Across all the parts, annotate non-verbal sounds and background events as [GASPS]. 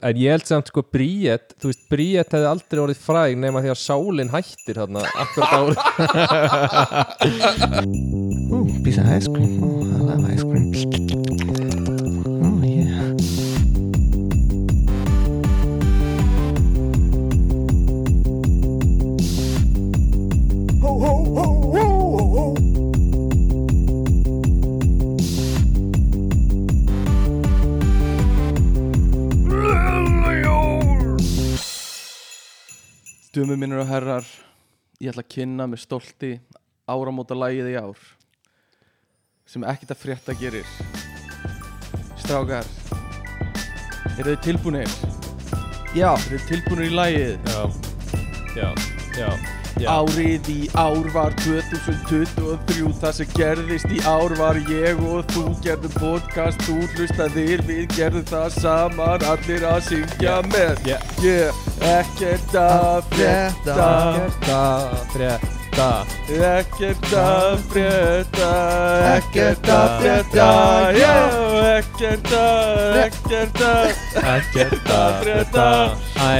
en ég held samt sko Bríett þú veist, Bríett hefði aldrei orðið fræg nema því að sálinn hættir þarna akkurat árið Ooh, piece of ice cream. Oh, I love ice cream. Oh, yeah. Dömu minnur og herrar, ég ætla að kynna með stolti áramóta lagið í ár sem ekkert að frétta gerir. Strákar, eru þið tilbúinir? Já. Eru þið tilbúinir í lagið? já, já, já, já. Árið í ár var 2023, það sem gerðist í ár var ég og þú gerðum podcast, þú hlustaðir, við gerðum það saman, allir að syngja með. Yeah. Yeah, ekkert að frétta. Frétta, frétta Ekkert að frétta, ekkert að að frétta, frétta, já, ekkert að, ekkert að, Ekkert að frétta. Æ,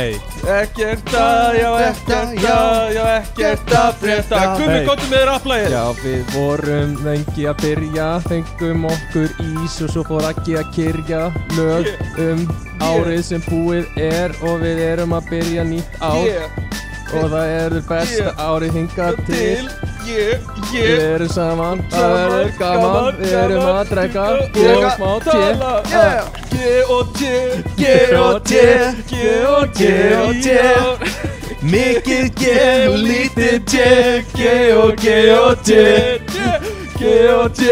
ekkert að, já, ekkert að, já, ekkert að frétta. Gummi, Hey. komdu með þér aflæðið. já við vorum lengi að byrja Fengum okkur ís og svo fór ekki að kyrja Lög um árið sem búið er Og við erum að byrja nýtt ár Ég, Og það er besta Yeah. árið hingað til til, ég, Við ég, erum saman, það verður gaman, við erum að drekka og og smá te tala, ég og te, Ég og te, ég og te, ég og te. Mikið G og lítið G G og G og G G og G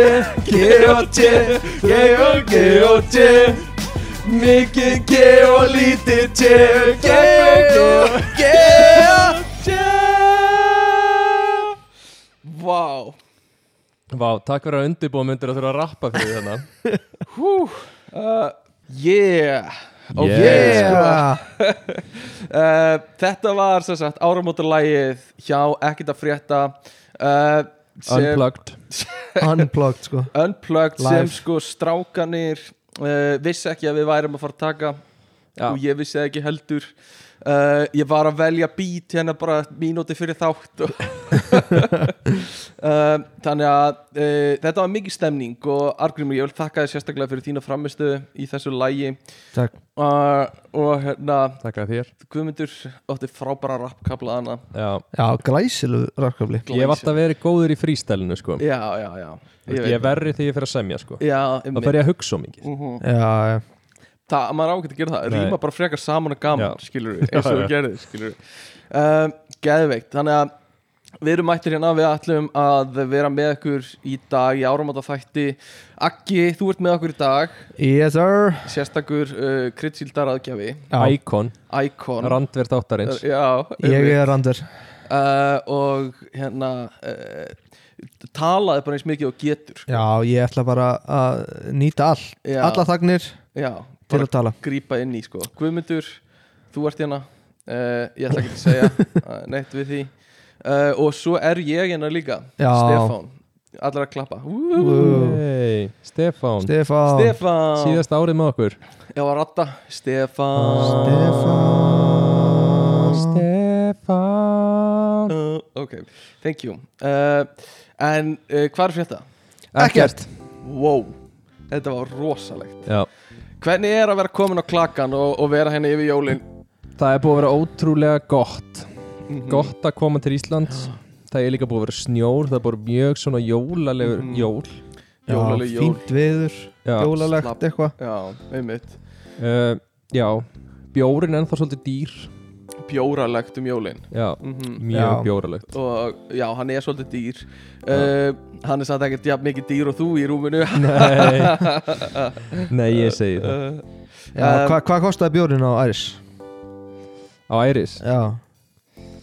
G og G G og G og G Mikið G og lítið G G og G og G Vá. Vá, takk fyrir að undirbúa myndir að þurfa að rappa fyrir hérna. þarna Yeah Ok, Yeah. sko. [LAUGHS] uh, Þetta var sem sagt áramótalægið hjá ekkert að frétta uh, sem, Unplugged Unplugged sko Unplugged sem Live. sko strákanir uh, vissi ekki að við værum að fara að taka Já. og ég vissi það ekki heldur uh, ég var að velja beat hérna bara mínúti fyrir þátt [LAUGHS] og uh, þannig að uh, þetta var mikið stemning og Argrimur ég vil þakka þér sérstaklega fyrir þína framistu í þessu lægi Takk uh, og hérna Takk að þér Guðmundur átti frábæra rappkabla hana Já, Já, glæsilu rakkafli ég hef alltaf verið góður í frístælinu sko Ég, Já, já, já ég er verri þegar ég fer að semja sko Já, Mhm. Það fer ég að hugsa um mikið Já, já það, maður ágætt að gera það, Nei. rýma bara frekar saman og gaman, Já. skilur við, eins og Já, þú gerðir, skilur við um, Geðveikt, þannig að við erum mættir hérna, við ætlum að vera með ykkur í dag í áramata þætti Aggi, þú ert með okkur í dag, Yes sir sérstakur uh, kryddsíldar aðgjafi, Já, Icon, Icon randverð áttarins Já, ég er Randur uh, og hérna uh, talaði bara eins mikið og getur Já, ég ætla bara að nýta allt Já. Alla þagnir já, til bara að tala grípa inn í sko Guðmundur, þú ert hérna uh, ég ætla ekki að [LAUGHS] segja uh, neitt við því uh, og svo er ég hérna líka Já. Stefán, allar að klappa Woo! Hey, Stefán, Stefán Stefán, síðast árið með okkur já að ratta Stefán Stefán Stefán uh, ok, thank you uh, en uh, hvað er fyrir þetta? Ekkert wow, þetta var rosalegt Já hvernig er að vera komin á klakan og, og vera henni yfir jólin Það er búið að vera ótrúlega gott Gott að koma til Íslands Það er líka búið að vera snjór Það er búið mjög svona jólalegur Mhm. jól Já, Jólaleg jól. fínt viður Já, slapp. Jólalegt eitthvað já, einmitt, uh, já Bjórin ennþá svolítið dýr bjóralegt um jólin Já, Mhm. mjög Já. bjóralegt og já, hann er svolítið dýr uh, hann er samt ekkert jafn mikið dýr og þú í [LAUGHS] rúminu Nei Nei, ég segi það uh, Já, Um, Hvað hva kostaði bjórin á Æris? Á Æris Já,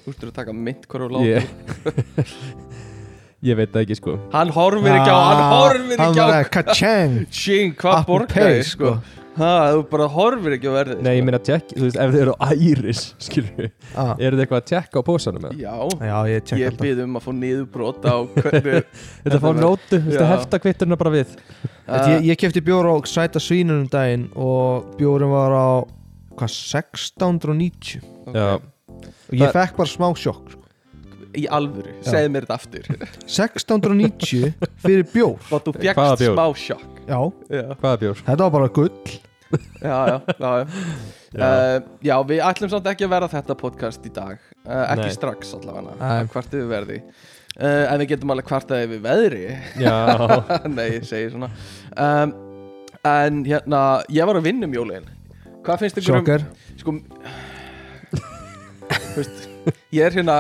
þú ertur að taka mynd hverju láta Ég [LAUGHS] Ég veit það ekki sko hann horfir ekki á, hann horfir Hann ekki var á að kachang tjing, hvað Apple borgaði Pay, sko ha, þú bara horfir ekki á verðið Nei, ég sko. meina tjekk Þú veist, ef þið eru á Æris [LAUGHS] Skilur við ah. Eru þið eitthvað að tjekka á pósanum með já, Já, ég tjekk ég alltaf bið um að fá niðurbrot á hvernig [LAUGHS] Þetta fá var- nótu Þú veist, Já. að hefta kvitturna bara við Eh. um Þetta- Ég, ég kefti bjór á Sæta Svínunum daginn og bjórin var á hvað 1690 Ok. Já. og ég Það- fekk bara smá sjokk sko. Í alvöru, segð mér þetta [LAUGHS] aftur 1690 fyrir bjór Bara þú Hvaða fjekkst bjór? smá sjokk já, Já, Hvaða bjór? þetta var bara gull já, já, já, já. Uh, já, við ætlum samt ekki að verða þetta podcast í dag uh, Ekki Nei. strax allavega Nei. Hvart við verði uh, En við getum alveg kvartaði við veðri [LAUGHS] Já, Nei, ég segi svona um, En hérna, ég var að vinna um jólin Hvað finnst ykkur sjokkar um Sko þú veist, Ég er hérna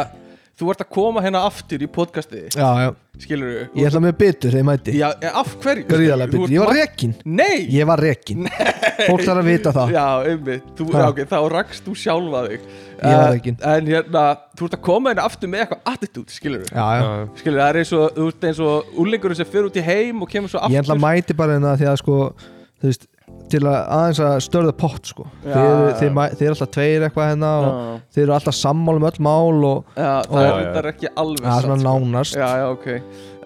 Þú ert að koma hérna aftur í podcastið já, já. Skilur ég ætla með bitur þegar ég mæti Já, eh, af hverju? gríðarlega Þú ert bitur, ég var ma- rekin Nei! ég var rekin fólk þarf að vita það Já, einmitt, þú, Ah. Ha. já, okay, þá rakst þú sjálfa þig Ég var Eh, ekki. En hérna, þú ert að koma hérna aftur með eitthvað attitude, skilur við já, já. Skilur það er eins og, þú ert eins og úlingurinn sem fyrir út í heim og kemur svo aftur ég ætla að mæti bara hérna því að sko þú veist, til að aðeins að störða pott sko. Já, þeir, já. þeir, mæ- þeir eru alltall tveir eitthvað hérna og Já. þeir eru alltaf sammála um öll mál og Já, það Ó, er já, þetta ekki alveg það er svona satt, sko. nánast Já, já, ok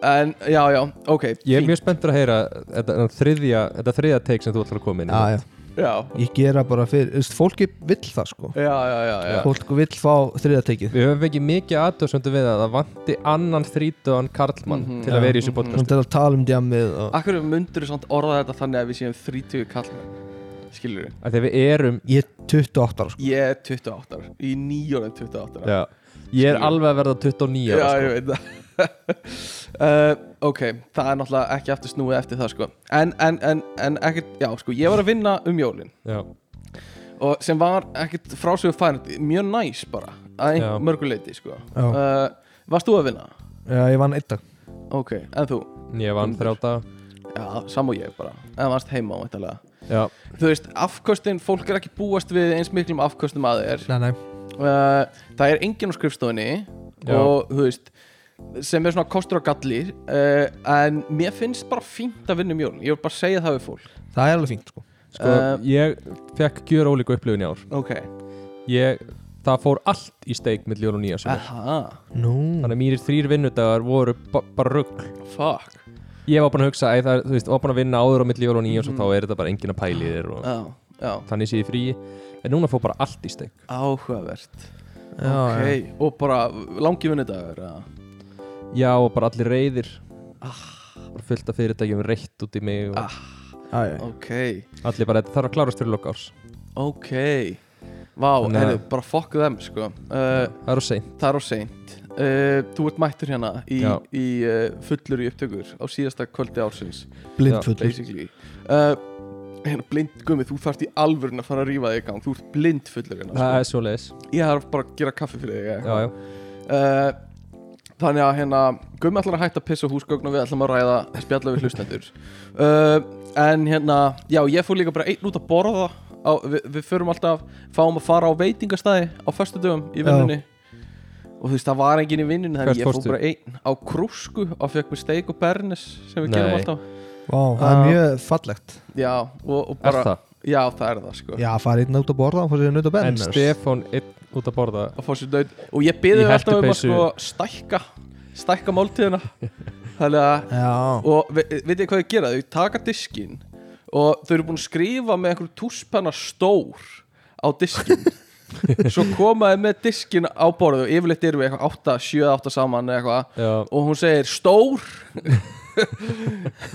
En, já, já, ok Ég er fínt. mjög spenntur að heyra þetta, þetta þriðja, þetta þriðja teik sem þú ætlar að koma inn í. já, já. Já, ég gera bara fyrir, þú veist, fólki vill það sko já, já, já, já. fólk vill fá þriðatekið Við höfum fengið mikið aðdöðsöndu við að það vanti annan þrítuðan karlmann til að vera í þessu podcast svona til að tala um djamið og... Akkur myndur samt orða þetta þannig að við séum 30 kallmenn Skilur við af því að við erum ég er 28 ára sko Ég er 28 ára, í nýjónum 28 ára já, Ég er alveg að verða 29 ára Já, sko. ég veit [LAUGHS] það uh, Ok, það er náttúrulega ekki aftur snúið eftir það sko En, en, en, en ekkert, já sko, ég var að vinna um jólin já. Og sem var ekkert frásögur færandi, mjög næs bara Að Já. ein, mörguleiti sko Já. uh, Varst þú að vinna? já, ég vann einn dag Ok, en þú? Ég vann Hundur. þrjáta Já, sam og ég bara En varst heima væntanlega já. Þú veist, afkostin, fólk er ekki búast við eins miklum afkostum að þér nei, nei. uh, það er enginn á skrifstofunni Já. og þú veist sem er svona kostur og gallir uh, en mér finnst bara fínt að vinna um jólun ég vil bara segja það við fólk það er alveg fínt sko Sko, Eh. Ég fekk gjör ólíku upplifin í ár ok, ég, Það fór allt í steik með ljón og nýja sem aha, nú, Þannig að mýrir þrýr vinnudagar voru ba bara rugg fuck Ég var búin að hugsa, æ, það, er- þú veist, var búin að vinna áður á milli jól og nýja og þá er þetta bara enginn að pæli þér og já, já, þannig sé ég frí En núna fór bara allt í steik áhugavert já, ok, já. og bara langi vinnudagur eða? Já og bara allir reyðir Ah. Bara fullt af fyrirtækjum reitt út í mig og Já, já. ok, Allir bara, þetta þarf að klárast fyrir lokárs ok vá, Þannig að- heyrðu, bara fokku þeim sko uh, Það er á sein það er á seint uh, þú ert mættur hérna í, Já. í uh, fullur í upptökur á síðasta kvöldi ársins blindfullur basically uh, hérna, blind, gummi, þú þarft í alvörun að fara að rífa þig í gang, þú ert blind fullur hérna, Það sko. er svo leiðis ég þarf bara að gera kaffi fyrir þig Já, já, Uh, þannig að hérna gummi ætlar að hætta að pissa á húsgögn og við ætlum að ræða spjalla við hlustendur uh, en hérna, já, ég fór líka bara einn út að borða á, við, við förum alltaf, fáum að fara á veitingastæði á föstudöfum í Já. vinnunni og þú veist, það var enginn í vinnunni þannig Hvert ég fór fórstu? bara einn á krúsku og fekk mér steik og bernis sem við Nei. gerum alltaf Vá, það Já. er mjög fallegt já, og, og er bara, það Já, það er það sko já, farið einn út að borða og fór sér nötu En benners Stefán einn út að borða að fá sér naut og ég byrði Í alltaf um að hertupeysu. sko stækka stækka máltíðina þannig að já, og ve veitir hvað þau gera, þau taka diskin og þau eru búin að skrifa með einhverjum túspenna stór á diskin [LAUGHS] svo komaði með diskin á borðu og yfirleitt eru við eitthvað 8, 7, 8 saman eða eitthvað Já, og hún segir stór [LAUGHS]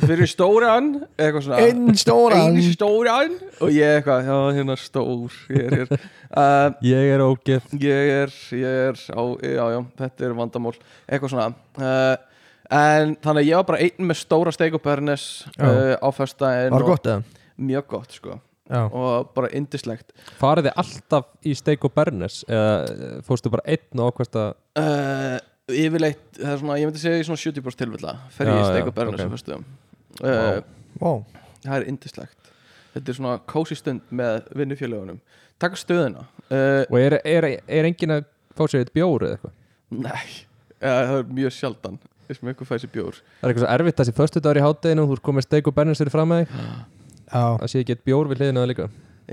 fyrir stóran eitthvað svona einn stóran einu stóran og ég eitthvað, já hérna stór ég er hér [LAUGHS] uh, ég er ógeð ég er, ég er á, já já, þetta er vandamál eitthvað svona uh, en þannig að ég var bara einn með stóra steik og bernes uh, á föstudaginn var og- gott eða? mjög gott sko já, og bara indislegt Farið þið alltaf í steik og bernes eða eh, fórstu bara einn og ákvæmst að uh, yfirleitt, það er svona, ég myndi segja í svona 70% tilvilla fer ég Já, í steik já, og bernes ok. á föstudaginn uh, vá, það er indislegt þetta er svona kósi stund með vinnufjölegunum taka stöðuna uh, Og er, er, er enginn að fá sér eitt bjór eða eitthvað Nei, eða, það er mjög sjaldan Þess með einhver fæði sér bjór Það er eitthvað svo erfitt þessi föstudagur í hátteginu og þú ert komið steik og bernes fyrir fram að þig já, Það sé ekki eitt bjór við hliðina á þér líka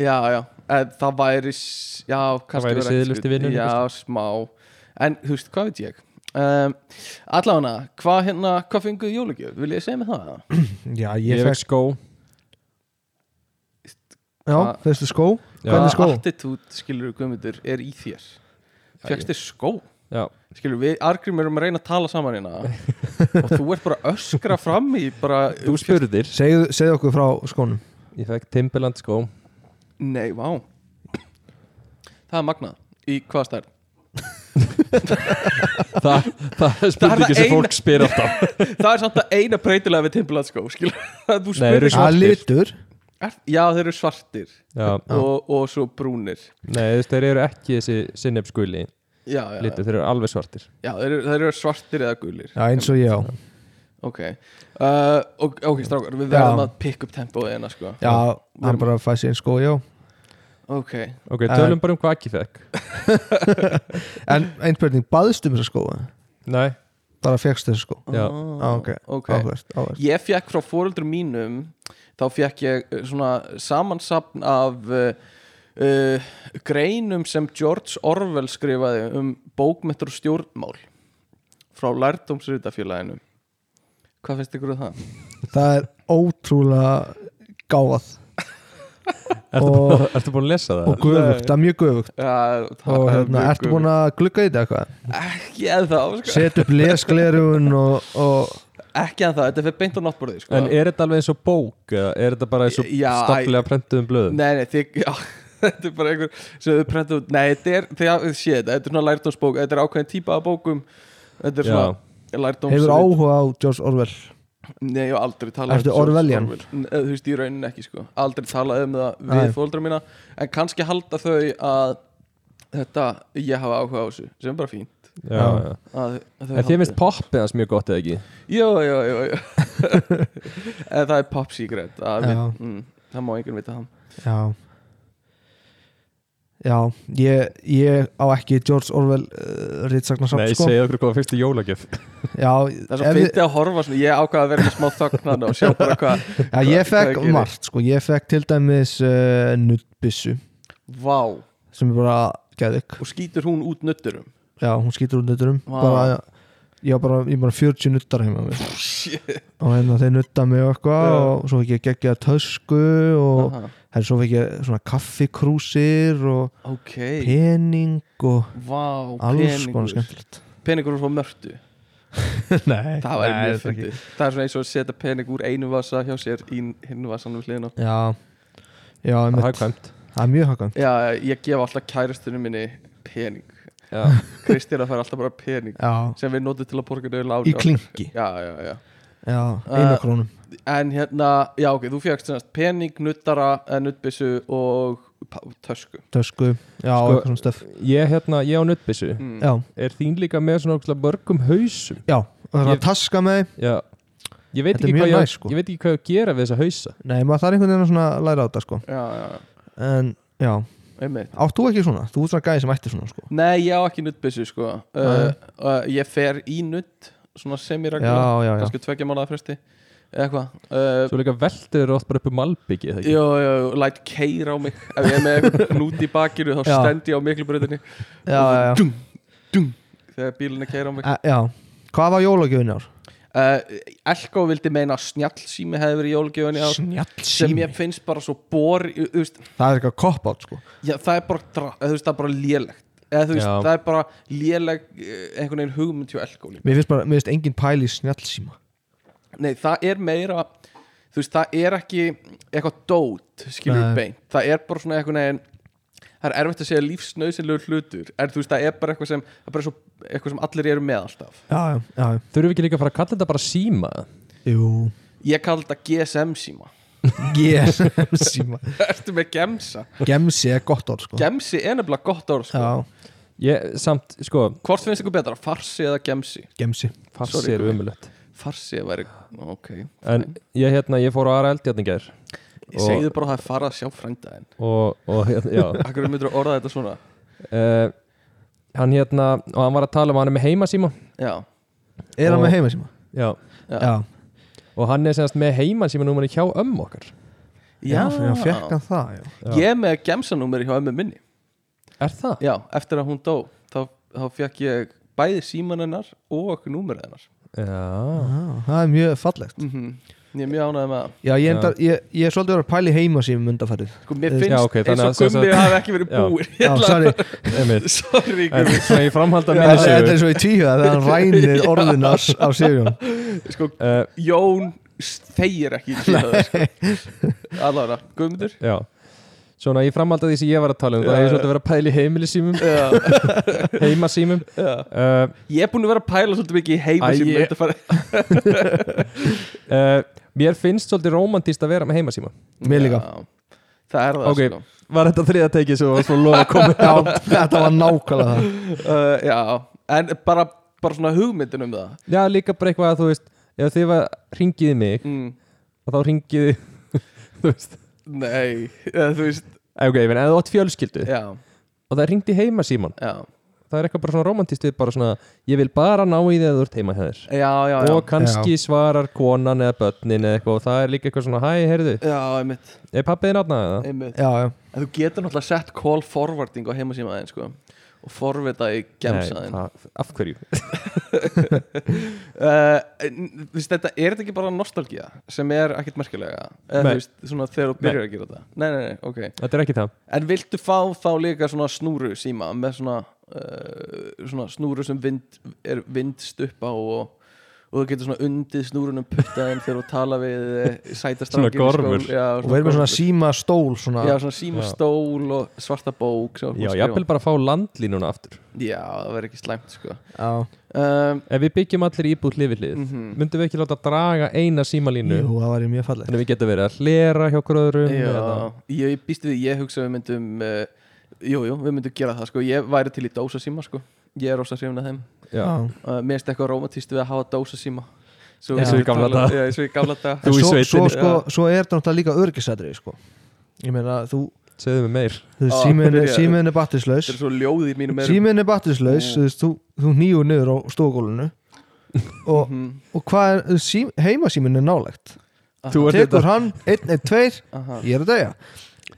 Já, já, en það væri s- Já, kannski væri verið ekki siðlaust í skrýt- vinnunni, Já, smá En, þú veist, hvað veit ég um, Allána, hvað hérna, hvað fenguð jólugjöf? Vil ég segja mig það? já, Ég ég fekk fekk skó já, Hvað- þessu skó Hvernig skó? Hvaða attitút, skilur við guðmyndur, er í þér? Fjækst þér skó? Já, Skilur við, Argrím erum að reyna að tala saman hérna og þú ert bara að öskra fram í bara þú spurðir Segðu, segðu okkur frá skónum Ég fekk Timberland sko. skó Nei, vá Það er magnað Í hvaða stærð? Þa, Það er spurningi það sem eina- fólk spyr alltaf Það er samt að eina breytilega við Timberland skó skilur við, [LAUGHS] þú Nei, eru spurðir svartir. Að litur Er- Já, þeir eru svartir Já, og, og svo brúnir nei, þú veist, þeir eru ekki þessi sinnefskuli Já, já, litur, þeir eru alveg svartir já þeir, eru, þeir eru svartir eða gulir Já, eins og ég á Ok, uh, ok, okay strákar, við Já. verðum að pick up tempoð hérna sko Já, hann bara fæði sér einn skó, já Ok, Ok, En- tölum bara um hvað ekki fekk En einn spurning, baðstu um mér að skóa? Nei, Bara fegstu þessu skó? já, Já, ok, Ah, ok áhverst, áhverst Ég fekk frá fóreldur mínum þá fekk ég eh, svona samansapn af uh, uh, greinum sem George Orwell skrifaði um bókmyndur og stjórnmál frá lærdómsritafélaginu Hvað finnst ykkur um það? Það er ótrúlega gáfað ertu, Og- búin, ertu búin að lesa það? og guðvugt, það er mjög guðvugt Já, það og er hérna, mjög ertu búin að glugga í þetta eitthvað? ekki en það, sko. Set upp lesglerugun og, og ekki en það, þetta fyrir beint á náttborðið sko. En er þetta alveg eins og bók eða er þetta bara eins og Já, æ- staflega prentuðum blöðum? Nei, nei, þið, [LAUGHS] já, þetta er bara einhver sem þau prentu út, nei, þetta er þegar, sé þetta, þetta er svona lærdómsbók, þetta er ákveðin típa af bókum, þetta er Já. svona lærdóms hefur áhuga á George Orwell Nei, ég hef aldrei talað Ertu um George Orwellian? Orwell. Nei, Þú veist, í rauninni ekki, sko Aldrei talað um það Nei. við fóldra mína En kannski halda þau að Þetta, ég hafa áhuga á þessu Sem er bara fínt Já, Já. já. að, að þau En haldi- þið finnst poppið hans mjög gott eða ekki? Jó, jó, jó, jó. [LAUGHS] En það er pop secret að, Já. við, mm, Það má enginn vita það já já, ég, ég á ekki George Orwell uh, ritsagna Nei, samt sko segja okkur hvað fyrstu jólagjöf já, Það er svo ef- fyndi að horfa svona Ég ákvað að vera með smá þögnan og sjá [LAUGHS] bara hvað já, ég hvað fekk gerir. margt sko, ég fekk til dæmis uh, nuttbissu Vá, sem er bara geðik og skýtur hún út nötturum já, hún skýtur út nutturum Vá. bara, ég var bara, ég var bara 40 nuttar heima á mér og hérna þeir nutta mig og eitthvað Já. og svo fekk ég geggja tösku og Aha, herri, svo fekk ég svona kaffikrúsir og Ok, pening og vá, alls konar peningur [LAUGHS] skemmtilegt Peningur frá mörtu Nei, Það væri nei, mjög þetta ekki. fyndið Það er svona eins og að setja pening úr einu vasa hjá sér í hinn vasanum hliðina Já, já Það er einmitt, hægkvæmt það er mjög hakan Já, ég gef alltaf kærastunum minni pening Já, Kristjana fær alltaf bara pening Já, sem við notum til að borga döðu láni í klingi Já, já, já Já, Uh, eina krónum En hérna, já ok, þú fjögst semast pening, nuttara, eh, nuttbyssu og pa- tösku tösku, já, Sko- eitthvað svona stöf mm. ég hérna, ég á nuttbissu Hmm. Já, Er þín líka með svona ógeðslega mörgum hausum? já, og það er Ég- að taska með þeim. Já Ég veit, Þetta er ekki mjög hvað ég, næs, sko. ég veit ekki hvað ég á að gera við þessa hausa Nei, maður þarf einhvern veginn að svona læra á þetta sko Já, já, já, En, já, einmitt átt þú ekki svona? Þú ert svona gæði sem ætti svona sko Nei, ég á ekki nuttbyssu sko uh, Nei. uh, Ég fer í nutt, svona Já, semiregla já, já Kannski tveggja mánuða fresti Eða eitthvað uh, Svo líka veldur þú oft bara upp um malbyggi eða ekki? Jó, jó, jó, læt keira á mig Ef ég er með einhvern [LAUGHS] knút í bakinu þá Já. stend ég á miklubröðinni Já, já, já þegar bílinni keira á mig Eh, Já, hvað var jólagjöfin í ár? uh, Elko vildi meina að snjallsími hefði verið í jólgjöfunni á sem Snjallsími ég finnst bara svo bor þú veist, Það er eitthvað cop-out sko já, það er bara, dra, eða, þú veist, það er bara lélegt eða, þú veist, Já. það er bara léleg eh, einhvern veginn hugmynd hjá Elko líka. Mér finnst bara, mér finnst engin pæli í snjallsíma Nei, það er meira þú veist, það er ekki eitthvað dót skilur Nei. beint, það er bara svona einhvern veginn það er erfitt að segja lífsnauðsynlegur hlutur er, þú veist, það er bara eitthvað sem, það er bara svo, eitthvað sem allir eru með alltaf Já, já, já, Þurfum við ekki líka að fara að kalla þetta bara síma? jú ég kalla þetta GSM síma [LAUGHS] GSM síma ertu með gemsa? [LAUGHS] Gemsi er gott orð sko Gemsi er nefnilega gott orð sko. Já, Ég, samt, sko, hvort finnst ykkur betra, farsi eða gemsi? gemsi farsi Sorry, er Guð. umulett farsi væri, ok En ég, hérna, ég fór á aðra eldjarni gær ég segði bara að það er farað að sjá frændaðin Og, og hérna, já [LAUGHS] akkur myndur að orða þetta svona uh, hann hérna og hann var að tala um að hann er með heimasíma já, Er hann Og- með heimasíma? já. Já. Já, og hann er semast með heimasíma númur hjá ömmu okkar já, já fekk hann það já. ég er með gemsanúmeri hjá ömmu minni er það? já, eftir að hún dó þá, þá fekk ég bæði síman hennar og númerið hennar já, Já, Það er mjög fallegt mm -hmm. Ég er mjög ánægð með það Já, ég, enda, Já. ég, ég er svolítið að vera að pæla í heima síðan undanfærið Sko, mér Já, finnst ok, þannig eins að og sem sagt- gummið hafi ekki verið Já. búir Já, sorry, [LAUGHS] einmitt Sorry, En gummi svona í framhald af minni þetta þetta sögur er svo í tíhuga þegar hann rænir orðin af, af Sigurjón Sko, uh, Jón s- þegir ekki [LAUGHS] Allára, gummiður Já Svona í framhald af því sem ég var að tala um Það Já, hefur já. svolítið verið að pæla í heimilisímum [LAUGHS] Heimasímum uh, Ég er búin að vera að pæla svolítið mikið í heima Æ, sem ég- þetta fara uh, Mér finnst svolítið romantist að vera með heimasíma Mér líka. Já, Það er það Ok. sko. Var þetta þriða tekið sem var svo loða að koma Já, þetta var nákvæmlega það uh, Já, en bara, bara svona hugmyndin um það Já, líka bara eitthvað að þú veist Ef þið var ringiði mig mm, og þá ringiði [LAUGHS] Þú veist Nei, eða, þú veist Eh, Ok, ég meina, ef þú átt fjölskyldu Já, og það ringdi heimasíman já, Það er eitthvað bara svona romantist við bara svona Ég vil bara ná í því að þú ert heima hjá þér já, já, já. og kannski svarar konan eða börnin eða eitthvað og það er líka eitthvað svona hæ, heyrðu, Já, einmitt, er pappiðin átnað eða? einmitt. Já, já, En þú getur náttúrulega sett call forwarding á heimasímaðin sko og forvita í gemsaðin uh, það- af hverju? Eh, en, þú veist, þetta, Er þetta ekki bara nostalgía sem er ekkert merkilega eða, Nei. þú veist, svona, þegar þú byrjar að gera þetta nei, nei, nei, ok Þetta er ekki það En viltu fá þá líka svona snúru síma með svona, uh, svona snúru sem vind, er vindst upp á og, og þú getur svona undið snúrunum puttaðin þegar þú tala við eh, sæta Svona strákinn í skóla. gormur. Já, og við erum með gormur. svona síma stól svona, Já, svona síma Já. stól og svarta bók sem þú ert búin Já, að ég skrifa. vil bara fá landlínuna aftur Já, það verður ekki slæmt sko já. um, Ef við byggjum allir íbúð hlifið hlið mm myndum við ekki láta draga eina símalínu Jú, það var ég mjög fallið þannig að við getum verið að hlera hjá gröðurum Já, ég, ég býst við, ég hugsa við myndum uh, Jú, jú, við myndum gera það sko Ég væri til í dósa síma sko Ég er rosa hrifin að þeim Já. uh, Mér erst eitthvað rómatist við að hafa dósa síma Svo, Já. Eins og í gamla daga. Já, eins og í gamla dag Þú í svo, svo, sveitinni. sko, svo er þetta náttúrulega líka örgisætri sko. Ég meina, þú, segðu mig meir þú Á, símiðin er, byrjaði. símiðin er batterislaus Þetta er svo ljóð í mínum erum Símiðin er batterislaus, Mm. þú, veist, þú, þú nýjur niður á stofgólunu og, Mhm, og hvað er, þú veist, sím, heimasímin er nálægt aha, Þú ert Tekur þetta- hann, einn, einn, tveir, aha. ég er að degja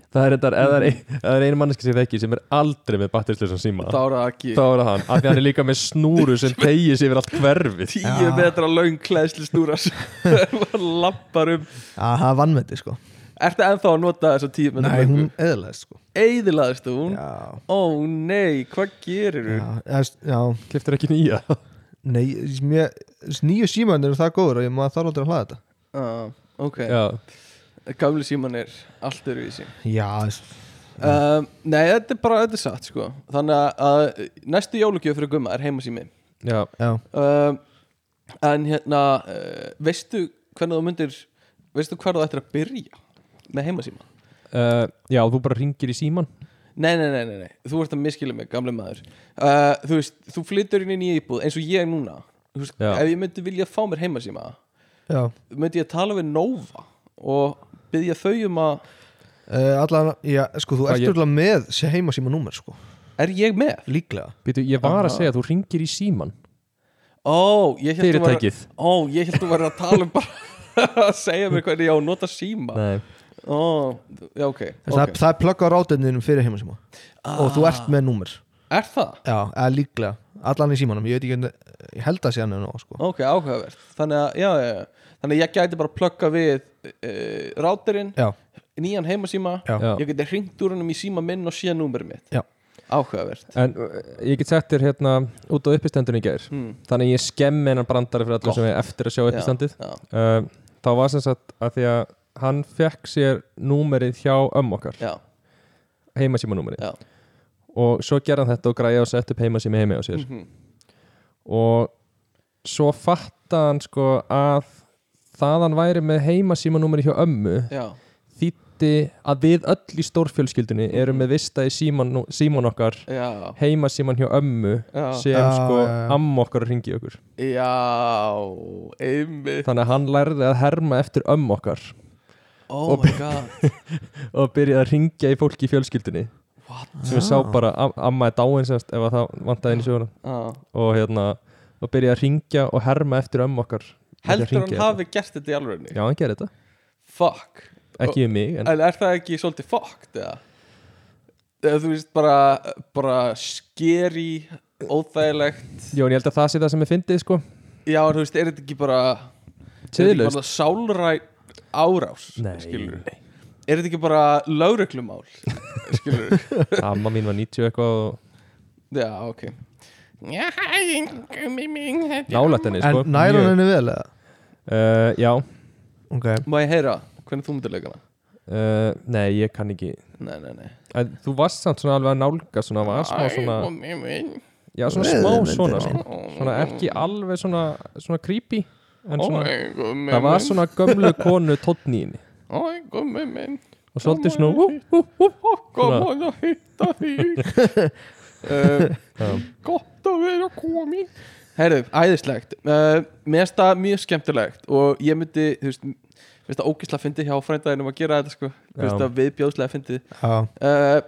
Það er, þetta, ef það er, ein- ef það er einu manneski sem þekki sem er aldrei með batterislösa síma Þá er það ekki þá er það hann, af því hann er líka með snúru sem tegis yfir allt hverfið Tíu Já. metra laung klæðsli snúra [LAUGHS] Lappar um Já, það er vannmeti sko Ertu ennþá að nota þessa tíu metra Nei, löngu? hún eðlaðist sko Eyðilaðist hún Já, Ó nei, hvað gerir já, þú? eða, já kliftur ekki nýja Nei, ég- mér, nýju símiðin eru það góður og ég maður þarf aldrei að hlaða þetta Ah, ok, Já. gamli síman er allt eru í sín Já, þess- Nei, þetta er bara, þetta er satt sko Þannig að uh, næstu jólugjöf fyrir gumma er heimasími Já. já um, En hérna, uh, veistu hvernig þú myndir Veistu hvar þú ættir að byrja með heimasíma? Uh, já, þú bara ringir í síman Nei, nei, nei, nei, nei, þú ert að miskila mig, gamli maður uh, Þú veist, þú flyttur inn í nýja íbúð eins og ég núna Þú veist, Já. Ef ég myndi vilja fá mér heimasíma Já, myndi ég tala við Nova og byggja þau um að uh, allan, já, sko, þú Já, ert ég- ég... með sé heimasíma númer sko Er ég með? Líklega Býtu, ég var að Aha. segja að þú ringir í síman Ó, ég held var, Fyrirtækið Ó, ég held þú var að tala um bara [LAUGHS] að segja mér hvernig ég á að nota síma Nei. Ó, já, ok, Ah. okay. það, okay. það er plugga á ráteginum fyrir heimasíma og þú ert með númer Er það? já, eða líklega, allan í símanum ég veit ekki, hvernig- ég held að sé hann nú sko. Ok, áhugavert Þannig að, já, já, já Þannig að ég gæti bara að plugga við uh, ráterinn, já, nýjan heimasíma já, Já. Ég geti hringt úr hennum í síma minn og sé númerið mitt Já. Áhugavert En uh, ég get sett þér hérna út á uppistendun í gær hmm. Þannig að ég skemmi hennan brandari fyrir allir sem er eftir að sjá uppistendið Já, uh, Þá var sem sagt að því að hann fekk sér númerið hjá ömmu okkar já, heimasímanúmerið já, og svo gerði hann þetta og græði og sett upp heimasími heimi á sér Mhm. og svo fatta hann sko að það hann væri með heimasímanúmerið hjá ömmu já, þýtti að við öll í stórfjölskyldunni Mhm. erum með vista í síman, síman okkar já, heima síman hjá ömmu já. sem Já, sko já, já. amma okkar ringi okkur Já, einmitt þannig að hann lærði að herma eftir ömmu okkar Oh my god og byrjaði að ringja í fólki í fjölskyldunni What? sem við sá Ah. bara am- amma er dáin semst ef að það vantaði inn í söguna Já. og hérna og byrjaði að ringja og herma eftir ömmu okkar með því að Heldur hann hringja í hafi gert þetta í alvegni? þetta. já hann gerði þetta, Fuck ekki við mig en, En er það ekki svolítið fucked eða? Eða þú veist bara bara skeri óþægilegt jú en ég held að það sé það sem er fyndið sko Já, en þú veist, er þetta ekki bara Þetta er Töðlust ekki bara sálræn árás Nei. skilurðu? Er þetta ekki bara lögreglumál Skilur Amma mín var 90 eitthvað og Já, ok nálætt henni sko En nær hann henni vel eða? Uh, Já, Ok Má ég heyra hvernig þú myndir leikana? uh, nei ég kann ekki Nei, nei, nei en, Þú varst samt svona alveg að nálga svona, var smá svona Já, svona Rauðu smá myndina. svona sko. Svona ekki alveg svona, svona creepy En svona, það Það var svona gömlu konu tónníinni Og svolítið svona hú, hú, hú. Gaman að hitta þig [LAUGHS] uh, Gott að vera komin Herðu, æðislegt uh, Mér finnst það mjög skemmtilegt Og ég myndi, þú veist Mér finnst það ógislega fyndið hjá frændaðinum að gera þetta sko Mér finnst Já. það viðbjóðslega fyndið Já uh,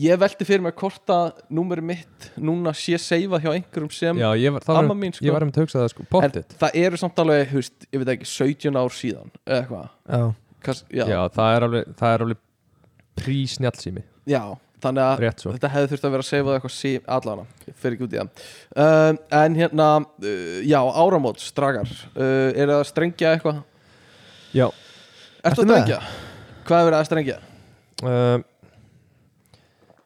Ég velti fyrir mig hvort að Númer mitt núna sé seifa hjá einhverjum sem Já, ég var, það var, Amma mín sko ég var um að hugsa það sko En Pottit það eru samt alveg, þú veist, ég veit ekki 17 ár síðan eða eitthvað Já Kas- já. já, það er alveg, það er alveg prísnjallsými já, þannig að Rétt sko. svo Þetta hefði þurft að vera að segja það eitthvað sí, allana, ég fer ekki út í það um, En hérna, uh, já, áramót, stragar uh, Er það að strengja eitthvað? Já Ertu Ertu að með? strengja? Hvað er verið að strengja? uh,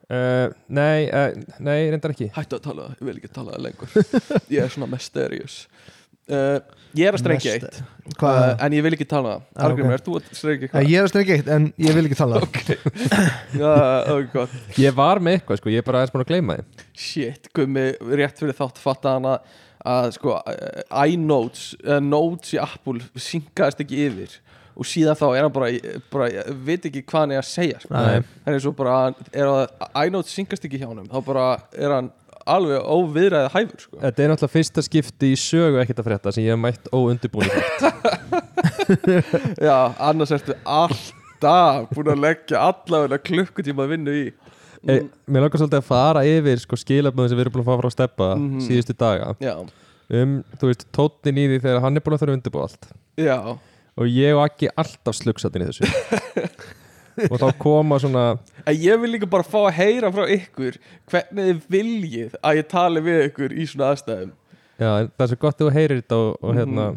uh, Nei, uh, nei, reyndar ekki Hættu að tala, ég vil ekki tala það [LAUGHS] lengur Ég er svona mysterious uh, Ég er að strengja Mest- eitt Hvað? uh, En ég vil ekki tala það Ah, Argrimur, ok. ert þú að strengja Nei, eitthvað? Ég er að strengja eitt en ég vil ekki tala Ok, já, ok, gott Ég var með eitthvað sko, ég er bara aðeins búin að gleyma þið Shit, gummi, rétt fyrir þátt fatta hana að sko eh, iNotes, uh, Notes í Apple syngaðist ekki yfir og síðan þá er hann bara, bara ég veit ekki hvað hann er að segja sko. Nei. hann er svo bara, er að iNotes syngast ekki hjá hann, þá bara er hann alveg óviðræðið hæfur sko. Þetta er náttúrulega fyrsta skipti í sögu ekkert að frétta sem ég hef mætt óundibúin Já, annars ertu alltaf búin að leggja allavega klukkutíma að vinna í Ei, Eh, Mér langar svolítið að fara yfir sko, skilaböðum sem við erum búin að fá frá steppa Mhm. síðustu daga Já, um, þú veist, tóttin í því þegar hann er búin að þurfa að undirbúa allt já, og ég og ekki alltaf slugsatin í þessu og þá koma svona en ég vil líka bara fá að heyra frá ykkur hvernig þið viljið að ég tali við ykkur í svona aðstæðum já, en það er svo gott þegar þú heyrir þetta og, og hérna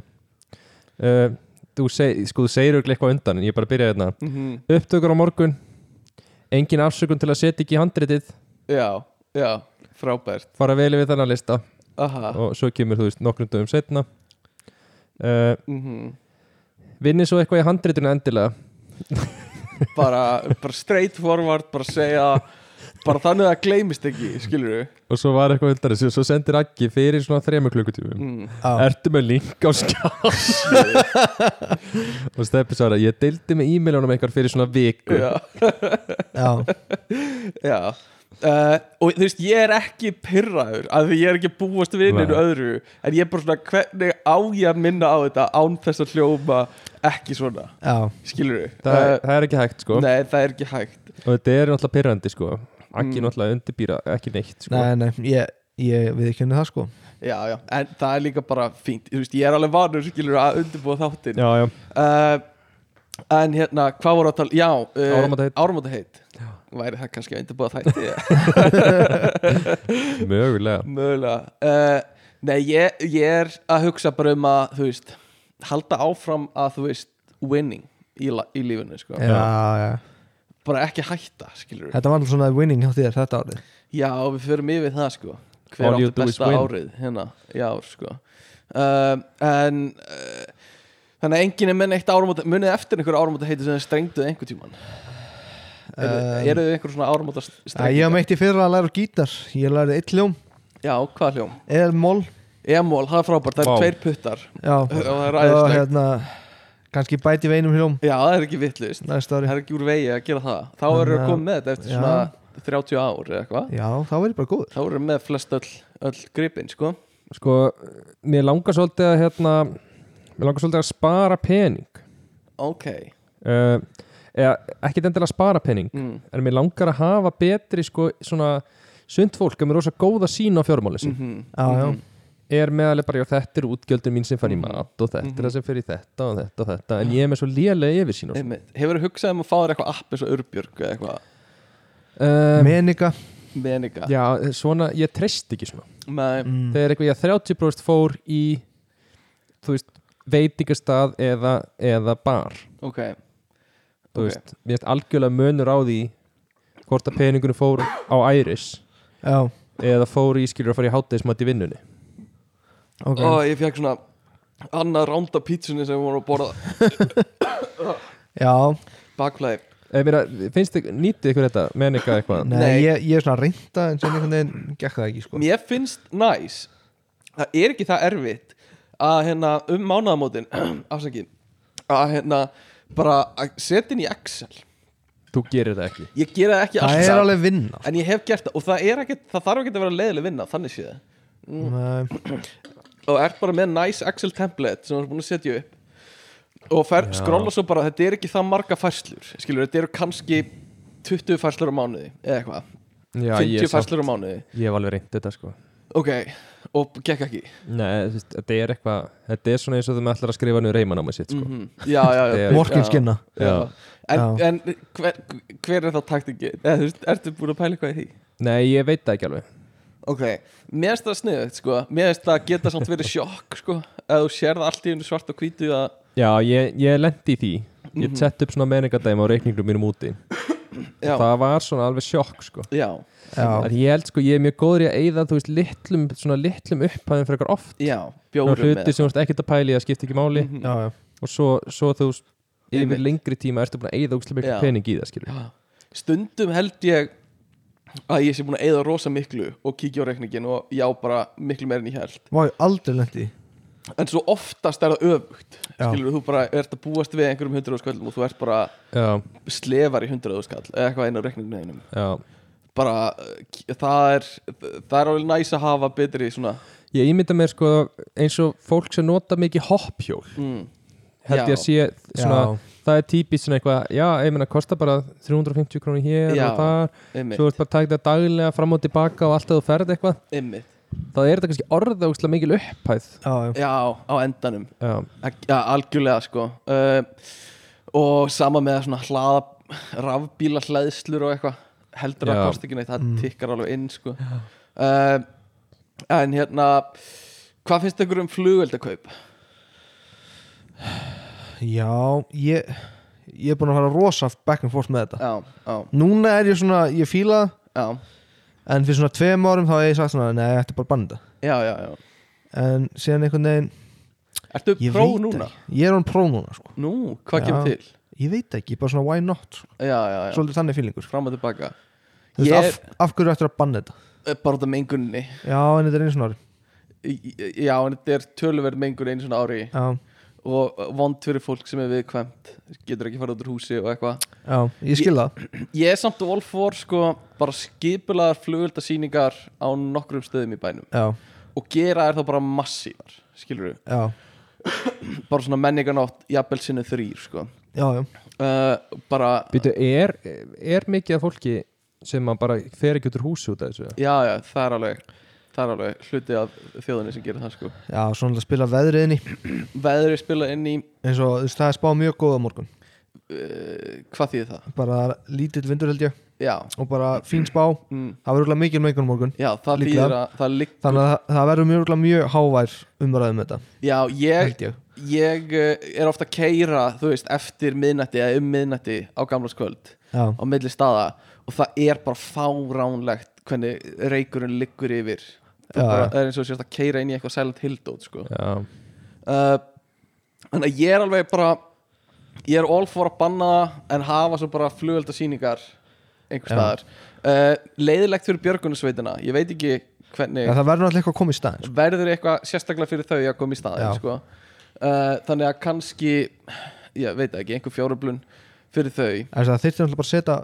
uh, þú, seg, sko, þú segir auðvitað eitthvað undan en ég bara byrja hérna mm upptökur á morgun engin afsökun til að setja ekki í handritið Já, já, frábært fara vel við þennan lista Aha, og svo kemur þú veist nokkrum dögum setna uh, mhm. vinni svo eitthvað í handritinu endilega bara, bara straight forward bara segja bara þannig að það gleymist ekki, skilur við og svo var eitthvað undan þessu og svo sendir Aggi fyrir svona þremur klukkutífum mm. Já Ertu með link á skjá [LAUGHS] og steppi svara ég deildi með e-mailunum eitthvað fyrir svona viku Já, Já já uh, og þú veist, ég er ekki pyrraður af því ég er ekki að búast við Nei. einu öðru en ég er bara svona, hvernig á ég að minna á þetta án þess að hljóma ekki svona, Já skilur við það, er, það er ekki hægt sko Nei, það er ekki hægt og þetta er náttúrulega pyrrandi sko Aggi Mm. náttúrulega undirbýra ekki neitt sko. Nei, nei, ég, ég við ekki henni það sko Já, já, en það er líka bara fínt Þú veist, ég er alveg vanur, skilur við, að undirbúa þáttin já, já. uh, En hérna, hvað voru að tala Já, uh, Áramótaheit. áramótaheit. Væri það kannski að undirbúa þætti [LAUGHS] mögulega Mögulega uh, Nei, ég, ég er að hugsa bara um að Þú veist, halda áfram að Þú veist, winning í, la- í lífinu sko. Já, já Bara ekki hætta, skilur við Þetta var nú svona winning hjá þér þetta árið Já, við förum yfir það, sko All Hver you átti do is besta win. árið hérna í ár, sko uh, En uh, Þannig að enginn er menn eitt áramóta Munið þið eftir einhver áramóta heiti sem þið strengduð einhver tíman Eru Um, Eh, eru þið einhver svona áramóta Æ, Ég var meitt í fyrra að læra á gítar Ég lærið eitt hljóm, Já, hvað hljóm? eðalmól E-mól, það er frábært, það Vá. eru Eh, tveir puttar [LAUGHS] Já, og það er og ræðislegt hérna kannski bæti við einum hljóm Já, það er ekki vittlust, næsta ári það er ekki úr vegi að gera það Þá eru Þannig að að- koma með þetta eftir Já. svona 30 ár eða eitthvað Já, þá verður bara góður Þá eru með flest öll, öll gripin, sko sko, mér langar svolítið að hérna, mér langar svolítið að spara pening Ok, uh, eða ekki endilega að spara pening mm. en mér langar að hafa betri sko, svona sund fólk er með rosa góða sín á fjármáli Mm mm. Já, já, er meðalega bara, já þetta eru útgjöldin mín sem fær í Mhm. mat og þetta er Mhm. það sem fer í þetta og þetta og þetta en ég er með svo lélega yfir sín og Einmitt. Hefur þú hugsað um að fá þér eitthvað app eins og Urbjörg eða eitthvað um, meninga meninga já, svona, ég treyst ekki svona Nei, mm. þegar eitthvað ég 30 fór í þú veist, veitingastað eða, eða bar ok þú Ok. veist, mér finnst algjörlega munur á því hvort að peningurinn fór á Iris já, eða fór í skilur að fara í hátæðismat í vinnunni ok Ó, ég fekk svona annað ránda pítsunni sem við vorum að borða já, bakflæði Ég meina, finnst þið, nýttið ykkur þetta menninga eitthvað? nei, Nei. Ég, ég er svona að reynda en sem einhvern veginn gekk það ekki sko. Mér finnst næs Það er ekki það erfitt að hérna um mánaðamótin [CLEARS THROAT] afsakið að hérna bara að setja inn í Excel Þú gerir þetta ekki Ég gera það ekki það er alltaf alveg vinna En ég hef gert það og það, er ekki, það þarf ekki að vera leiðileg vinna þannig séð Mm. Nei, og ert bara með nice Excel template sem þú er búin að setja upp og fer, skrolla svo bara, þetta er ekki það marga færslur skilur, þetta eru kannski 20 færslur á mánuði eða eitthvað, Já, ég, 50 er samt, færslur á mánuði ég hef alveg reynd þetta sko ok, og gekk ekki Nei, þú veist, þetta er eitthvað Þetta er svona eins og þú með allar að skrifa niður reymanámið sitt sko. mm. já, já, já, Þetta er- morkin skinna Já. En, Já. en hver, hver er þá taktikið? Eða, þú veist, ertu búin að pæla eitthvað í því? Nei, ég veit það ekki alveg Ok, mér finnst það sniðugt sko Mér finnst það geta samt verið sjokk sko Ef þú sér það allt í einu svart og hvítu að Mhm. Já, ég, ég lendi í því Ég mm sett upp svona menningadæmi á reikningnum mínum úti Já, Það var svona alveg sjokk sko já, já, En ég held sko, ég er mjög góður í að eyða Þú veist, litlum, svona litlum upphæðum frekar oft já, Ná, bjórum Hluti sem þú veist ekkert að pæli, það skiptir ekki máli Mhm. já, já. Og svo, svo þú veist, yfir Einmitt. lengri tíma Ertu búin að eyða úkslega Já. mikið pening í það skilur Já. Stundum held ég að ég sé búin að eyða rosa miklu og kíkja á reikningin og já bara miklu meir en ég held Má ég aldrei lendi En svo oftast er það öfugt Já. Skilur þú bara, ert að búast við einhverjum hundraðu skallum og þú ert bara Já, slefar í hundraðu skall eða eitthvað einn á reikninginu einum já bara uh, k- það er það er alveg næs að hafa betri svona Ég ímynda mér sko eins og fólk sem nota mikið hoppjól mm, held ég að sé svona, Já. það er típist svona eitthvað, já, ég meina, kostar bara 350 krónir hér Já, og þar einmitt, svo er bara tækt það daglega fram og tilbaka og alltaf þú ferð eitthvað, einmitt þá er þetta kannski orðaðugslega mikil upphæð já, já. já, á endanum já, Ak- já, algjörlega sko uh, og sama með svona hlaða rafbíla hlæðslur og eitthvað heldur að Já. kosti ekki neitt, það Mm. tikkar alveg inn sko uh, en hérna hvað finnst ykkur um flugeldakaup? já ég, ég er búin að fara rosa back and forth með þetta já, já, núna er ég svona, ég fíla það, já, en fyrir svona tveim árum þá hef ég sagt svona, nei, þetta er bara að banna já, já, já. þetta en síðan einhvern veginn ertu ég pró veit núna? ekki, ég er hann pró núna sko. nú, hvað Já. kemur til? ég veit ekki, bara svona why not sko. já, já, já, svolítið þannig fílingur fram og tilbaka Þú veist, Ég- af, af hverju ættir að banna þetta Eh, bara út af mengunni já, en þetta er einu svona ári Í- í- já, en þetta er töluverð mengun einu svona ári já, og vond fyrir fólk sem er viðkvæmt getur ekki farið út úr húsi og eitthvað já, ég skil það ég er samt all for sko bara skipulaðar flugöldasýningar á nokkrum stöðum í bænum já, og gera þær þá bara massívar skilur við, já, bara svona menninganátt jafnvel sinni þrýr sko já, já, uh, bara, býtu, er, er mikið af fólki sem að bara fer ekki út úr húsi út af þessu já já, það er alveg það er alveg hluti af þjóðinni sem gerir það sko já svona að spila veðriðinni veðrið spila inn í eins og þú veist, það er spáð mjög góða morgun uh, hvað þýðir það? bara það er lítill vindur held ég já, og bara fín spá, mm, það verður örugglega mikil mengun morgun já það Líklega. þýðir að það liggur þannig að það- það verður mjög, örugglega mjög hávær umræðum þetta, já, ég, held ég ég eh, er ofta að keira þú veist, eftir miðnætti eða um miðnætti á gamlarskvöld já, á milli staða og það er bara fáránlegt hvernig reykurinn liggur yfir það Já, bara, já. það er eins og sérst að keira inn í eitthvað Silent Hill dót sko. já, uh, en að ég er alveg bara ég er all for að banna það en hafa svo bara flugölda síningar einhver Já. staðar uh, leiðilegt fyrir björgunarsveitina ég veit ekki hvernig já það verður náttúrulega eitthvað að koma í staðin sko. verður eitthvað sérstaklega fyrir þau að koma í staðin Já. sko. uh, þannig að kannski ég veit það ekki, einhver fjárublun fyrir þau En það þyrfti náttúrulega bara að setja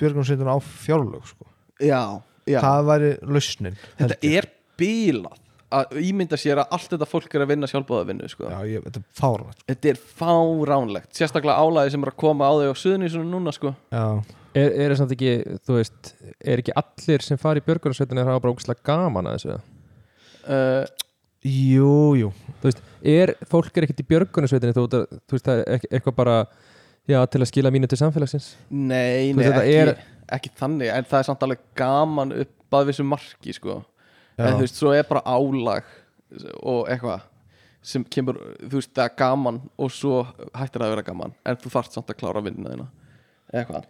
björgunarsveitina á fjárlög sko. já, já. það væri lausnin held þetta er bílað að ímynda sér að allt þetta fólk er að vinna sjálfbóðavinnu sko. Já, ég, þetta er fárvægt þetta er fáránlegt sérstaklega álæði sem er að koma á þau á suðunísunum núna sko. Já, er, er það samt ekki þú veist, er ekki allir sem fari í björgunarsveitin er það bara ókslega gaman að þessu uh, jú, jú þú veist, er, fólk er ekkert í björgunarsveitinni þú, þú veist, það er ekk- eitthvað bara já, til að skila mínu til samfélagsins nei, Þú nei veist, þetta ekki, er- ekki þannig en það er samt alveg gaman upp að vissu marki sko. Já. en þú veist, svo er bara álag og eitthvað sem kemur, þú veist, það er gaman og svo hættir það að vera gaman en þú þarft samt að klára vinnuna þína eða hvað,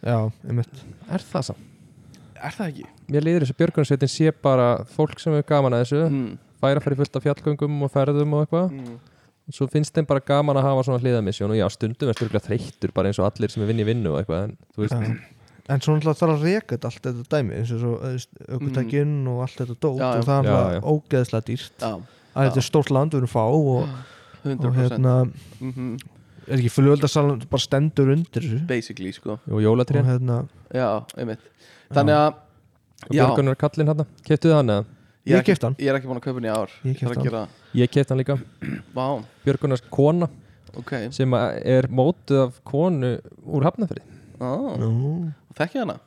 Já, einmitt Er það samt? er það ekki? Mér liður þessu björgunarsveitin sé bara fólk sem er gaman að þessu Mm. færa fyrir fullt af fjallgöngum og ferðum og eitthvað Mm. svo finnst þeim bara gaman að hafa svona hliðamissjón og já, stundum er styrklega þreyttur bara eins og allir sem er vinn í vinnu og eitthvað en þú veist, Já. En svo náttúrulega þarf að reka þetta allt þetta dæmi eins og svo aukutækinn og allt þetta dót Mm. Já, já. og það er Já, já. náttúrulega ógeðslega dýrt Já, að þetta er stórt land við erum fá og, 100% og hérna Mhm. er ekki flugöldarsalan bara stendur undir þessu basically, sko og og jólatrén hérna já, einmitt þannig að, og já, björgunar kallinn hann, keftuðu hann eða? ég er Ég ekki, keypti hann. ég er ekki búin að kaupa henni í ár Ég þarf keypti að gera, Ég kefti hann líka, vá, björgunars kona ok sem að er mótuð af konu úr hafnafyrði ah, Nú. þekki hana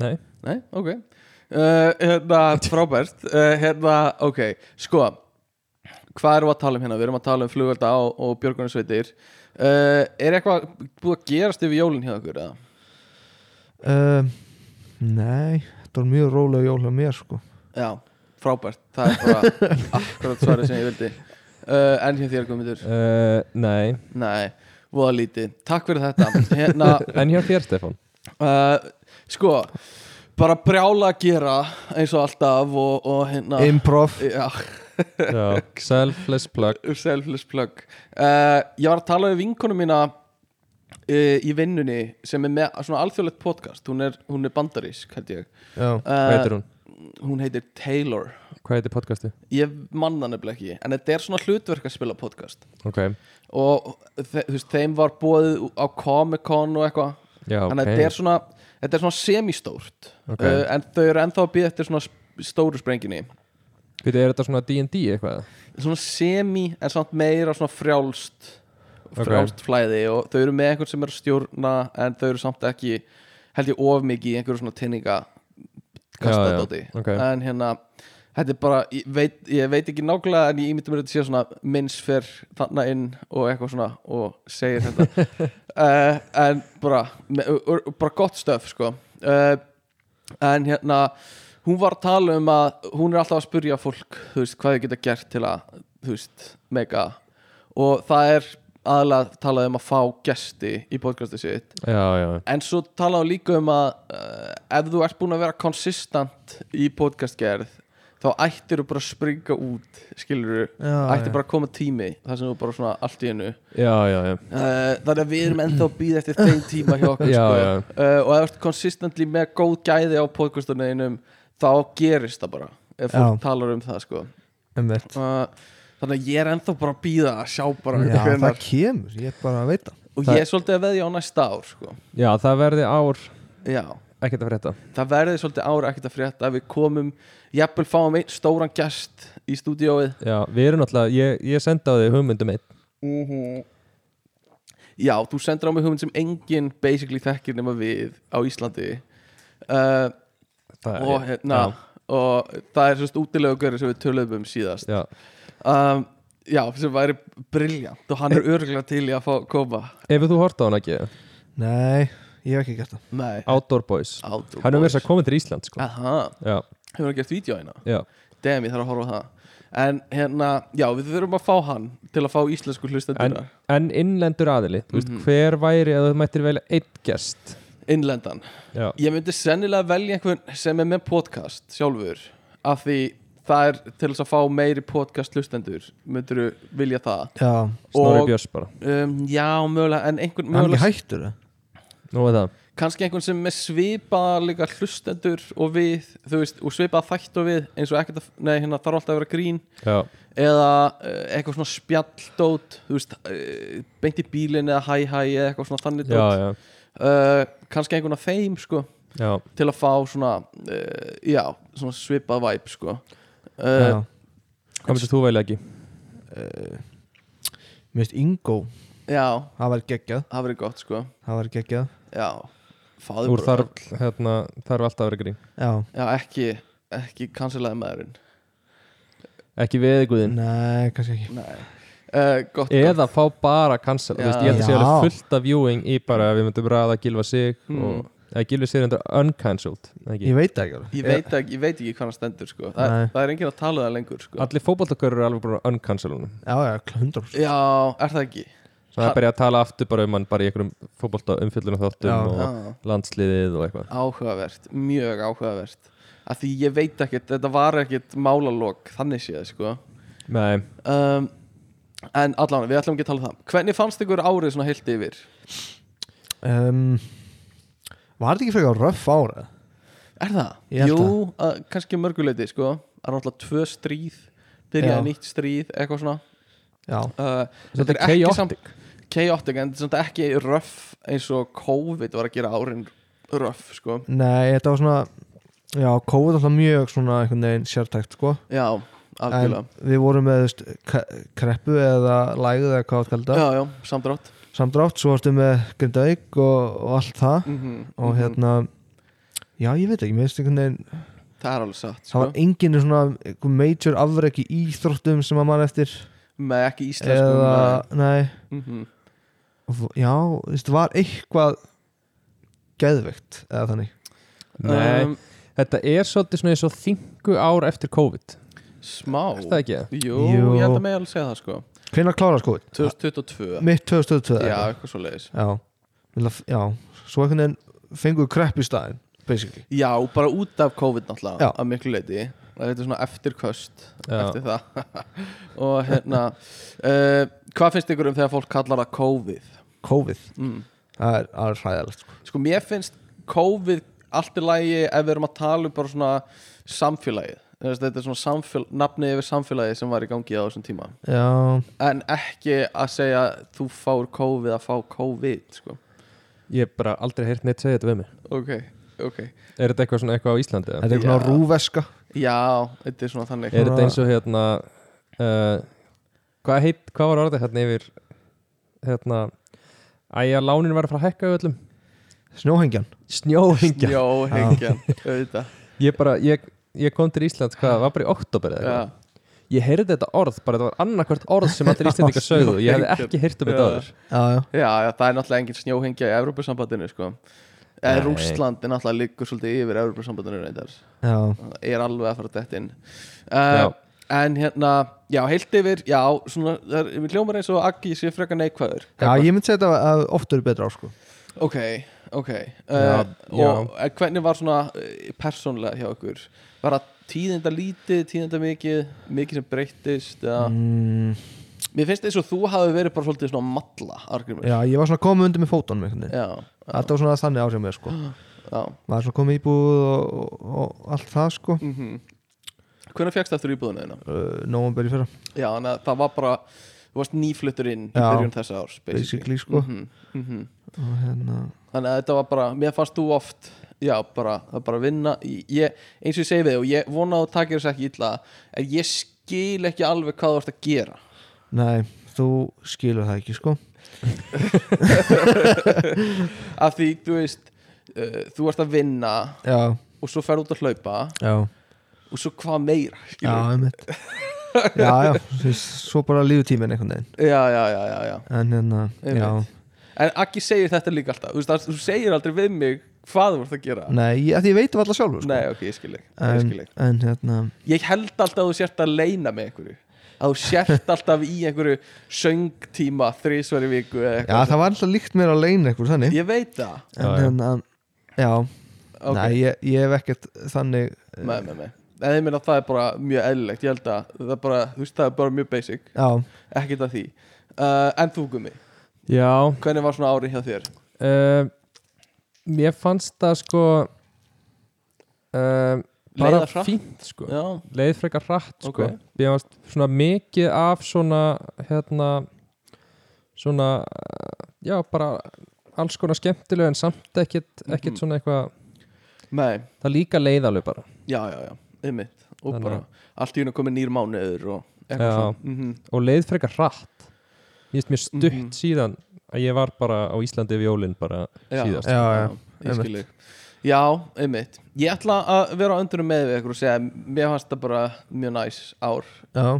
Nei, Nei, ok uh, Hérna, frábært uh, Hérna, ok, sko Hvað erum við að tala um hérna? Við erum að tala um flugvelda og, og björgunarsveitir uh, Er eitthvað búið að gerast yfir jólin hjá okkur? Eða? Um, Nei, þetta var mjög rólega jól hjá mér sko Já, frábært Það er bara akkurat svarið sem ég vildi uh, En hjá þér komindur uh, nei. Nei, voða lítið Takk fyrir þetta Hérna, en hjá þér Stefán uh, sko Bara brjála að gera eins og alltaf og, og hérna Improv Já, já. Selfless plug selfless plug uh, ég var að tala við vinkonu mína uh, í vinnunni sem er með svona alþjóðlegt podcast hún er, hún er bandarísk held ég Já, Hvað uh, heitir hún? hún heitir Taylor Hvað heitir podcastu? ég manna nefnilega ekki en þetta er svona hlutverk að spila podcast Ok, og þe þú veist, þeim var bóðið á Comic Con og eitthvað já, ok þannig að þetta er svona, þetta er svona semistórt Ok. uh, en þau eru ennþá að býða eftir svona sp- stóru sprenginni Veitu, er þetta svona D&D eitthvað? svona semi en samt meira svona frjálst Ok. frjálst flæði og þau eru með einhvern sem er að stjórna en þau eru samt ekki held ég of mikið í einhverju svona tinninga Já, já, kastadóti ok. en hérna þetta er bara, ég veit, ég veit ekki nákvæmlega en ég ímyndi mér að þetta sé svona minns fer þarna inn og eitthvað svona og segir þetta uh, en bara, me- og- og bara gott stöf sko uh, en hérna hún var að tala um að hún er alltaf að spurja fólk þú veist, hvað þau geta gert til að þú veist, mega og það er aðalega talað um að fá gesti í podcasti sitt Já, já, en svo talaðu líka um að uh, ef þú ert búin að vera konsistant í podcastgerð þá ættir þú bara að springa út skilur þú, já, ættir bara að koma tími þar sem þú bara svona allt í hennu uh, já, já, já. Eh, þannig að við erum ennþá að býða eftir þeim tíma hjá [LAUGHS] okkur Já, sko. já. Uh, og ef þú ert konsistently með góð gæði á podcastunniðinum þá gerist það bara ef fólk talar um það sko. einmitt uh, þannig að ég er ennþá bara að býða að sjá bara Já, það hvenær- kemur, ég er bara að veita og það- ég er svolítið að veðja á næsta ár sko. Já, það verði ár já ekkert að frétta það verði svolítið ára ekkert að frétta að við komum, jafnvel fáum einn stóran gest í stúdíóið Já, við erum náttúrulega, ég, ég sendi á þig hugmyndum einn já, þú sendir á mig hugmynd sem enginn basically þekkir nema við á Íslandi uh, Það er- og hérna og það er svolítið útilegu görið sem við töluðum um síðast Já, um, já, sem væri briljant og hann er örgulega til í að fá koma ef þú hort á hann ekki Nei, ég hef ekki gert það nei, Outdoor Boys Outdoor Hann er verið Boys. að koma til Ísland sko. aha, Já, hefur hann gert vídeo hérna já, damn, ég þarf að horfa á það en hérna, já, við þurfum að fá hann til að fá íslensku en, hlustendur en innlendur aðili Þú Mhm. veist, hver væri að þú mættir velja einn gest innlendan Já, Ég myndi sennilega velja einhvern sem er með podcast sjálfur af því það er til þess að fá meiri podcast hlustendur myndur þú vilja það Já, Snorri Og- Björns bara um, Já, mögulega, en einhvern hann er ekki mögulega, hættur það Nú er það kannski einhvern sem er með svipað líka hlustendur og við þú veist, og svipað þætt og við eins og ekkert að, nei, hérna þarf alltaf að vera grín Já, eða uh, eitthvað svona spjalldót þú veist, uh, beint í bílinn eða hæ-hæ eða eitthvað svona þannig já, dót já, uh, kannski einhvern af þeim, sko já. til að fá svona uh, já, svona svipað væp sko. Já, uh, Hvað myndir þú velja ekki? mér finnst Ingo, já, það var geggjað það verið gott sko. Það var geggjað já, fáðu Úr bara þarf, hérna, þarf alltaf að vera grín Já, já, ekki, ekki kansilaði maðurinn Ekki veði guðinn nei, kannski ekki nei, uh, gott Eða fá bara cancel Þú veist, ég held að sé Já. alveg fullt af viewing í bara Við myndum ræða að gilfa sig Mm. og eða Gilvi segir þetta uncancelled eða ekki? Ég veit það ekki alveg. Ég veit, ekki, ég veit ekki hvað hann stendur sko. Þa, Nei. Það er enginn að tala það lengur sko. allir fótboltakörur eru alveg bara uncancellunum Já, já, 100% Já, er það ekki? svo það Ha- er bara að tala aftur bara um hann bara í einhverjum fótbolta umfyllunum Já. þáttum og Já, landsliðið og eitthvað áhugavert, mjög áhugavert Af því ég veit ekkert, þetta var ekkert málalok, þannig séð sko. Nei, um, En allan, við ætlum ekki að tala um það Hvernig fannst ykkur árið svona heilt yfir? Eh. um, Var þetta ekki frekar röff ára? Er það? Ég held Jú, að, kannski mörguleiti sko Það er náttúrulega tvö stríð Já. Byrjaði nýtt stríð, eitthvað svona Já, uh, Þetta er ekki chaotic. samt Chaotic, en þetta er samt ekki röff eins og COVID var að gera árin röff sko nei, þetta var svona Já, COVID alltaf mjög svona einhvern veginn sértækt sko Já, En algjörlega við vorum með þú veist, k- kreppu eða lægð eða hvað það kalda Já, já, samdrátt Samdrátt, svo varstu með Grindavík og, og allt það mm -hmm. Og hérna Já, ég veit ekki, mér finnst einhvern veginn Það er alveg satt Það sko var enginn svona einhver major afreki í íþróttum sem að mann eftir Með ekki íslenskum Eða, nei mm -hmm. Já, þú veist, var eitthvað geðveikt eða þannig Ehm, nei Þetta er svolítið svona eins og þingu ár eftir COVID Smá Er það ekki? Jú, Jú. ég held að mig alveg segja það sko Hvenær klára sko? 2022 Mitt 2002 Já, eða eitthvað. eitthvað svo leiðis já. Ég ætla að- já, svo einhvern veginn fengur krepp í staðin Basically Já, bara út af COVID náttúrulega Já. Að miklu leiti Það er þetta svona eftirköst Já. Eftir það [LAUGHS] Og hérna uh, Hvað finnst ykkur um þegar fólk kallar það COVID? COVID, Mm. það er, það er hræðalegt sko. Sko, mér finnst COVID allt í lagi Ef við erum að tala um bara svona samfélagið Þú veist, Þetta er svona samfél, nafni yfir samfélagið sem var í gangi á þessum tíma Já, En ekki að segja þú fár COVID að fá COVID sko. Ég hef bara aldrei heyrt neitt segja þetta við mig Ok, ok Er þetta eitthvað svona eitthvað á Íslandi? eða? þetta er Já. eitthvað rúveska Já, þetta er svona þannig Er þetta eins og hérna uh, hvað, heit, hvað var orðið hérna yfir hérna Æja, lánin var að fara að hækka í öllum Snjóhengjan Snjóhengja Jó, hengjan, auðvitað Ég bara, ég, ég kom til Íslands, hvað, var bara í oktober eða Já, eitthvað Ég heyrði þetta orð, bara þetta var annarkvært orð sem allir [LAUGHS] Íslandingar sögðu Ég hefði Snjóhengjan. ekki heyrt um þetta Já. aður Já, já, já, já, það er náttúrulega engin snjóhengja í Evrópusambandinu sko. Nei. En Rússland er náttúrulega liggur svolítið yfir Evrópusambandinu reyndar já Það er alveg að fara dætt inn Já. uh, En hérna, já, heilt yfir Já, svona, það er, við hljómar eins og Aggi sé frekar neikvæður Já, ég myndi segja þetta að oft eru betra á sko Ok, ok uh, Já, já. Og eh, hvernig var svona eh, persónlega hjá ykkur? Var það tíðinda lítið, tíðinda mikið Mikið sem breyttist eða? mm, Mér finnst eins og þú hafi verið bara svolítið svona matla Argrymur Já, ég var svona komið undir með fótunum einhvern veginn já, Þetta var svona þannig ásjá mér sko já. Maður svona komið í búð og, og, og allt það sko Mm Hvernig fegst eftir íbúðinu þína? uh, Nómabur í fyrra, Já, þannig að það var bara Þú varst nýfluttur inn í Já. byrjun þessa árs basically. basically sko Mhm, mhm. Og hérna Þannig að þetta var bara Mér fannst þú oft Já, bara, það er bara að vinna Í- ég, Eins og ég segi við þig og ég vona að þú takir þess ekki illa En ég skil ekki alveg hvað þú ert að gera Nei, þú skilur það ekki sko Af því, þú veist uh, Þú ert að vinna Já, Og svo ferð út að hlaupa já, Og svo hvað meira skilur já, [LAUGHS] einmitt Já, já, þú veist, svo bara líður tíminn einhvern veginn já, já, já, já, já. En hérna, Einmitt. já En Aggi segir þetta líka alltaf Þú, veist, það- þú segir aldrei við mig hvað þú ert að gera Nei, ég, af því ég veit um alla sjálfur sko. Nei, ok, ég skil ekki, ég en, skil ekki. en hérna, Ég held alltaf að þú sért að leina með einhverju Að þú sért alltaf í einhverju söngtíma þrísvar í viku eða já, eitthvað það var alltaf líkt mér að leina eitthvað þannig Ég veit það En Já, já. hérna, já, Ok. nei, ég, ég hef ekkert þannig eh, Nei, nei, nei En ég meina það er bara mjög eðlilegt Ég held að það er bara, þú veist, það er bara mjög basic Já, Ekkert að því uh, En þú gummi, Já, hvernig var svona árið hjá þér? uh, Mér fannst það sko uh, bara Leiða hratt? fínt sko Já, leið frekar hratt sko. Ok. Mér fannst svona mikið af svona hérna svona uh, já bara alls konar skemmtileg en samt ekkit, ekkit Mhm. svona eitthvað nei, það líka leið alveg bara já, já, já, ymmit Og Þannig bara, að- allt í hún að koma nýr mánuður og Já. eitthvað svona mm og leið frekar hratt Mér finnst mér stutt Mhm. síðan að ég var bara á Íslandi við jólinn bara síðast Já, já, ég einmitt. skil þig. Já, einmitt Ég ætla að vera á öndunum með við ykkur og segja að Mér fannst það bara mjög næs ár Eh, já,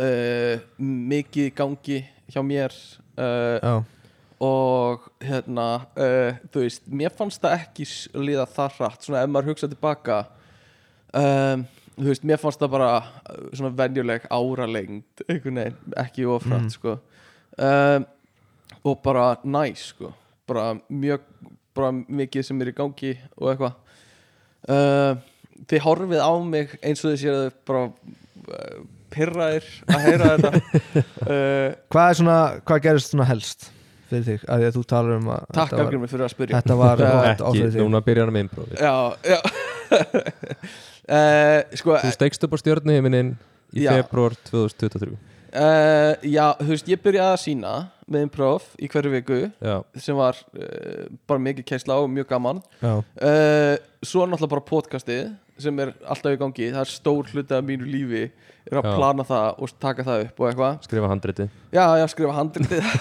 uh, Mikið í gangi hjá mér uh, já og hérna uh, þú veist, mér fannst það ekki s- líða það hratt, svona ef maður hugsa tilbaka um, þú veist, mér fannst það bara uh, svona venjuleg áralengd, einhvern veginn ekki ofrætt, Mm. sko um, og bara næs, sko bara mjög, bara mikið sem er í gangi og eitthvað um, þið horfið á mig eins og þið séu bara uh, pirraðir að heyra [LAUGHS] þetta uh, Hvað er svona, hvað gerist svona helst fyrir þig, að því að þú talar um að Takk þetta var, Afgrimmi fyrir að spyrja þetta var Þetta- gott ár Ekki, fyrir þig núna byrjar hann með innbrófi Já, já [LAUGHS] uh, Sko, Þú stegst upp á stjórnuhiminin í Já. februar 2023 uh, já, þú veist, ég byrjaði að sína með improv í hverju viku Já, sem var uh, bara mikið kæsla og mjög gaman Já, uh, Svo er náttúrulega bara podcastið sem er alltaf í gangi, það er stór hluti af mínu lífi, er að Já. plana það og taka það upp og eitthvað skrifa handriti Já, já, skrifa handrildið [LAUGHS]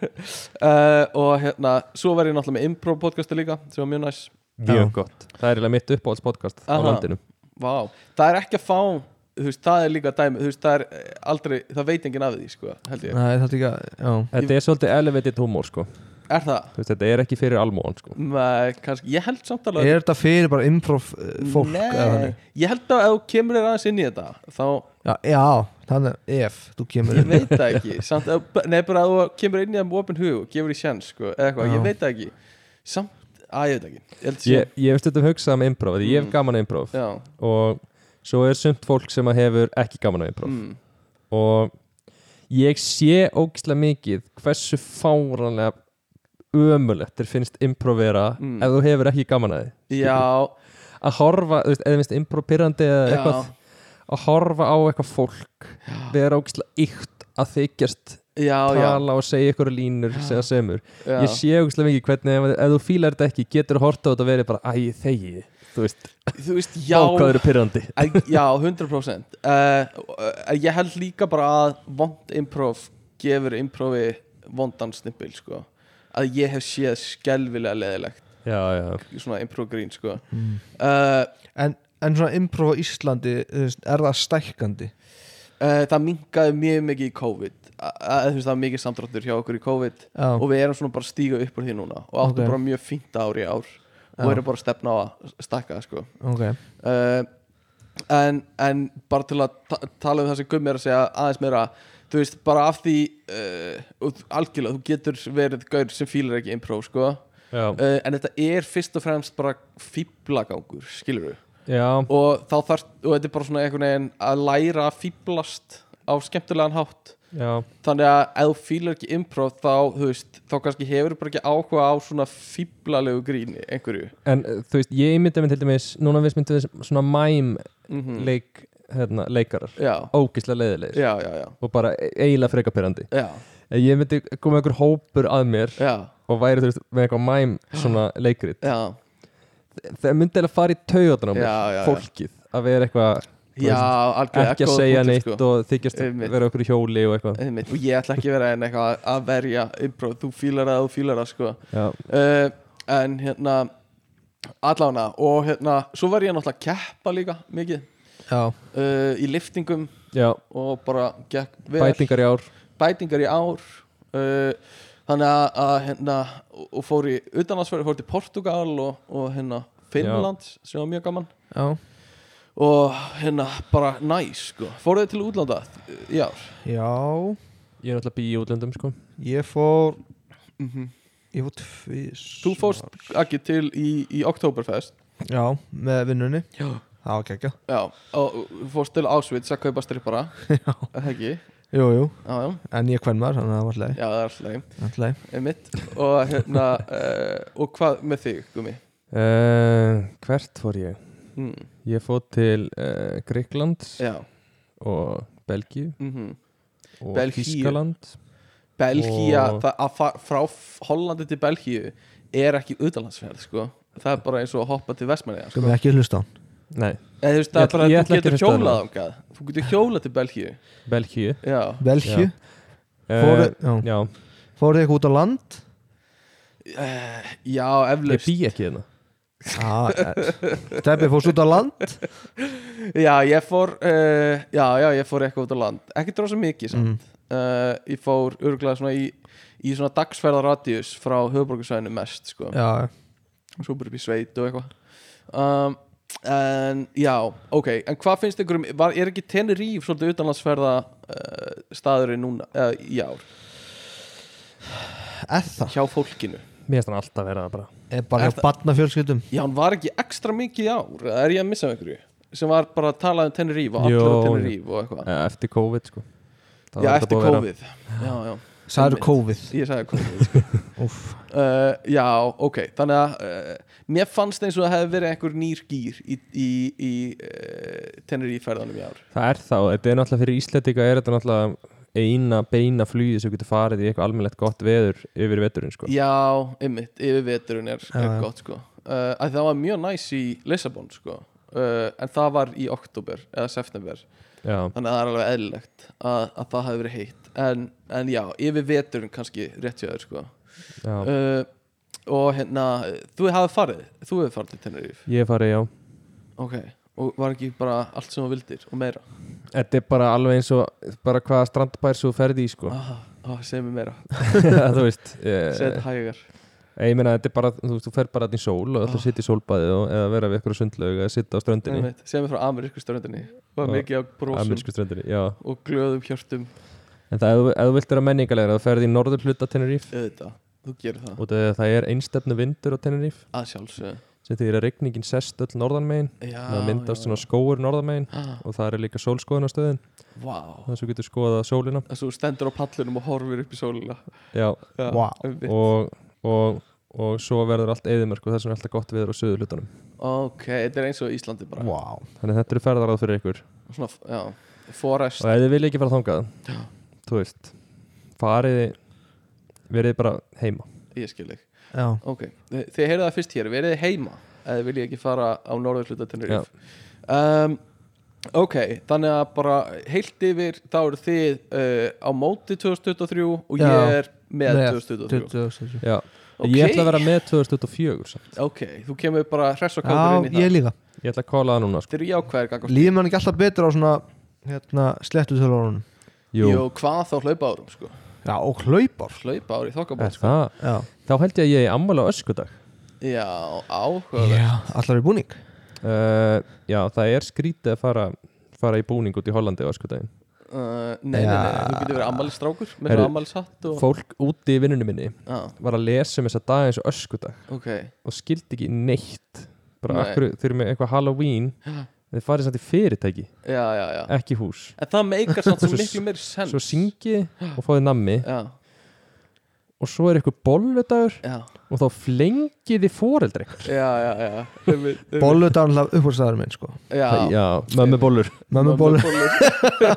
uh, og hérna, svo var ég náttúrulega með improv podcastið líka, sem var mjög næs Mjög Já. gott Það er eiginlega mitt uppáhalds podcast á Aha. landinu Vá, það er ekki að fá þú veist, það er líka dæmi, þú veist, það er eh, aldrei, það veit enginn af því, sko, held ég Nei, þetta ekki að, já Þetta er svolítið elevated humor sko Er það? Þú veist, Þetta er ekki fyrir almóan sko Nei, kannski, ég held samt alveg Er þetta fyrir bara improv uh, fólk? eða Nei, þannig? ég held að ef þú kemur þér aðeins inn í þetta þá, Já, já, þannig að ef þú kemur ég inn veit það [LAUGHS] ekki samt, ef- Nei, bara að þú kemur inn í það með opin hug og gefur því sjens, sko, eða eitthvað, Já. ég veit það ekki Samt, að ég veit það ekki Ég held Ég, ég hef stundum hugsað um improv því Ég hef Mm. gaman að improv Já, Og svo er sumt fólk sem að hefur ekki gaman að improv mm, Og ég sé ógislega mikið Hversu fáranlega ömulegt þér finnst improv vera Mm. Ef þú hefur ekki gaman að því já, Að horfa, þú veist, eða minnst improv pyrrandi eða já, eitthvað Að horfa á eitthvað fólk Vera ógislega ykt að þykjast já, já, tala og segja ykkur línur segja semur, já. ég sé aukslega mikið hvernig ef, ef þú fílar þetta ekki, getur hort á þetta og verið bara, æ, þegi, þú veist Þú veist, já, já hvað eru pyrrandi Æ, Já, 100% uh, uh, Ég held líka bara að vond improv gefur improvi vondan snippil sko. að ég hef séð skelvilega leðilegt já, já, svona improv grín sko. Mm. uh, en, en svona improv á Íslandi þú veist, er það stækkandi? uh, það minkaði mjög mikið í COVID að, að, þú veist, það var mikið samdráttur hjá okkur í COVID Já, og við erum svona bara að stíga upp úr því núna og áttum Ok. bara mjög fínt ár í ár og Já. erum bara að stefna á að stakka sko. ok uh, en, en bara til að ta tala um það sem Gummi er að segja aðeins meira þú veist, bara af því uh, og þú- algjörlega, þú getur verið gaur sem fílar ekki improv, sko uh, já, en þetta er fyrst og fremst bara fíblagangur, skilur við já, og þá þarf, og þetta er bara svona einhvern veginn að læra að fíblast á skemmtilegan hátt já þannig að ef þú fílar ekki improv þá, þú veist, þá kannski hefur bara ekki áhuga á svona fíblalegu gríni einhverju en uh, þú veist, ég ímynda mér til dæmis núna við myndum við svona mime mm leik, hérna, leikarar, já, ógislega leiðilegir já, já, já, og bara e- eiginlega freka pyrrandi já, ég myndi koma einhver hópur að mér já, og væri, þú veist, með eitthvað mime svona leikrit, já. það myndi eiginlega fara í taugatana á mér, Já, já, já. fólkið að vera eitthvað Þú Já, algjörlega ekki að góð segja punktur, sko. neitt og þykjast Einmitt. Eh, vera okkur í hjóli og eitthvað Einmitt, og ég ætla ekki að vera enn eitthvað að verja improv, þú fílar það, þú fílar það sko. já, uh, en hérna allána og hérna svo var ég náttúrulega að keppa líka mikið Já, uh, í liftingum já, og bara gekk vel bætingar í ár bætingar í ár uh, þannig að, að hérna og, og fór í utanlandsferði, fór til Portugal og, og hérna Finnland sem var mjög gaman já, og hérna bara næs sko. fóruð þið til útlanda uh, í ár já ég er náttúrulega bí í útlöndum sko Ég fór mm -hmm. Ég fór tvís Þú fórst ekki til í, í Oktoberfest Já, með vinnunni Já Það var gekkja Já, og þú fórst til Auschwitz að kaupa [LAUGHS] strippara Já. Er Það ekki, Jú, jú já, já, En ég kvenn maður, þannig að það var já, það er alltaf leið, leið Allt leið einmitt Og hérna, uh, og hvað með þig, Gumi? uh, hvert fór ég? Mm, ég fór til uh, Greiklands já, og Belgíu mhm og Belgíu. Þískaland Belgía, Og- það að fara frá Hollandi til Belgíu er ekki utanlandsferð, sko Það er bara eins og að hoppa til Vestmanniða, sko Skum við ekki að hlusta á hann nei, Eða þú Ég veist, það er ætla- bara ég að ætla ekki að þú getur hlusta á hjólað það. þangað Þú getur hjólað til Belgíu, Belgíu já Belgju uh, Fóruð já. já, Fóruð eitthvað út á land Já, ég eflaust bý ekki hérna Já, Steppi fórst út á land Já, ég fór uh, Mhm. Já, já, ég fór eitthvað út á land Ekki dróð mikið samt mm. uh, Ég fór örgulega svona í, í svona dagsferðaradius frá höfuborgarsæðinu mest sko. já, og svo bara upp í sveit og eitthvað um, en já, ok en hvað finnst ykkur um, var, er ekki Tenerife svolítið utanlandsferða uh, staðurinn núna, uh, já er það hjá fólkinu, Mér finnst hann alltaf vera það bara er bara Er hjá barnafjölskyldum já hann var ekki ekstra mikið í ár, eða er ég að missa af einhverju sem var bara að tala um Tenerife og allir Jó, á Tenerife og eitthvað, Eh, Eftir COVID sko Það já var þetta eftir búið að vera- COVID já, já, það eru COVID ég sagði COVID sko. Úff. uh, já, ok, þannig að uh, mér fannst eins og það hefði verið einhver nýr gýr í, í, í uh, Tenerife ferðanum í ár Það er þá, þetta er náttúrulega fyrir Íslandika er þetta náttúrulega eina beina flugið sem getur farið í eitthvað almennlegt gott veður yfir veturinn sko Já, einmitt, yfir veturinn er, er Já, já. gott sko uh, að Það var mjög næs í Lissabon sko uh, en það var í oktober eða september, Já, þannig að það er alveg eðlilegt að, að það hafi verið heitt en, en já, yfir veturinn kannski rétt hjá þér sko já uh, og hérna, þú hafi farið þú hefur farið til Tenerife Ég fari, já ok, og var ekki bara allt sem þú vildir og meira Þetta er bara alveg eins og bara hvaða strandbær svo ferði í [LAUGHS] sko ah, ah, segir mér meira, Þú veist eh, segð hægar eh, Ég meina, þetta er bara, þú veist, þú fer bara þarna í sól og Ah. þetta sitt í sólbaði og eða vera við eitthvað sundlaug eða sitta á ströndinni, einmitt, segð mér frá amerísku ströndinni var Og- mikið á brósum Ah, amerísku ströndinni, já og glöðum hjörtum En það, ef þú- ef þú vilt vera menningarlegra, þú ferði í norður hluta Tenerife auðvitað, þú gerir það og það það er einstefnu vindur á Tenerife að sjálfsög sem þýðir að regningin sest öll norðan megin Ah, já, það myndast svona skóur norðan megin svona og það er líka sólskoðunastöðin vá, þannig að þú getur skoðað sólina þess að þú stendur á pallunum og horfir upp í sólina Já, Já, Vá. einmitt. og, og, og svo verður allt eðimörk og þess vegna er alltaf gott viður á söðu hlutunum ok, þetta er eins og Íslandi bara wow. þannig að þetta eru ferðarað fyrir ykkur svona, já, forest og ef þið vilja ekki fara þangað Já. þú veist, farið verið bara heima ég skil þig, já, ok þið þið heyrið það fyrst hér, verið þið heima eða vil ég ekki fara á norðurhluta Já. Tenerife um, ok, þannig að bara heilt yfir, þá eru þið uh, á móti 2023 og ég Já. er með, Með 2023 2023 Já, Ok. ég ætla að vera með 2004 samt. ok, þú kemur bara hress og já, kaldur inn í ég það líka ég ætla að kóla það núna sko. þið eru hérna. jákvæðir gangast líður mann ekki alltaf betur á svona hérna, slettu tölvörunum Jú, Jú, hvað þá hlaupa árum sko já, og hlaupar Hlaupa ári í er þokkabótt sko það já, þá held ég að ég er ammala á öskudag Já, áhugaverð allar í búning uh, Já, það er skrítið að fara fara í búning út í Hollandi á öskudaginn uh, Nei, nei, nei, Já. þú getur verið ammælistrákur Með Heyrðu, Heru, ammælishatt og Fólk úti í vinnunni minni Já, var að lesa um þessa dag eins og öskudag ok og skildi ekki neitt bara Nei. akkur, þeir eru með eitthvað Halloween þeir farið samt í fyrirtæki, Já, já, já ekki hús En það meikar samt svo Svo- miklu meiri sens svo syngi og fáið nammi Já, og svo er eitthvað bolludagur já, og þá flengiði foreldri já, já, já. Einmitt, einmitt. bollut er alltaf uppvörstaðar minn sko Já, já, mömmu bollur mömmu bollu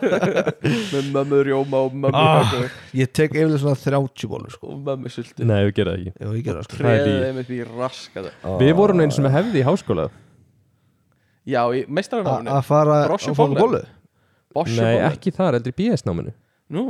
[LAUGHS] Með mömmu rjóma og mömmu Ah. ah. ég tek yfirlega svona 30 bollu sko Og mömmu sultu nei, við gerðum það ekki já, ég gera það sko það er Treðið í- þeim upp í raskata við vorum eins og með hefði í háskóla Já, í A- meistararnáminu að fara að Brosja fá bollu? bollu Ah, nei, Bossjabóla ekki þar, heldur í BS-náminu Nú,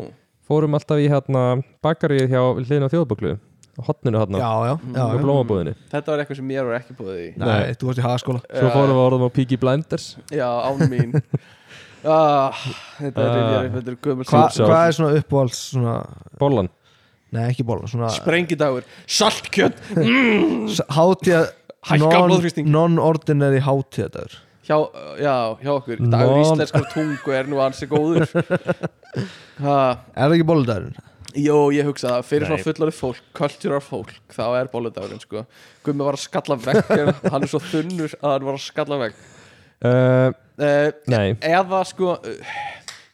fórum alltaf í hérna bakarið hjá hliðin á þjóðböklu á hotninu já, hérna, já, Mm. já, á já. blómabúðinni þetta var eitthvað sem mér var ekki búið í nei, þú varst í hagaskóla svo Já. fórum við að orðum á Peaky Blinders Já, án mín [LAUGHS] ah, Þetta er Ah. rifjar upp, þetta er gömul Hva, Súpsál. hvað er svona uppáhalds svona, bollan nei ekki bollan svona Sprengidagur, saltkjöt s- [LAUGHS] hátíða Hækka non- blóðþrýsting. non-ordinary non-ordinary hjá, uh, já, hjá okkur Dagur Non- íslenskar tungu er nú ansi [LAUGHS] góður ha, er það ekki bolludagurinn? Jó, ég hugsa það Fyrir Nei. svona fullari fólk, kultúrar fólk Þá er bóludagurinn, sko Gummi var að skalla vekk Hann er svo þunnur að hann var að skalla vekk uh, uh, nei, Eða, sko uh,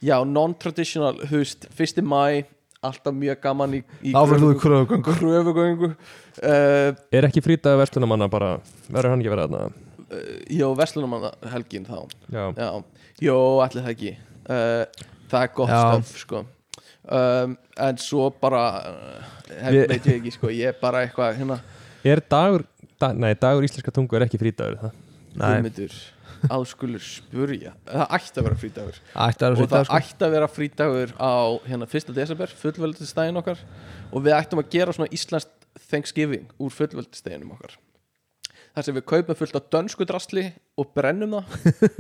Já, non-traditional, þú veist Fyrsti mæ, alltaf mjög gaman í, í þá verður þú í kröðugöngu kröfugöngu uh, Er ekki frýtaði verslunamanna bara, verður hann ekki verið þarna? Jó, verslunumann helgin þá Já, Já, jó, allir það ekki uh, Það er gott Já. stöf sko. um, En svo bara uh, hef, Við- veit ég ekki, sko, ég er bara eitthvað hérna, er dagur, da, nei, dagur íslenska tungu er ekki frýtaður það nei, hugmyndur áskulur spurja Það ætti að vera frítagur ætti að vera og það frítagur sko. ætti að vera frítagur á hérna 1. desember, fullveldistæðin okkar og við ættum að gera svona Íslands Thanksgiving úr [LAUGHS] fullveldistæðinum okkar þar sem við kaupum fullt á dönsku drasli og brennum það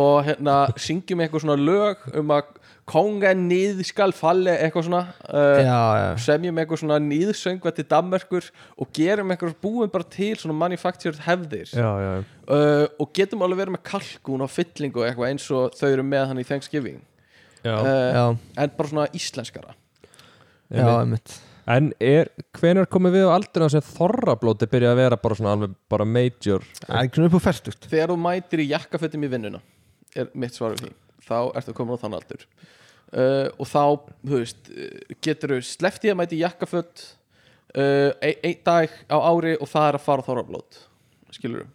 og hérna syngjum eitthvað svona lög um að konga niður skal falle eitthvað svona uh, já, já, semjum eitthvað svona nýðsöngva til Danmerkur og gerum eitthvað búum bara til svona manufactured hefðir já, já, uh, og getum alveg verið með kalkún og fyllingu og eitthvað eins og þau eru með hann í Thanksgiving já. uh, já, en bara svona íslenskara já, einmitt En er, hvenar komið við á aldrei sem þorrablóti byrja að vera bara svona alveg bara major Það er knúið upp á færtugt þegar þú mætir í jakkafötum í vinnuna er mitt svar við því þá ertu komin á þann aldur uh, og þá, þú veist uh, getur þú sleftið að mæti í jakkaföt uh, ein, einn dag á ári og það er að fara á þorrablót skilur þú,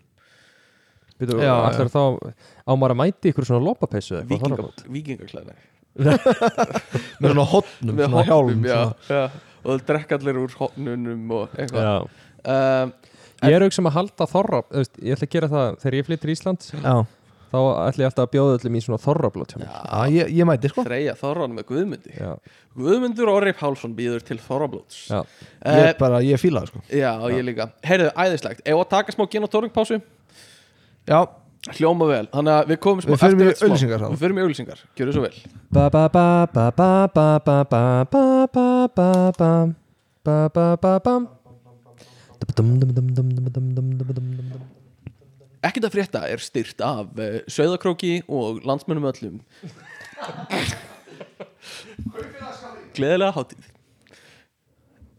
Býtu, Já, allar þá á maður að mæti ykkur svona lopapeysu eða eitthvað þorrablót vikingaklæðin Með svona hotnum, með svona hjálm hopnum, já, já, og það drekka allir úr hopnunum og eitthvað Já. um, Ég er auksum að halda þorra þú veist, Ég ætla að gera það, þegar ég flyttir í Ísland Já, þá ætla ég alltaf að bjóða öllum í svona þorrablót hjá mér. já ég, ég mæti sko þreja þorranum með Guðmundi Já, Guðmundur Orri Pálsson býður til þorrablóts já, Ég Eh, er bara, ég fíla það sko já, ég líka heyrðu, æðislegt, ef að taka smá gen og tóringpásu Já, hljóma vel, þannig að við komum smá Við förum í eftir þetta smá. auglýsingar þá. við förum í auglýsingar, gjöru svo vel Ba ba ba ba ba ba ba ba ba ba ba ba ba ba ba bam. Dum, dum, dum, dum, dum, dum, dum, dum, dum, dum, dum. ekkert að frétta er styrt af uh, Söðakróki og landsmönnum öllum gleðilega hátíð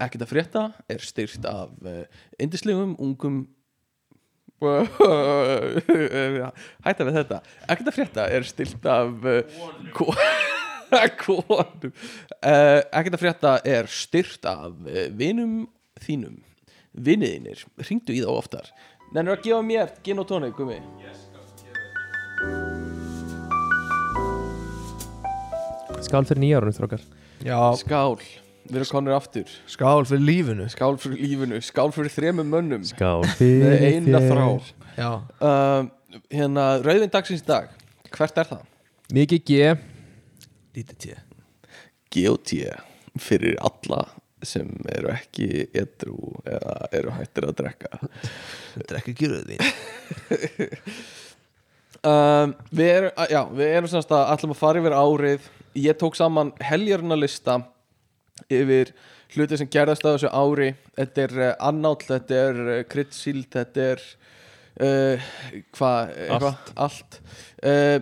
ekkert að frétta er styrt af uh, indislegum ungum [LAUGHS] hætta við þetta ekkert að frétta er styrt af uh, ko- [LAUGHS] konum uh, ekkert að frétta er styrt af uh, vinum þínum viniðinir, ringdu í þá oftar Nennir að gefa mér gin og tónik, gumi Skál fyrir nýjárunum þrókar já, Skál, við erum konur aftur skál fyrir lífinu sko. Skál fyrir lífinu, skál fyrir þremur mönnum Skál Með eina þrá Já, uh, Hérna, rauðin dagsins í dag Hvert er það? Mikið G lítið tíð GOT Fyrir alla sem eru ekki edru eða eru hættir að drekka Þetta er ekki gyrðuð þín um, Við erum, að- já, við erum semst að ætlum að fara yfir árið Ég tók saman heljaruna lista yfir hluti sem gerðast á þessu ári Þetta er uh, annáll, þetta er uh, kryddsíld, þetta er uh, hvað, eitthvað, allt uh,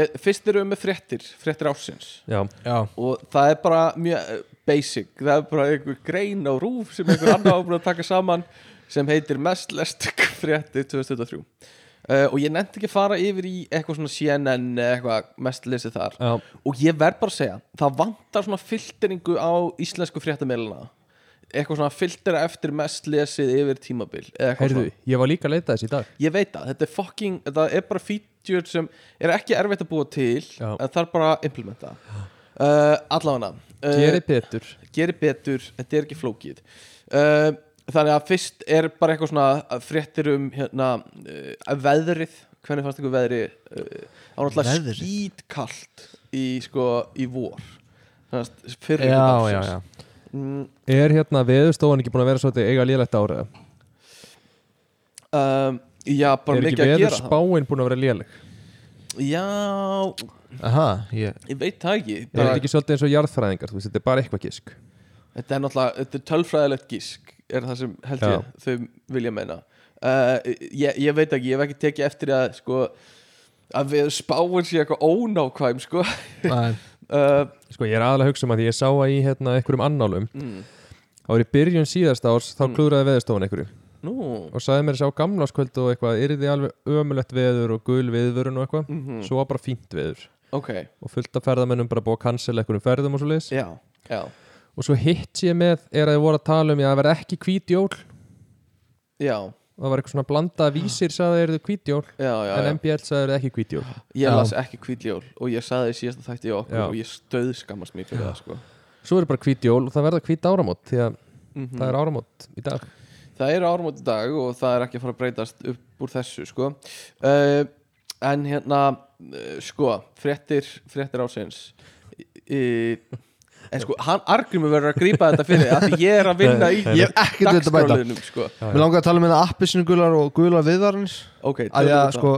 ég, Fyrst erum við með fréttir, fréttir ársins Já, Já, og það er bara mjög eh, basic, það er bara einhver grein á rúf sem einhver annar ábúin að taka saman sem heitir mest lest frétti 2023 uh, og ég nefndi ekki að fara yfir í eitthvað svona CNN eða eitthvað mest lesið þar já, og ég verð bara að segja, það vantar svona filteringu á íslensku fréttameilina eitthvað svona filtera eftir mest lesið yfir tímabil eða eitthvað heyrðu, ég var líka að leita þess í dag Ég veit það, þetta er fucking, þetta er bara feature sem er ekki erfitt að búa til Já. en það er bara að implementa uh, Allavega uh, Gerið betur Geri betur, þetta er ekki flókið uh, Þannig að fyrst er bara eitthvað svona fréttir um hérna, uh, veðrið Hvernig fannst ykkur veðri uh, á náttúrulega Veðrið? skýtkalt í, sko, í vor Þannig að fyrir já, já, já Mm, Er hérna veðurstofan ekki búin að vera svo eiga lélegt ára? um, Já, bara er mikið ekki að gera það veðurspáin búin að vera léleg? Já, Aha, ég ég veit það ekki Er þetta ekki svolítið eins og jarðfræðingar? Þú veist, þetta er bara eitthvað gisk Þetta er náttúrulega, þetta er tölfræðilegt gísk er það sem held ég þau vilja meina uh, ég, ég veit ekki, ég hef ekki tekið eftir að sko, að við spáum sér eitthvað ónákvæm sko. Nei, uh, Sko, ég er aðalega að hugsa um að því ég sá að í hérna einhverjum annálum mm, Það var í byrjun síðasta árs, þá klúðraði veðurstofan einhverju Nú og sagði mér þessi á gamlaskvöld og eitthvað yrði alveg ömulegt veður og gul viðvörun og eitthvað mhm, svo var bara fínt veður Ok, og fullt af ferðamennum bara búið að cancela einhverjum ferðum og svo já, já, og svo hitt ég með er að þið voru að tala um ég að vera ekki hvít jól já, það var eitthvað svona blanda vísir sagði þeir eru hvít jól já, Ah. já, en já. MBL sagði þeir eru ekki hvít jól Ég Já. las ekki kvítljól og ég saði í síðasta þætti í okkur Já. og ég stöðskammast mér fyrir það sko. svo eru bara hvít jól og það verða hvít áramót því að mm það er áramót í dag Það eru áramóti dag og það er ekki að fara að breytast upp úr þessu sko. uh, En hérna uh, sko, fréttir, fréttir ásins uh, En sko, hann argrymur verður að grípa þetta fyrir af því ég er að vinna í [LAUGHS] ég hef ekkert þetta að hérna bæta dagskráliðnum sko. Mér langar að tala um þetta appisinu gular og gular viðvarins Ok, að tölum ég við sko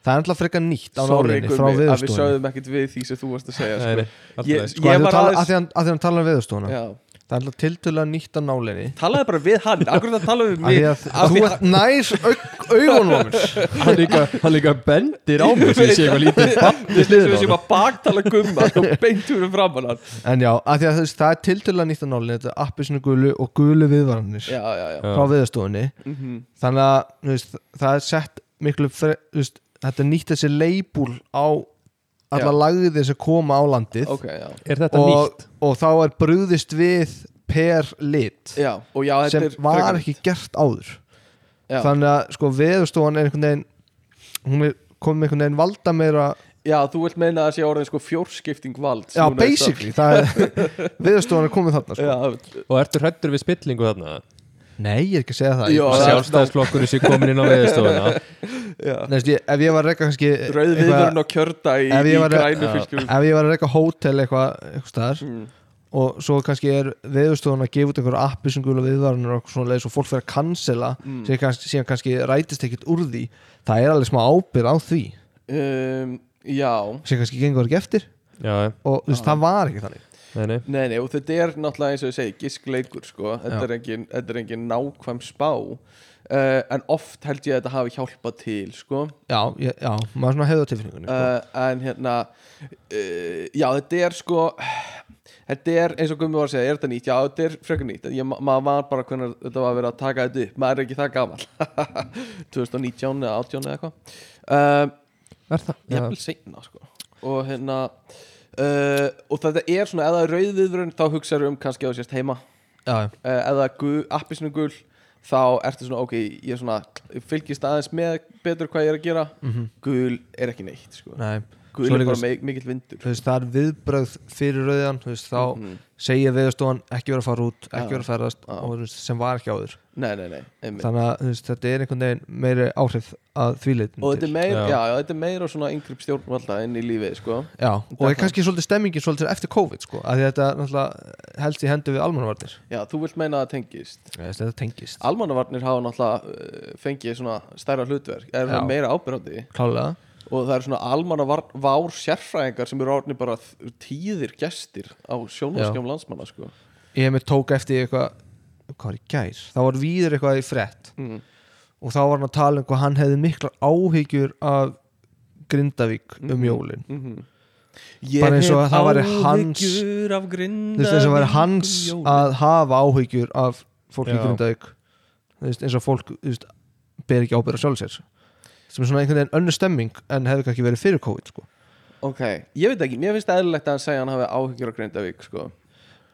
Það er alltaf frekar nýtt á Sorry nálinni frá Gummi að við viðurstofunni sögðum ekkert við því sem þú varst að segja Nei, sko. nei, allt í Ég- lagi. sko, Sko, Ég að var því tala- aðeins- að því hann- að því hann talar um viðurstofuna Já. Það er alltaf tiltölulega nýtt á nálinni Talaði bara við hann, akkur það talaði við Af því mig að þú ert nær aug- augunum [LAUGHS] á mér hann líka, hann líka bendir á mig sem ég sé eitthvað lítið barn við [LAUGHS] Við hliðina á sem honum. að baktala gumma sko, beinturum framan hann En já, að því að þú veist, það er tiltölulega nýtt á nálinni Þetta er appisinu gulu og gulu viðvaranir Já, já, já frá viðurstofunni Mhm. Þannig að þú veist, það er sett miklu fre, þú veist, Þetta er nýtt þessi leibúl á alla Já. lagði sem koma á landið Ok, já er þetta og, nýtt? og þá er brugðist við per lit Já, og já, sem þetta er var frekar- ekki gert áður Já. þannig að sko veðurstofan er einhvern veginn hún er komið einhvern veginn valda meira Já, þú vilt meina að það sé orðin sko fjórskipting vald já basically, sko. það [LAUGHS] er veðurstofan er komið þarna sko. Já, og ertu hrættur við spillingu þarna? nei, ég er ekki að segja það Já, ég, það- sjálfstæðisflokkurinn sé komin [LAUGHS] inn á viðurstofuna já neðst, ég, ef ég var að reyka kannski Rauð viðvörun á kjörda í, Ef í ég var- grænu Já. fylgjum ef ég var að reyka hótel eitthvað eitthvað staðar Mm. og svo kannski er veðurstofan að gefa út einhverja appi sem gula viðvarunir og svona leið svo fólk fyrir að cancela mm. sem kannski, síðan kannski rætist ekkit úr því það er alveg smá ábyrð á því um, Já, sem kannski gengur ekki eftir já, og þú veist, það var ekki þannig nei, nei Nei, nei, og þetta er náttúrulega eins og ég segi giskleikur, sko, þetta Já. er, engin, þetta er engin nákvæm spá uh, en oft held ég að þetta hafi hjálpað til, sko já, ég, já, maður svona hefði á tilfinningunni sko. uh, en hérna uh, já, þetta er sko þetta er, eins og Gummi var að segja, er þetta nýtt já, þetta er frekar nýtt, En ég, ma maður var bara hvernig þetta var að vera að taka þetta upp, maður er ekki það gaman [LAUGHS] 2019 eða 18 eða eitthvað uh, er það? ég vil segna, sko og hérna uh, og þetta er svona, ef það er rauðviðurinn þá hugsaður um kannski að þú sést heima já, já. uh, eða gu- appisinu gul þá ertu svona, ok, ég er svona ég fylgist aðeins með betur hvað ég er að gera gul er ekki neitt sko. mhm, Nei, gul Svo er líka- bara mik mikill vindur Mm. þú veist, það er viðbröð fyrir rauðan þú veist, þá segir viðstofan ekki vera að fara út, ekki Mhm. Já. vera að ferðast Já. og, þú veist, sem var ekki áður nei, nei, nei, einmitt þannig að þú veist, þetta er einhvern veginn meiri áhrif að því leitin og þetta er meira, Já. já. Já, þetta er meira svona yngripp stjórnvalda inn í lífið sko. Já, og er kannski svolítið stemmingin svolítið eftir COVID sko, að því þetta náttúrulega helst í hendu við almanvarnir já, þú vilt meina að það tengist þetta tengist, almannavarnir hafa náttúrulega uh, fengið svona stærra hlutverk er Já. það meira ábyrgandi klálega og það eru svona almannavár sérfræðingar sem eru orðinni bara þ- tíðir gestir á sjónvarskjám landsmanna sko. ég hef mér tók eftir eitthvað hvað var í gær, þá var víður eitthvað í frett Mm. og þá var hann að tala um hvað hann hefði miklar áhyggjur af Grindavík um jólin mm -hmm. Bara eins og að það væri hans- af grinda þú veist þess að vera hans að hafa áhyggjur af fólki í Já. Grindavík þú veist eins og fólk þú veist, ber ekki ábyrða sjálf sér sem er svona einhvern veginn önnur stemming en hefði kannski verið fyrir COVID sko. ok, ég veit ekki, mér finnst eðlilegt að hann segja að hann hafi áhyggjur af Grindavík sko.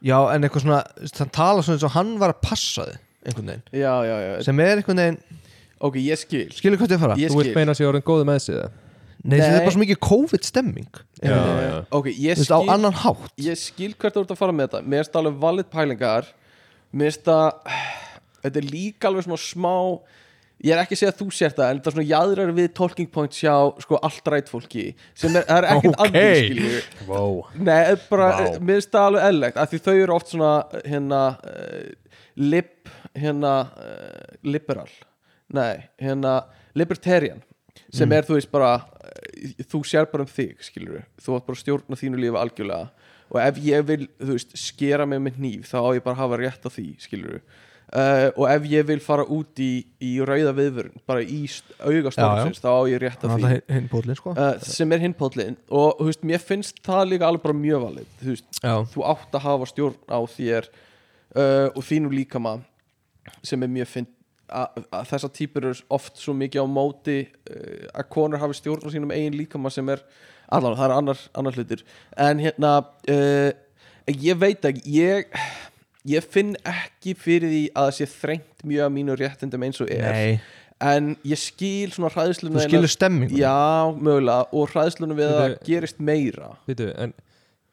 já en eitthvað svona þú veist, hann tala svona eins og hann var að passa þið einhvern veginn já, já, já, sem er einhvern veginn, ok, ég skil skilur hvað þið fara? ég þú vilt skil meina að sé orðin góð með sig það? Nei, þetta Nei. er bara svo mikið COVID stemming Já, þú já. Eh, ok, ég veist á skil, annan hátt ég skil hvert þú ert að fara með þetta mér finnst alveg valid pælingar mér finnst að þetta er líka alveg svona smá ég er ekki að segja að þú sér það en þetta er svona jaðrar við talking points hjá sko allt rætt fólki sem er, það er ekkert Ok. okay. skilju Wow. Nei, eh, bara, Vá. wow. mér finnst það alveg eðlegt af því þau eru oft svona hérna uh, lib hérna uh, liberal nei, hérna libertarian sem er þú veist bara eh, þú sér bara um þig, skilur þú átt bara að stjórna þínu lífi algjörlega og ef ég vil, þú veist, skera mig með nýf þá á ég bara að hafa rétt á því, skilur Uh, og ef ég vil fara út í, í rauða viðvörn, bara í augastormsins, þá á ég rétt á því Alltaf hinn- hinn bólinn sko uh, sem er hinnpóllin og þú veist, mér finnst það líka alveg bara mjög valið þú, veist, Já. þú átt að hafa stjórn á þér uh, og þínu líkama sem er mjög finn að að þessar típur eru oft svo mikið á móti uh, að konur hafi stjórn á sínum eigin líkama sem er allan, það er annar, annar hlutir en hérna uh, ég veit ekki, ég ég finn ekki fyrir því að það sé þrengt mjög að mínu réttindum eins og er Nei, en ég skil svona hræðsluna þú þína- skilur stemmingun Já, mögulega og hræðslunum við að Þetta- gerist meira Vitu, en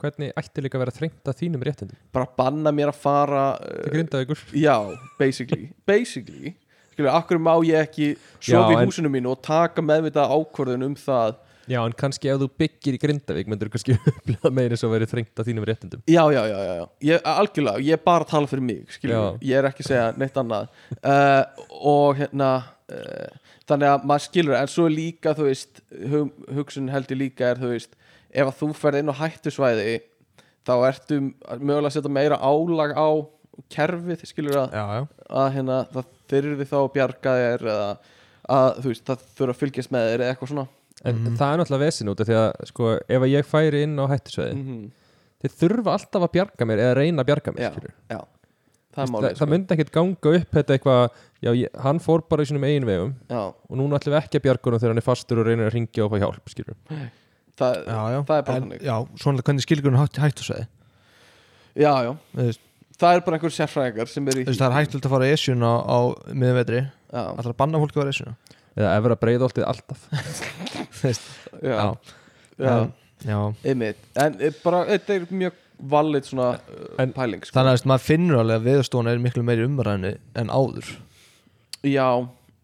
hvernig ætti líka að vera þrengt að þínum réttindum? bara banna mér að fara Það uh, grindaði ykkur Já, [LAUGHS] basically basically, skilur, akkur má ég ekki sofa Já, í en- húsinu mínu og taka meðvitað ákvörðun um það Já, en kannski ef þú byggir í Grindavík myndur kannski [LAUGHS] upplega meira svo að vera þrengt að þínum réttindum Já, já, já, já, já. Ég, algjörlega, ég er bara að tala fyrir mig skilur, Já. ég er ekki að segja neitt annað uh, Eh, og hérna uh, þannig að maður skilur það, en svo er líka þú veist, hug, hugsun held ég líka er þú veist, ef að þú ferð inn á hættusvæði þá ertu mögulega að setja meira álag á kerfið, skilur það já, já, að hérna, það þyrði þá að bjarga þér eða að þú veist, það þurfa að fylgjast með þér eða eitthvað svona En Mhm. það er náttúrulega vesin út af því að sko, ef að ég færi inn á hættisveðin Mm. Mhm. þeir þurfa alltaf að bjarga mér eða reyna að bjarga mér já, skilurðu. já, það er Veist, málið sko. það, það myndi ekkert ganga upp þetta eitthvað, já, ég, hann fór bara í sínum eigin vegum já, og núna ætlum við ekki að bjarga honum þegar hann er fastur og reynir að ringja og fá hjálp, skilur það, já, já. það er En, bara þannig. já, svona hvernig skilgrunum hætt, hættu sveiði já, já, þú veist, það er bara einhver sérfræðingar sem er í þú veist, það er hættulegt að fara í esjun á, á miðum vetri, já, alltaf að banna fólki að fara í esjun eða efra breiðoltið alltaf já, já. já, já, einmitt en eh, bara, þetta er mjög valið svona uh, En- pæling sko. þannig að þú veist, maður finnur alveg að veðurstofan er miklu meiri umræðinu en áður já,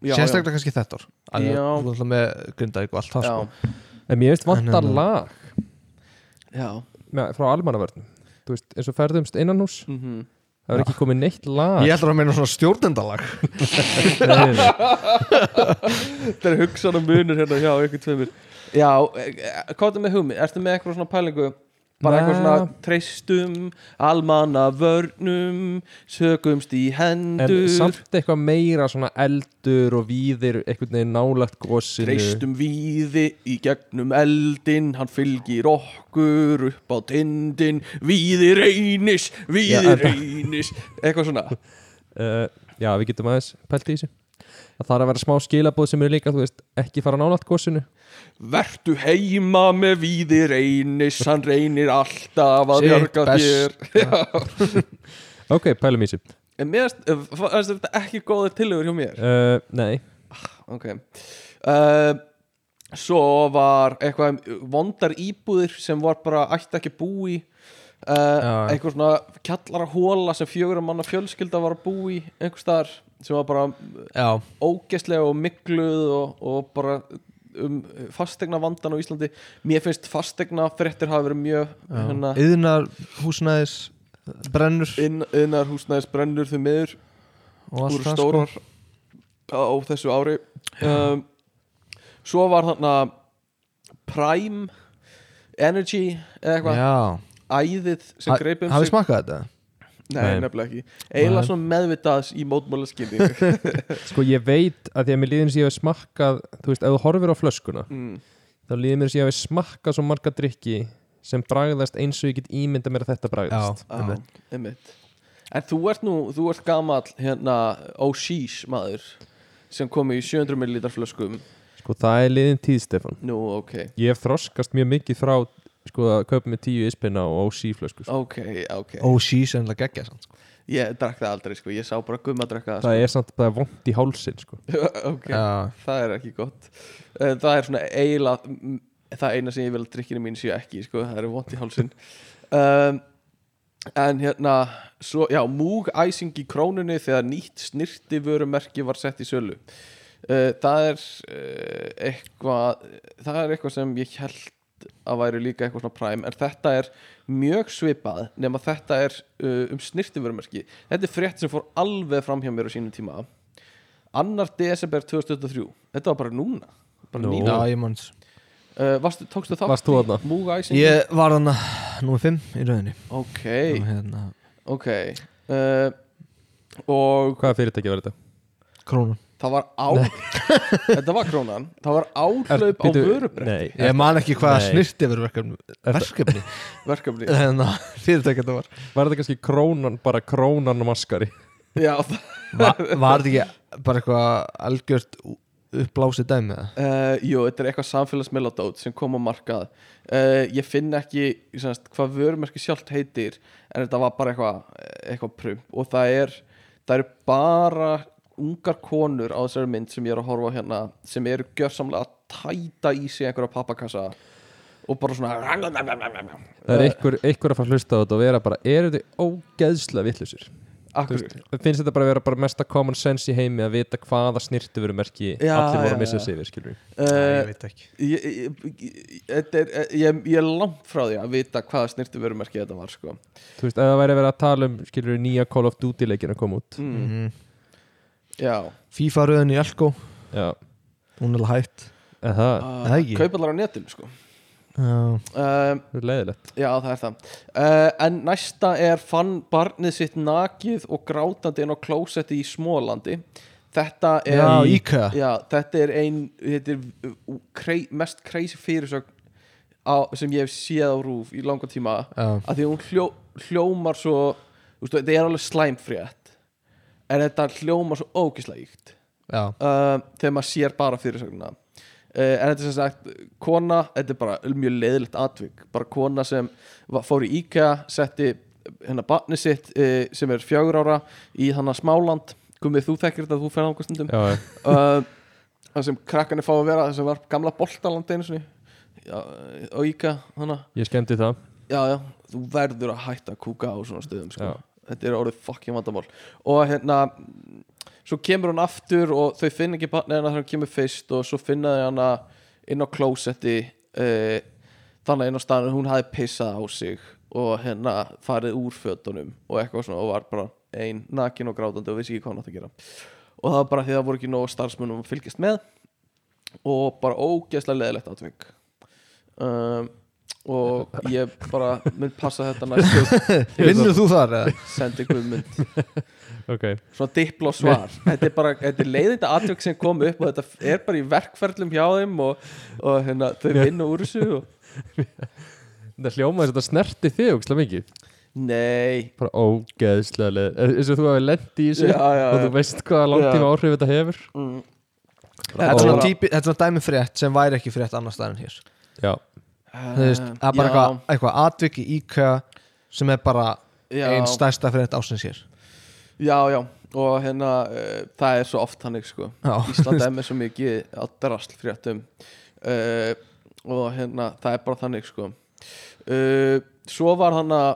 já, sérstaklega kannski þetta ár Að Já. þú ert alltaf með Grindavík og allt það já, sko. en hérna- mér finnst vantar En, en, lag já, já, með, frá almannavörnum þú veist, eins og ferðumst innanhús mhm. það er ekki komið neitt lag ég ætla að meina svona stjórnendalag Nei, nei, nei. þetta er hugsanum munur hérna hjá ykkur tveimur já, eh, eh, hvað er með hugmið, ertu með eitthvað svona pælingu bara Nei. eitthvað svona treystum almanna vörnum sögumst í en hendur samt eitthvað meira svona eldur og víðir einhvern veginn nálagt gósinu treystum víði í gegnum eldin hann fylgir okkur upp á tindin víði reynis, víði Já, en- reynis eitthvað svona uh, já, við getum aðeins pælt í þessu það þarf að vera smá skilabóð sem eru líka, þú veist, ekki fara nálagt gósinu Vertu heima með víði reynis, hann reynir alltaf að Sitt bjarga þér best. ok, pælum í þessu En mér finnst þetta ekki góða tillögur hjá mér uh, nei, ok uh, svo var eitthvað um vondar íbúðir sem var bara ætti ekki að búa í uh, já. eitthvað svona kjallara hóla sem fjögur manna fjölskylda var að búa í einhvers staðar sem var bara já, ógæslega og mikluð og, og bara um fastegna vandan á Íslandi mér finnst fastegna fréttir hafa verið mjög hérna, yðnar húsnæðis brennur inn, innar húsnæðis brennur þau miður og allt úr það sko. stórar á á þessu ári um, svo var þarna Prime Energy eða eitthvað já, æðið sem greip um hafið smakkað þetta? nei, Nei. nefnilega ekki eiginlega Nei. svona meðvitaðs í mótmálaskinni [LAUGHS] mm. sko ég veit að því að mér líður sem ég hef smakkað þú veist, ef þú horfir á flöskuna þá líður mér sem ég hef smakkað svo marga drikki sem bragðast eins og ég get ímynda mér að þetta bragðast á, einmitt. en þú ert nú, þú ert gamall hérna Oshís maður sem komi í 700 ml flöskum sko það er liðin tíð, Stefan nú, ok, ég hef þroskast mjög mikið frá sko að kaupa með tíu ispinna og síflösku sko. ok, ok og she's ennlega geggja samt, sko. ég drakk það aldrei, sko, ég sá bara gumma drakka það er sko- samt, það er vond í hálsin sko. [LAUGHS] ok já, það er ekki gott Eh, það er svona eiginlega mm, það eina sem ég vil að drikkinu mín séu ekki sko, það eru vont í hálsin um, en hérna svo, já, múgæsing í krónunni þegar nýtt snirtivörumerki var sett í sölu uh, það er uh, eitthvað það er eitthvað sem ég held að væri líka eitthvað svona præm en þetta er mjög svipað nema þetta er uh, um snirtivörumerki þetta er frétt sem fór alveg fram hjá mér á sínum tíma annar desember 2023 þetta var bara núna, bara Nú. núna. já ég manns Uh, varstu, tókstu þátt Varst þú í þarna? múgæsingu? ég var hann að númer 5 í rauninni ok, Og hérna, ok uh, og hvaða fyrirtæki var þetta? krónan það var á þetta var krónan, það var áhlaup á Bíddu, vörubrett nei, ég man ekki hvaða Nei. snirti verið verkefni, verkefni [LAUGHS] verkefni hérna, fyrirtækja þetta var var þetta kannski krónan, bara krónan og maskari já, það- Va, var þetta ekki bara eitthvað algjört uppblásið dæmi eða? uh, jú, þetta er eitthvað samfélagsmiðladót sem kom á markað uh, ég finn ekki semast, hvað vörumerki sjálft heitir en þetta var bara eitthvað eitthvað prum og það er það eru bara ungar konur á þessari mynd sem ég er að horfa á hérna sem eru gjörsamlega að tæta í sig einhverja pappakassa og bara svona það er einhver, einhver að fara að hlusta á þetta og vera bara eru þið ógeðsla vittlusir akkur finnst þetta bara að vera bara mesta common sense í heimi að vita hvaða snirtu veru merki Já, allir voru já, að missa já. sig yfir skilur uh, veit ekki ég, ég, ég, þetta er, ég, ég er langt frá því að vita hvaða snirtu vörumerki þetta var sko. þú veist, ef það væri verið að tala um skilur Mm. nýja Call of Duty leikin að koma út mm. já FIFA rauðin í Elko já, hún er alveg hægt en það það ekki? Kaupallar á netinu sko já, um, er leiðilegt Já, það er það uh, En næsta er fann barnið sitt nakið og grátandi inn á klósetti í Smólandi Þetta er Já, IKEA. Já, þetta er ein þetta er, uh, krei, mest crazy fyrirsögn á, sem ég hef séð á rúf í langa tíma já. að því að hún hljó, hljómar svo þú veist, þetta er alveg slæmfrétt en þetta hljómar svo ógislega íkt já. uh, þegar maður sér bara fyrirsögnuna uh, en þetta er sem sagt kona, þetta er bara mjög leiðilegt atvik bara kona sem var, fór í IKEA setti hennar batni sitt uh, sem er fjögur ára í þannig smáland komið þú þekkir þetta þú ferð ángur stundum já, uh, það sem krakkanir fá að vera það sem var gamla boltaland einu sinni já, á IKEA þannig ég skemmti það já, já, þú verður að hætta að kúka á svona stöðum sko. Já. þetta er orðið fucking vandamál og hérna svo kemur hún aftur og þau finna ekki barnið hennar þegar hún kemur fyrst og svo finna þau hana inn á klósetti uh, þannig inn á staðan hún hafi pissað á sig og hérna farið úr fötunum og eitthvað svona og var bara ein nakin og grátandi og vissi ekki hvað hann átt að gera og það var bara því að það voru ekki nóg starfsmunum að fylgjast með og bara ógeðslega leðilegt atvik um, og ég bara mynd passa þetta næstu [LAUGHS] vinnur þú þar eða? sendi guðmynd ok, svona dipl og svar þetta er bara, þetta er leiðinda atvik sem kom upp og þetta er bara í verkferðlum hjá þeim og, og hérna, þau vinna úr þessu og, þetta hljómaði þetta snerti þig ógislega mikið nei, bara ógeðslega leið Eh, eins og þú hafi lendi í þessu Já, já, og þú já. veist hvaða langtíma áhrif þetta hefur mm, þetta er Ó. svona típi- þetta er svona dæmi um frétt sem væri ekki frétt annar staðar en hér já, þú veist, það er bara Eh, já. eitthvað, eitthvað atviki íkja sem er bara já, einn stærsta frétt ásins hér já, já, og hérna uh, það er svo oft hannig sko já, Ísland er með svo mikið að drasl fréttum uh, og hérna það er bara þannig sko uh, svo var hann að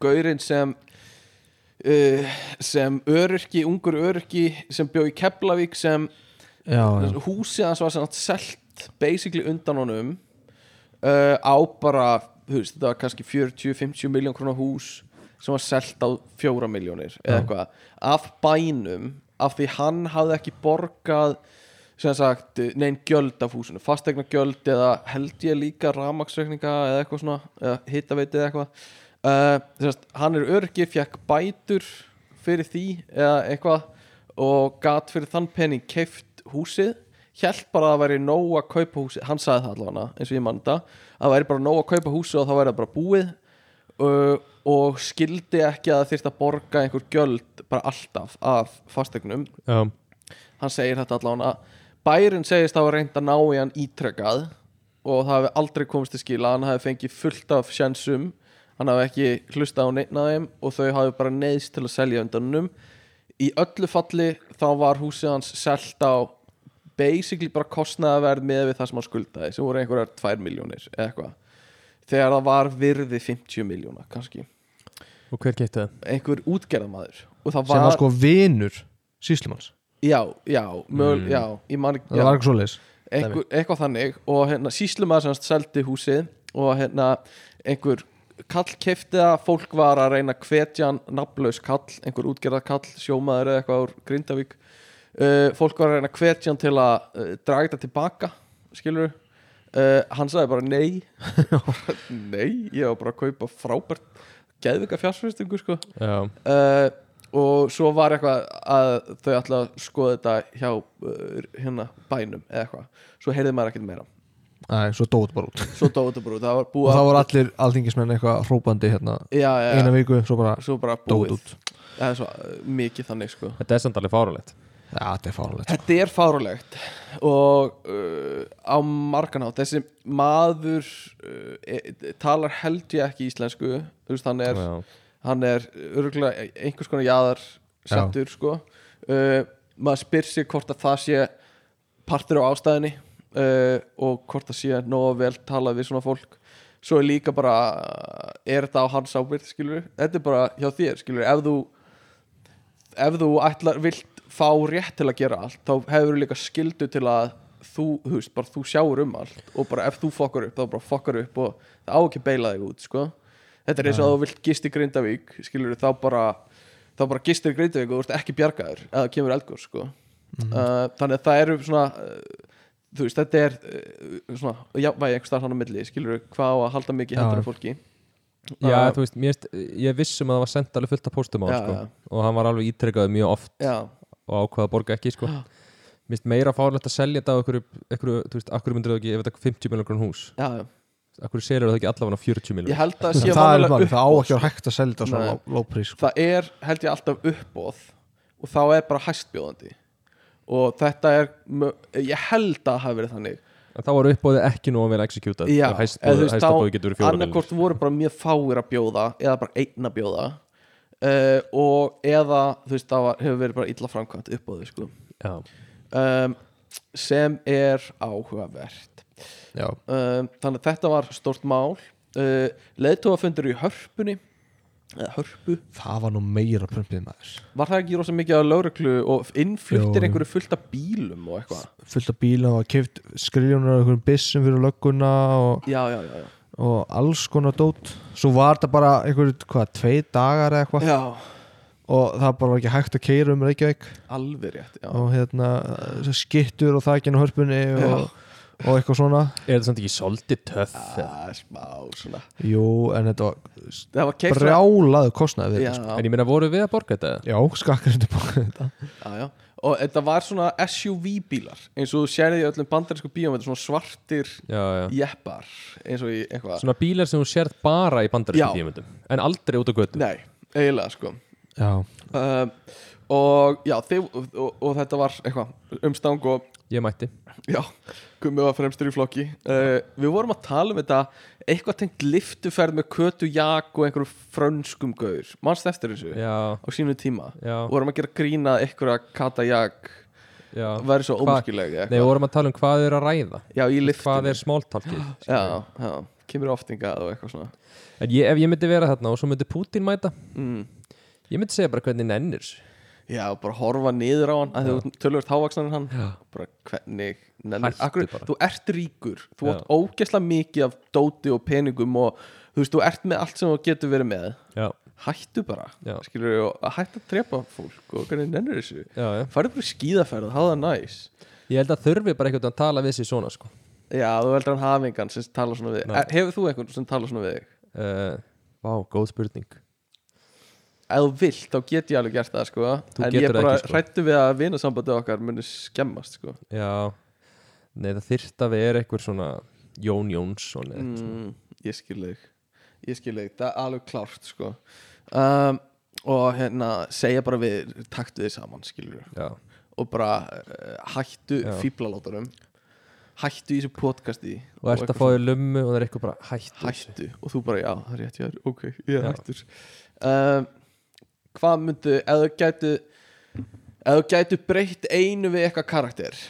gaurinn sem uh, sem öryrki, ungur öryrki sem bjó í Keflavík sem já, já. húsið hans var sem sagt selt basically undan honum uh, á bara þú veist, þetta var kannski 40-50 miljón krónar hús sem var selt á 4 miljónir eða eitthvað af bænum af því hann hafði ekki borgað sem sagt, neinn gjöld af húsinu fastegna gjöld eða held ég líka ramaksreikninga eða eitthvað svona eða hittaveiti eða eitthvað uh, sem sagt, hann er örgi, fekk bætur fyrir því eða eitthvað og gat fyrir þann penning keift húsið hjælt bara að það væri nóg að kaupa húsið hann sagði það allavega eins og ég mann þetta að það væri bara nóg að kaupa húsið og þá væri það bara búið uh, og skildi ekki að það þyrfti að borga einhver gjöld bara alltaf af fastegnum já, hann segir þetta allavega bærin segist að hafa reynd að ná í hann ítrekað og það hefði aldrei komist til skila hann hefði fengið fullt af sjensum hann hefði ekki hlustað á neitt af þeim og þau hefði bara neyðst til að selja undanum í öllu falli þá var húsið hans selt á basically bara kostnaðaverð með við það sem hann skuldaði sem voru einhverjar 2 miljónir eða eitthvað þegar það var virði 50 miljóna kannski, og hver geti það? einhver útgerðamaður og það sem var, var sko vinur síslumanns já, já, mögul, já, ég man ekki Mm. það var ekki svoleiðis einhver, eitthvað þannig og hérna síslumaður semast seldi húsið og hérna einhver kall kefti það, fólk var að reyna að hvetja hann, nafnlaus kall, einhver útgerða kall sjómaður eða eitthvað úr Grindavík uh, fólk var að reyna að hvetja hann til að uh, draga þetta tilbaka skilur uh, hann sagði bara nei [LAUGHS] nei, ég var bara að kaupa frábært geðvika fjársfyrstingu sko já, uh, og svo var eitthvað að þau ætla að skoða þetta hjá uh, hérna bænum eða eitthvað svo heyrði maður ekkert meira Æ, svo dót bara út svo dóðu þetta bara út, það var og búið þá að- voru allir alþingismenn eitthvað hrópandi hérna já, já, eina viku, svo bara svo bara dót búið út það er svo uh, mikið þannig sko þetta er samt alveg fárulegt já, þetta er sko. fárlegt þetta er fárulegt og uh, á marganátt þessi maður uh, e, talar held ég ekki íslensku þú veist hann er já, hann er örgulega einhvers konar jaðar settur sko uh, maður spyr sig hvort að það sé partur á ástæðinni uh, og hvort að sé nóg vel talað við svona fólk svo er líka bara er þetta á hans ábyrð skilur þetta er bara hjá þér skilur ef þú ef þú ætlar vilt fá rétt til að gera allt þá hefur líka skildu til að þú, þú veist, bara þú sjáur um allt og bara ef þú fokkar upp, þá bara fokkar upp og það á ekki að beila þig út, sko þetta er eins og að þú vilt gist í Grindavík skilur þá bara, þá bara gistir í Grindavík og þú ert ekki bjargaður eða það kemur eldgóð, sko Mhm. uh, þannig að það eru svona uh, þú veist, þetta er uh, svona, já, væri einhver starf hann á milli skilur hvað á að halda mikið í Já, hendur já. á fólki Já, Uh, þú veist, mér, finnst- ég vissum að það var sendt alveg fullt af póstum á hann, Já, sko. já. og hann var alveg ítrekkaði mjög oft já, og ákvaða að borga ekki sko. Já. Mér finnst meira fárlegt að selja þetta á einhverju, einhverju þú veist, akkur myndir það ekki ef þetta er 50 miljonar grunn hús já, já. akkur selur það ekki allafan á 40 miljonar ég held að það sé er vanalega mann, það á uppboð. ekki að vera hægt að selja þetta á svona Nei. lá- lóprís sko. það er, held ég, alltaf uppbóð og þá er bara hæstbjóðandi og þetta er mö- ég held að það hafi verið þannig en þá var uppbóðið ekki nóg að vera executað Já, og eða þú hæstabóðið veist, hæstabóði getur verið þá fjóra miljonar annarkort voru bara mjög fáir að bjóða eða bara einn að bjóða uh, og eða þú veist það var, hefur verið bara illa framkvæmt uppbóði sko. já, um, sem er áhugavert Já. um, þannig að þetta var stort mál uh, leðtóafundur í hörpunni eða hörpu, það var nú meira prumpið maður var það ekki rosa mikið á lauruglu og Jú, innfluttir jú. einhverju fullt af bílum og eitthvað fullt af bíla og keft skriljónur og einhverjum byssum fyrir lögguna og, já, já, já, já. og alls konar dót svo var þetta bara einhverju, hvað, tvei dagar eða eitthvað já og það bara var ekki hægt að keira um Reykjavík alveg rétt, já og hérna eh, skittur og þakinn á hörpunni og, og eitthvað svona er þetta samt ekki svolítið töff eða? Það er smá svona jú, en þetta var Það var keitt brjálaðu kostnaði við Já, þetta sko. en ég meina voru við að borga þetta já, skakkar þetta bara þetta já, já. og þetta var svona SUV bílar eins og þú sérði í öllum bandarísku bíum þetta er svona svartir já, já. jeppar eins og í eitthvað svona bílar sem þú sérð bara í Já. bandarísku tímundum en aldrei út á götu Nei, eiginlega sko [LAUGHS] já, um, og já þið, og, og, og þetta var eitthvað umstang og ég mætti já, Gummi var fremstur í flokki uh, við vorum að tala um þetta eitthvað tengt liftuferð með Kötu Jak og einhverju frönskum gaur mannst eftir þessu já, á sínu tíma já, og vorum að gera grína einhverja Kata Jak já væri svo Hvað- ómuskileg nei, við vorum að tala um hvað er að ræða já, í liftinu hvað er smáltalkið já, já, kemur oftingað og eitthvað svona en ég, ef ég myndi vera þarna og svo myndi Putin mæta mm. ég myndi segja bara hvernig nennir þessu. Já, bara horfa niður á hann að þú tölur þávaksanin hann Já. bara hvernig nennir, Hættu akkur, bara. þú ert ríkur þú Já. átt ógeðslega mikið af dóti og peningum og þú veist, þú ert með allt sem þú getur verið með já, hættu bara, Já. skilur við og hættu að trepa fólk og hvernig nennir þessu já, já farðu bara í skíðaferð, hafa það næs Ég held að þurfi bara einhvern veginn að tala við sér svona sko. Já, þú heldur hann hafingan sem tala svona við þig Nei. Er- Hefur þú einhvern sem tala svona við þig? uh, Vá, góð spurning Ef þú vilt, þá get ég alveg gert það, sko Þú En ég getur það bara ekki, sko. hrættu við að vinasambandi okkar muni skemmast, sko Já, nei það þyrft að vera einhver svona Jón Jónsson eða eitthvað mm, ég skil þig ég skil þig, það er alveg klárt sko. um, og hérna segja bara við, taktu þið saman skilur Já, og bara uh, hættu Já. fíblalátunum hættu í þessu podcasti og ert að fá í lummu og það er eitthvað bara hætt þessu. hættu og þú bara já, það er rétt, ég er ok ég er Já. hættur um, hvað myndu, ef þú gætu ef þú gætu breytt einu við eitthvað karakter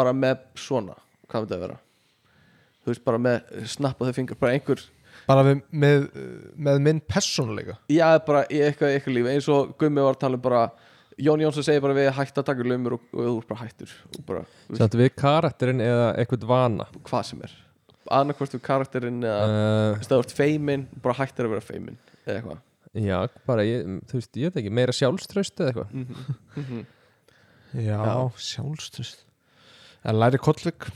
bara með svona, hvað myndi það vera þú veist bara með snappa þau fingur, bara einhver bara við, með, með minn persónuleika Já, bara í eitthvað í eitthvað lífi eins og Gummi var að tala um bara Jón Jónsson segir bara við hætt að taka lumur og, og þú er bara hættur og bara við, Sáttu við karakterinn eða eitthvað vana hvað sem er annarkvort við karakterinn uh, eða uh. stöðvort feimin, bara hættir að vera feimin eða eitthvað Já, bara ég, þú veist, ég veit ekki meira sjálfströst eða eitthvað já, sjálfstrust en læri kollvik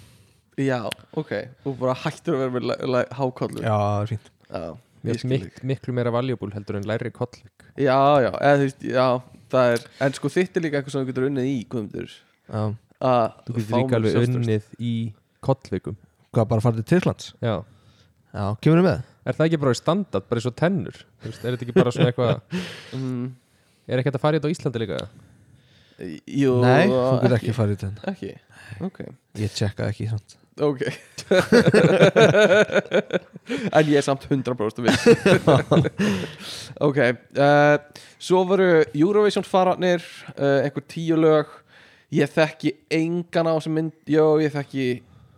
Já, ok, og bara hættir að vera með læ- læ- hákollur já, það er fínt já, Mér ég finnst skil mik þig. miklu meira valjúbúl heldur en læri kollvik Já, já, eða þú veist, já, það er en sko þitt er líka eitthvað sem þú getur unnið í Guðmundur já. að Þú getur fá líka mér alveg sjálfstraust. unnið í kollvikum hvað, bara farið til Tyrklands Já, já, kemur við með er það ekki bara í standard, bara eins og tennur Þú veist, Er þetta ekki bara svona eitthvað mm, Er ekki hægt að fara í þetta á Íslandi líka? Jú, nei, þú getur ekki farið til ekki, ekki. ok Ég tjekkaði ekki samt Ok [LAUGHS] En ég er samt 100% viss [LAUGHS] Ok uh, Svo voru Eurovision fararnir uh, einhver tíu lög Ég þekki engan á þessum mynd Jó, ég þekki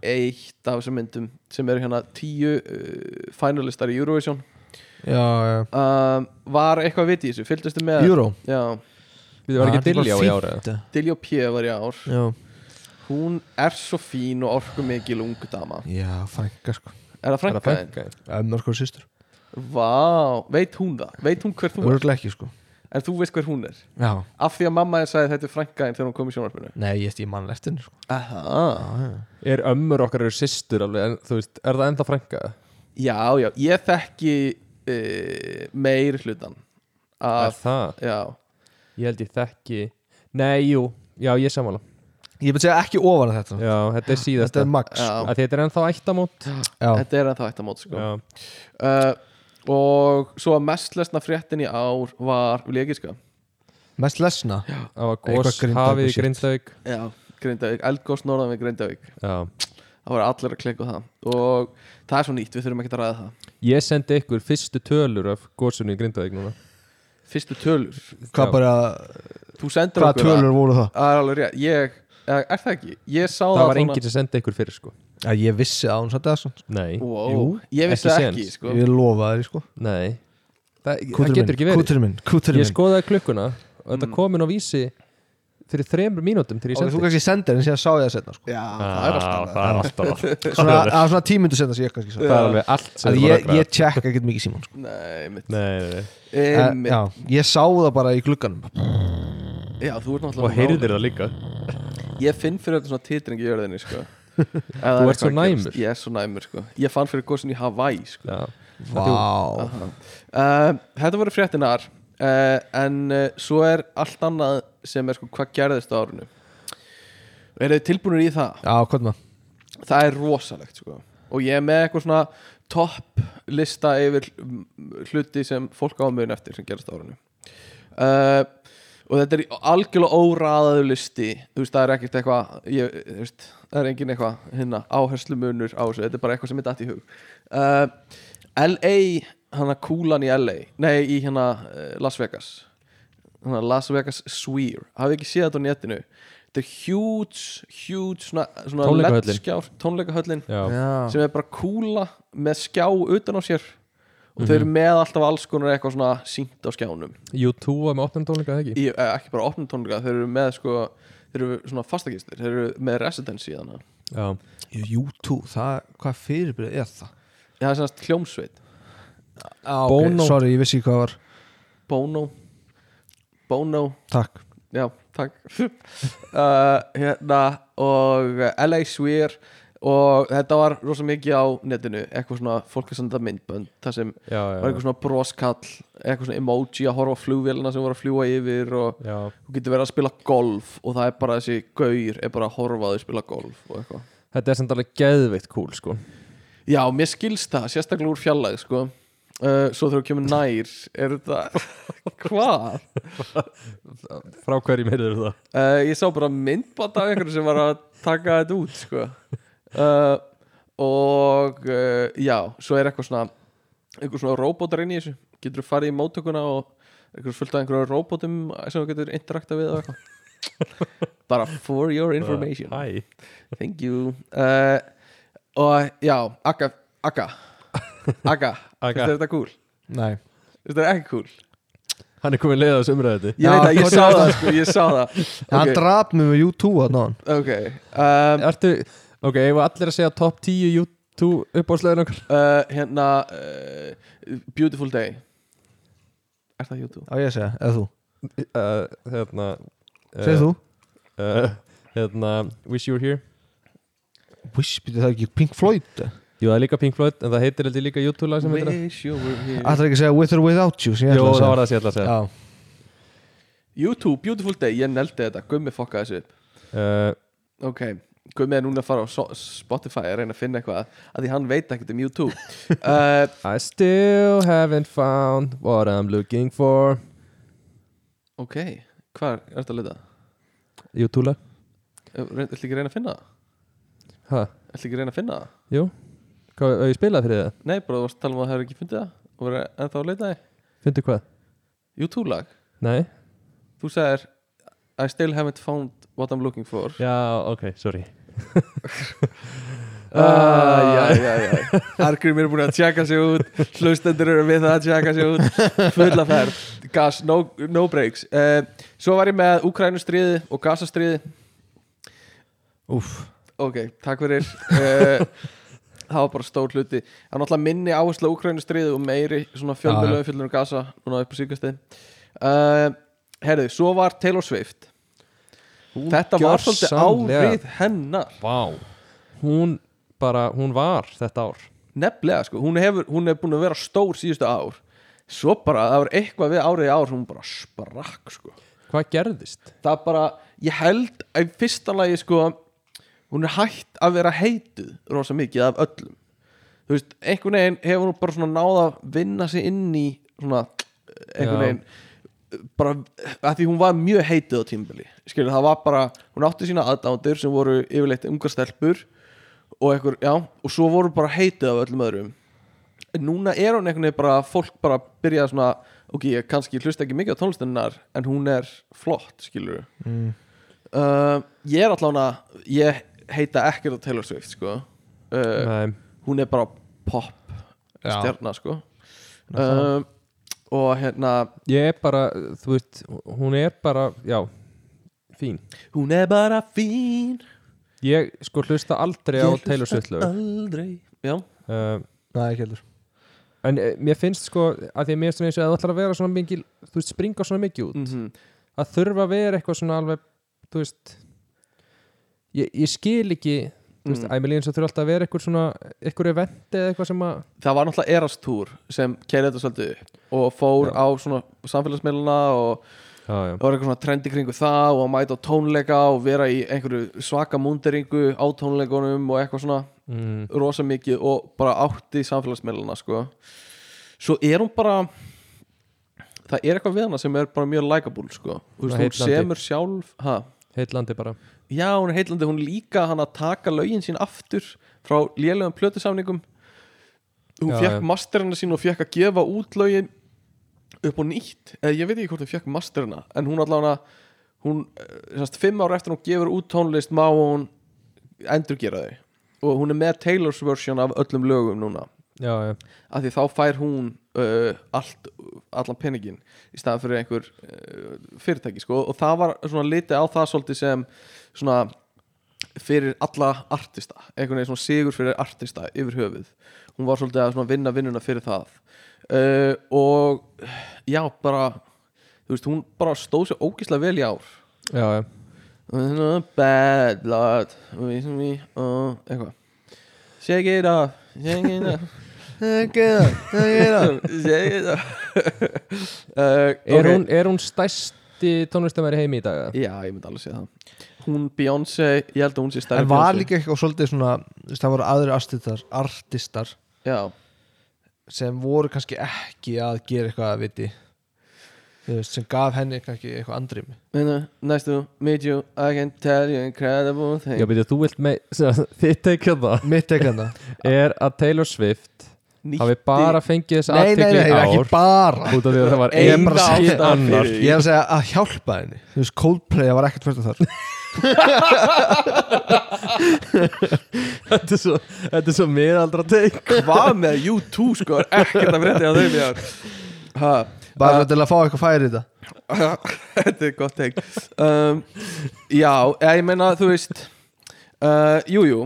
eitt af þessum myndum sem eru hérna tíu uh, finalistar í Eurovision Já, já um, Var eitthvað vit í þessu? Fylgdustu með? Euro Já, Við varum ekki Það er dilljá í bara ára eða? fínt, Dilljó P var í ár Já, Hún er svo fín og orku mikil ungu dama já frænka sko Er það Er það frænkaðin? frænkaðin? Ömmar sko sýstur Vá, veit hún það? Veit hún hver þú er? Örgulega ekki sko en þú veist hver hún er já, af því að mamma þér sagði þetta er frænka þegar hún kom í sjónvarpinu nei, ég, ég mann eftir henni, sko. Aha. Er ömmur okkar eru systur alveg en, Þú veist, er það ennþá frænga? já, já, ég þekki uh, meir hlutan Er af, það? já, Ég held ég þekki Nei, jú, já, ég er sammála ég myndi segja ekki ofan að þetta Já, þetta er síðasta þetta er max sko. já, Að Þetta er ennþá ættamót já, þetta er ennþá eitt að mót sko. Já, uh, og svo að mest lesna fréttin í ár var legiska mest lesna það var Eitthvað gós Grindavík hafið í shit. Grindavík já, Grindavík, eldgóðs norðan við Grindavík Já það voru allir að klikka á það og það er svo nýtt, við þurfum ekki að ræða það Ég sendi ykkur fyrstu tölur af gósunni í Grindavík núna fyrstu tölur, Já. hvað bara, þú sendur hvað okkur tölur voru það? að, að er alveg rétt, ég eða, er það ekki, ég sá Það var svona- enginn sem sendi ykkur fyrir sko Já, ég vissi að hún satt eða svona Nei, wow, jú, ég vissi ekki það ekki, séns. sko. ég lofa þér, sko nei Það, það Kúturinn getur ekki verið kúturinn minn, kúturinn Ég minn skoðaði klukkuna og Mm. þetta komin á vísi fyrir þremur mínútum til ég og sendi þú kannski sendir en síðan sá ég það setna, sko já, það er Ah, alltaf það er alltaf [LAUGHS] allt. svona, að svona tímyndu setna sem ég kannski sá Það er alveg allt sem að þú ég, rökræðir. ég tjekka ekkert mikið síman, sko nei, mitt, Nei, nei, nei. Eh, nei. já, ég sá það bara í glugganum já, þú ert náttúrulega Og heyrðir það líka ég finn fyrir þetta svona titring í jörðinni sko. [LAUGHS] þú ert svo næmur. ég er svo næmur, sko. ég fann fyrir góðsinn í Hawaii sko. Já. Vá uh, þetta voru fréttinar uh, en uh, svo er allt annað sem er sko, hvað gerðist á árinu eru þið tilbúinir í það? Já, hvernig maður? það er rosalegt sko. og ég er með eitthvað svona topp lista yfir hl- hluti sem fólk á mun eftir sem gerast á árinu uh, og þetta er í algjörlega óraðaðu listi þú veist, það er ekkert eitthvað ég, þú veist, það er engin eitthvað hérna, áherslu munur á þessu, þetta er bara eitthvað sem er datt í hug uh, LA hana kúlan í LA nei, í hérna uh, Las Vegas hana Las Vegas Sphere hafið ekki séð þetta á netinu þetta er huge, huge svona, svona Tónleikahöllin. ledskjár, tónleikahöllin Já. Já. sem er bara kúla með skjá utan á sér og þau eru með alltaf alls konar eitthvað svona sínt á skjánum U2 var með opnum tónleika eða ekki í, eh, ekki bara opnum tónleika, þau eru með sko, þau eru svona fastagistir, þau eru með residency þannig Já. YouTube, það, hvað fyrirbyrðið er það? það er sannast hljómsveit, Ah, ok, Bono. Sorry, ég vissi ekki hvað það var Bono Bono, Takk já, takk [LAUGHS] uh, hérna og eh, LA Sphere og þetta var rosa mikið á netinu eitthvað svona fólk að senda myndbönd þar sem Já, já, var eitthvað svona broskall eitthvað svona emoji að horfa á flugvélina sem voru að fljúa yfir og já. þú getur verið að spila golf og það er bara þessi gaur er bara að horfa að þau spila golf og eitthvað Þetta er samt alveg geðveitt cool sko já, mér skilst það, sérstaklega úr fjallag sko. uh, svo þegar þú kemur nær er þetta [LAUGHS] hvað? Frá hverjum heyrður það? Uh, ég sá bara myndband af einhverju sem var að taka þetta út sko. uh, og uh, já, svo er eitthvað svona einhver svona róbótar inn í þessu getur þú farið í mótökuna og einhver fullt af einhverjum róbótum sem þú getur interakta við og eitthvað bara for your information Hæ Thank you uh, Og já, Akka Akka Akka, Agga. finnst þér þetta cool? Nei Finnst þér ekki cool? Hann er komin leið á þessu umræðu Ég veit Já, að ég hvort sá er það það? sko, ég sá það Hann Ok, draf mig með YouTube að náðan ok um, Ertu, ok, ég var allir að segja top 10 U2 uppáðslegin okkar uh, Hérna uh, Beautiful Day Er það YouTube? Á ég að segja, eða þú uh, Hérna Segð þú uh, Hérna, Wish You Were Here Wish, býttu það er ekki Pink Floyd Það Jú, það er líka Pink Floyd, en það heitir heldur líka U2 lag sem heitir það Wish you were here er ekki að segja With or Without You sem ég Jú, ætlaði það var að það sem ég ætla að segja segja. YouTube, Beautiful Day, ég neldi þetta Gummi fokka þessu upp uh, Ok, Gummi er núna að fara á so- Spotify að reyna að finna eitthvað að því hann veit ekkert um [LAUGHS] YouTube uh, I still haven't found what I'm looking for Ok, hvað er þetta að leita? U2 lag Þetta ekki að reyna að finna það? Hæ, ætla ekki að reyna að finna það? jú Hvað, hef ég spilað fyrir það? Nei, bara þú varst að tala um að það hefur ekki fundið það og verið ennþá að leita þig Fyndu hvað? YouTube-lag, Nei? þú sagðir I still haven't found what I'm looking for Já, ok, [LAUGHS] sorry ah, Já, já, já Argrím er búin að tjekka sig út hlustendur eru við það að tjekka sig út fulla ferð, gas, no, no breaks uh, Svo var ég með Ukrænustriði og Gazastriði Úf Ok, takk fyrir uh, Það var bara stór hluti Það er náttúrulega minni áherslu á Ukraínu stríðu og meiri svona fjölmjölu fjöllunum Gaza núna upp á síkastin uh, Herðu, svo var Taylor Swift Þetta var svolítið Gjörsamlega. árið hennar Vá Hún bara, hún var þetta ár Nefnilega, sko, hún hefur, hún hefur búin að vera stór síðustu ár Svo bara, það var eitthvað við árið í ár sem hún bara sprakk, sko Hvað gerðist? Það bara, ég held að í fyrsta lagi, sko Hún er hætt að vera heituð rosa mikið af öllum Þú veist, einhvern veginn hefur hún bara svona náð að vinna sig inn í svona, einhvern Já. veginn bara, að því hún var mjög heituð á tímbili skilur, það var bara, hún átti sína aðdándir sem voru yfirleitt ungar stelpur og einhver, já, og svo voru bara heituð af öllum öðrum en núna er hún einhvern veginn bara, fólk bara byrja svona, ok, ég kannski hlusta ekki mikið á tónlistinnar, en hún er flott, skilur mm. uh, ég er allan að ég heita ekkert á Taylor Swift, sko uh, Nei, hún er bara pop Já. stjarnar, sko um, og hérna ég er bara, þú veist Hún er bara, já Fín Hún er bara fín Ég sko hlusta aldrei á Ég hlusta Taylor Swift lög Aldrei Já, uh, Nei, ekki heldur En eh, mér finnst sko að því að mér finnst eins og að þú ætlar að vera svona mikil Þú veist, springa svona mikið út mm Að þurfa að vera eitthvað svona alveg Þú veist Ég, ég skil ekki Þú veist, Mm. æmjöli eins og þurfa alltaf að vera eitthvað svona Eitthvað event eða eitthvað sem að það var náttúrulega erastúr sem keiri þetta svolítið upp og fór á svona samfélagsmiðluna og Já, já það var eitthvað svona trendi kringu það og að mæta á tónleika og vera í einhverju svaka múnderingu á tónleikunum og eitthvað svona mm. rosa mikið og bara átti samfélagsmiðluna sko. svo er hún bara það er eitthvað við hana sem er bara mjög likeable sko. Þú Svona veist, hún heillandi. semur sjálf ha? Heitlandi bara Já, hún er heillandi, hún er líka hann að taka lögin sín aftur frá lélegum plötusamningum hún Já, fekk já. masterina sín og fekk að gefa út lögin upp og nýtt eða ég veit ekki hvort hún fekk masterina en hún allavega hún, eh, semst, fimm ára eftir hún gefur út tónlist má hún endurgera þau og hún er með Taylor's version af öllum lögum núna Já, já af því þá fær hún uh, allt, allan peningin í staðan fyrir einhver uh, fyrirtæki sko. og það var svona litið á það svolítið sem svona fyrir alla artista einhvern veginn svona sigur fyrir artista yfir höfuð hún var svolítið að svona vinna vinnuna fyrir það uh, og já bara þú veist hún bara stóð sér ógislega vel í ár Já, já bad blood with me uh, eitthvað shake it off shake it [LAUGHS] off Ekki það, ekki [LAUGHS] Segðu það uh, Er, ok. hún, er hún stæsti tónlistamæri heimi í dag? eða? Já, ég myndi alveg segja það Hún Beyoncé, ég held að hún sé stærri En var Beyoncé. líka eitthvað svolítið svona þú veist, Það voru aðri artistar, artistar Já, sem voru kannski ekki að gera eitthvað að viti Þú veist, sem gaf henni kannski eitthvað andrými [LAUGHS] minna, næstu, meet you I can tell you incredible things Já, byrju, þú vilt [LAUGHS] með sem sagt, Þitt teikja um það Mitt hérna. ekki hann það Er að Taylor Swift Nýtti- hafi bara fengið þess Nei, nei, aðtekli ár nei, ekki bara út af því að það var Eina engin ástæðan annar fyrir. Ég er að segja að hjálpa henni Þú veist, Coldplay það var ekkert fyrir þar [LAUGHS] þetta, er svo, þetta er svo miðaldra teik Hvað með U2 sko er Ekkert að frétta á þeim í ár Ha, Ah. Bara til að fá eitthvað færi í þetta [LAUGHS] Þetta er gott teik um, Já, eh, ég meina þú veist uh, Jú, jú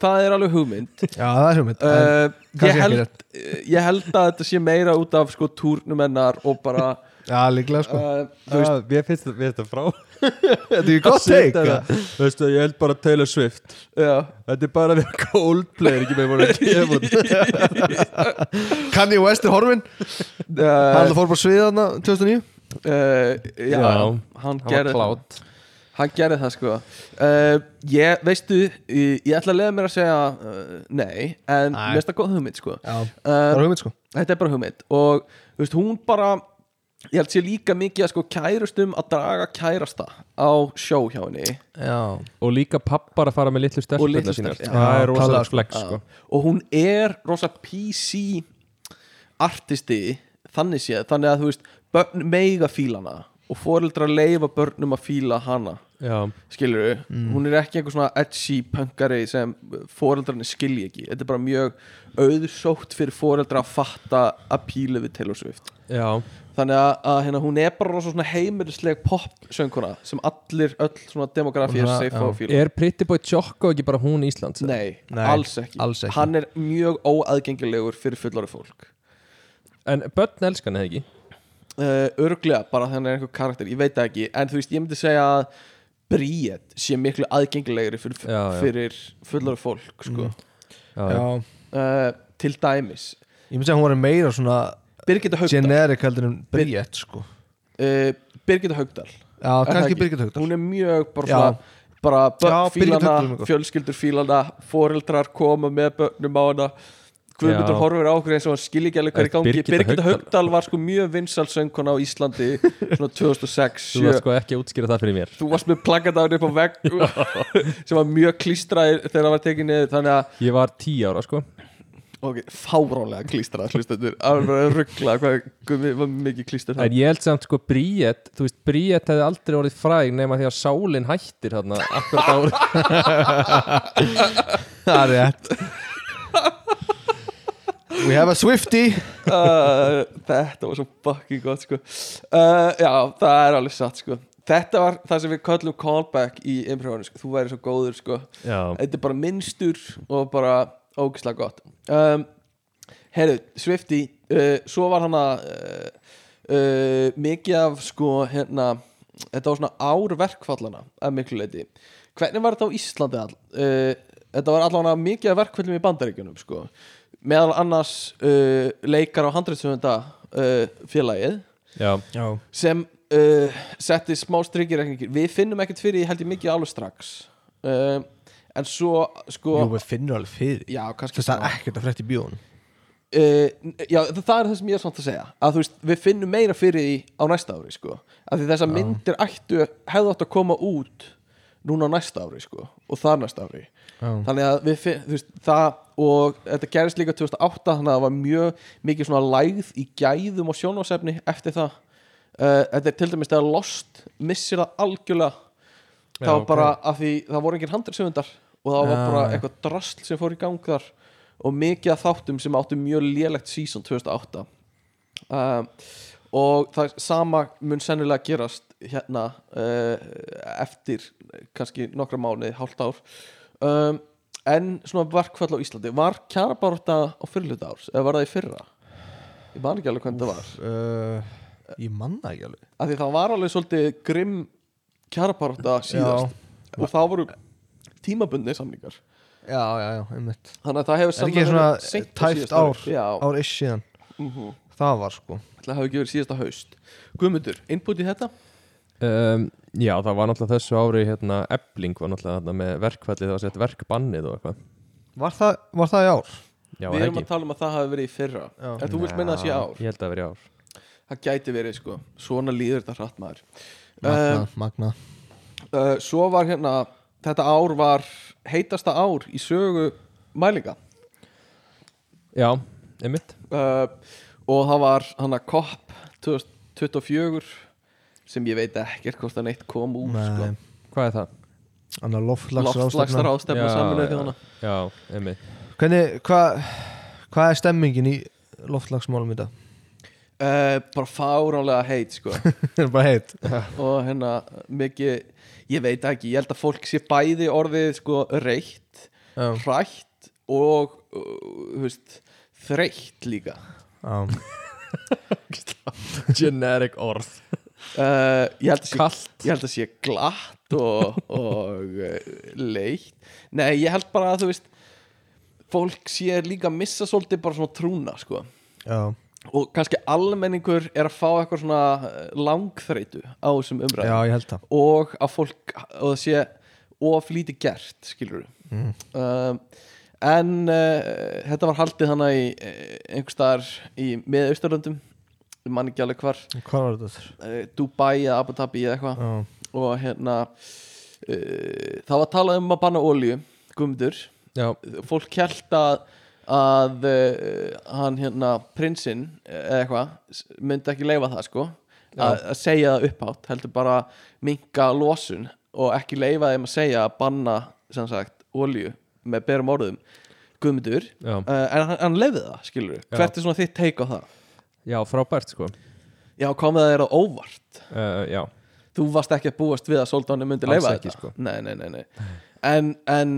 Það er alveg hugmynd Já, það er hugmynd Eh. en uh, kannski ég, ekki held, rétt. ég held að þetta sé meira út af sko túrnum hennar og bara [LAUGHS] Já, líklega sko uh, þú veist, Ah, Mér finnst þetta- mér finnst þetta frá [LAUGHS] Þetta er ekki gott teik eða? Veistu, ég held bara Taylor Swift uh, já Þetta er bara að vera Coldplay er ekki með voru að gefa út. Kanye West er horfin Eh. Hann uh, alltaf fór bara sviðana 2009 uh, já, Já, hann var gerði það klát. hann gerði það sko uh, ég, veistu, ég, ég ætla að leiða mér að segja uh, nei, en Nei. mér finnst það góð hugmynd sko Já, Eh. það uh, var hugmynd sko þetta er bara hugmynd og þú veist, hún bara ég held sér líka mikið að sko kærustum að draga kærasta á sjó hjá henni Já Og líka pappar að fara með litlu Og litlu stelpurnar sínar stelpur, já. Það er rosalega Klálega, sko. flex sko. og hún er rosa PC artisti þannig séð, þannig að þú veist börn meiga fílana og foreldrar leifa börnum að fíla hana Já, skilur við, hún er ekki einhver svona edgy punkari sem foreldrarnir skilji ekki, þetta er bara mjög auðsótt fyrir foreldra að fatta að píla við Taylor Swift já þannig að, að hérna, hún er bara rosa svona heimilisleg popsönguna sem allir öll svona demografið er Svona, safe á að fíla Er Pretty Boy Choco ekki bara hún Íslands? Nei, Nei, alls, ekki. alls ekki. hann er mjög óaðgengilegur fyrir fullari fólk En börn elskan eða ekki? uh, örglega bara þegar hann er einhver karakter ég veit það ekki, en þú veist, ég myndi segja að Bríett sé miklu aðgengilegri fyrir, Já, já. fyrir fullara fólk sko. já, já. Já, uh, til dæmis ég myndi að hún var meira svona Birgitta Haugdal uh, generic heldur en Bríett sko Birgitta Haugdal Já, Er það kannski ekki? Birgit Haugdal hún er mjög bara Já. svona bara Já, Birgit börn Haukdal er fílana, mjög góð. fjölskyldur fílana foreldrar koma með börnum á hana Guðmundur Já. horfir á okkur eins og hann skilji ekki alveg hvað er í Er gangi Birgitta Birgitta Haukdal- Haugdal var sko mjög vinsal söngkona á Íslandi [LAUGHS] svona 2006 Þú varst sko ekki að útskýra það fyrir mér þú varst með plakkatáðin upp á [LAUGHS] vegg sem var mjög klístraðir þegar það var tekið niður þannig að Ég var 10 ára sko ok, fárálega klístrað hlustendur að ruggla hvað Gumi var mikið klístrað En ég held samt sko Bríett Þú veist Bríett hefði aldrei orðið fræg nema því að sálinn hættir þarna akkurat árið Það er rétt We have a Swifty uh, þetta var svo fucking gott sko. uh, já, það er alveg satt sko. þetta var það sem við kallum callback í improvánu, sko. þú væri svo góður sko. Já, þetta er bara minnstur og bara ógislega gott um, heyrðu, Swifty uh, svo var hann að uh, uh, mikið af sko hérna, þetta var svona árverkfallana að miklu leiti hvernig var þetta á Íslandi all? Uh, þetta var allavega mikið af verkfallum í bandaríkjunum sko meðal annars uh, leikar á 100. Uh, félagið já, Já sem uh, setti smá strikir við finnum ekkert fyrir, ég held ég mikið alveg strax uh, en svo sko, Jú, við finnum alveg fyrir já, kannski Þess að smá. ekkert að frétt í bjóðun uh, já, það, það er það sem ég er samt að segja að þú veist, við finnum meira fyrir því á næsta ári sko, af því þessar myndir ættu, hefðu átt að koma út núna á næsta ári sko, og þar næsta ári þannig að við finn, þú veist, það og þetta gerist líka 2008 þannig að það var mjög mikið svona lægð í gæðum og sjónvarsefni eftir það uh, þetta er til dæmis þegar Lost missir það algjörlega það Já, var bara af því það voru enginn handriðsöfundar og það var Já, bara já. eitthvað drasl sem fór í gang þar og mikið af þáttum sem áttu mjög lélegt season 2008 um, og það sama mun sennilega gerast hérna uh, eftir kannski nokkra mánuði, hálft ár um, en svona verkfall á Íslandi var kjarabarta á fyrirluta árs eða var það í fyrra ég man ekki alveg hvernig það var uh, Ég manna ekki alveg af því það var alveg svolítið grimm kjarabarta síðast og þá voru tímabundni samlingar Já, já, já, einmitt þannig að það Er hefur ekki sannlega svona verið seint á tæpt síðasta ári. ár, já, ár ish síðan uh -huh. Það var sko það hefur ekki verið síðasta haust Guðmundur, innbútið þetta? um, já það var náttúrulega þessu ári hérna, Ebling var náttúrulega hérna, með verkfallið það var sett verkbannið og eitthvað Var það, var það í ár? Já, Við er erum að tala um að það hafi verið í fyrra Já. En þú vilt minna það sé Já, ár Ég held að það veri ár Það gæti verið sko Svona líður þetta hratt maður Magna, uh, magna uh, Svo var hérna Þetta ár var heitasta ár í sögu mælinga Já, einmitt uh, Og það var hana COP 2024 Sem ég veit ekkert hvort það neitt kom úr sko. Nei, Hvað er það? annar Loftslagstar loftlagsrástefna ástefna Já, saminu já. Já, [LAUGHS] einmitt Hvernig, hvað Hvað er stemmingin í loftlagsmálum í dag? uh, Bara fáránlega heit sko Það er [LAUGHS] bara heit og hérna mikið, ég veit ekki, ég held að fólk sé bæði orðið sko reitt Já. hrætt og uh, þú veist, þreytt líka Já, Generic orð uh, ég, held að sé, Kalt ég held að sé glatt og, og uh, leitt nei, ég held bara að þú veist fólk sé líka að missa svolítið bara svona trúna sko já og kannski almenningur er að fá eitthvað svona eh, langþreytu á þessum umræðum Já, ég held það og að fólk og það sé of lítið gert skilur við um, en uh, þetta var haldið hana í eh, einhvers staðar í miðausturlöndum ég man ekki alveg hvar Hvað var þetta þurr? uh, Dubai eða Abu Dhabi eða eitthvað Já, og hérna uh, það var talað um að banna olíu gumdur Já, fólk held að að uh, hann hérna prinsinn eða eitthvað s- myndi ekki leifa það sko að að segja það upphátt heldur bara minka losun og ekki leifa þeim að segja að banna sem sagt olju með berum orðum guðmundur já, uh, en hann, hann leiði það skilur við Já. hvert er svona þitt teik á það já frábært sko já komið það er á óvart uh, Já, þú varst ekki að búast við að Soldánni myndi Alls leifa ekki, þetta sko. nei, nei, nei, nei. En, en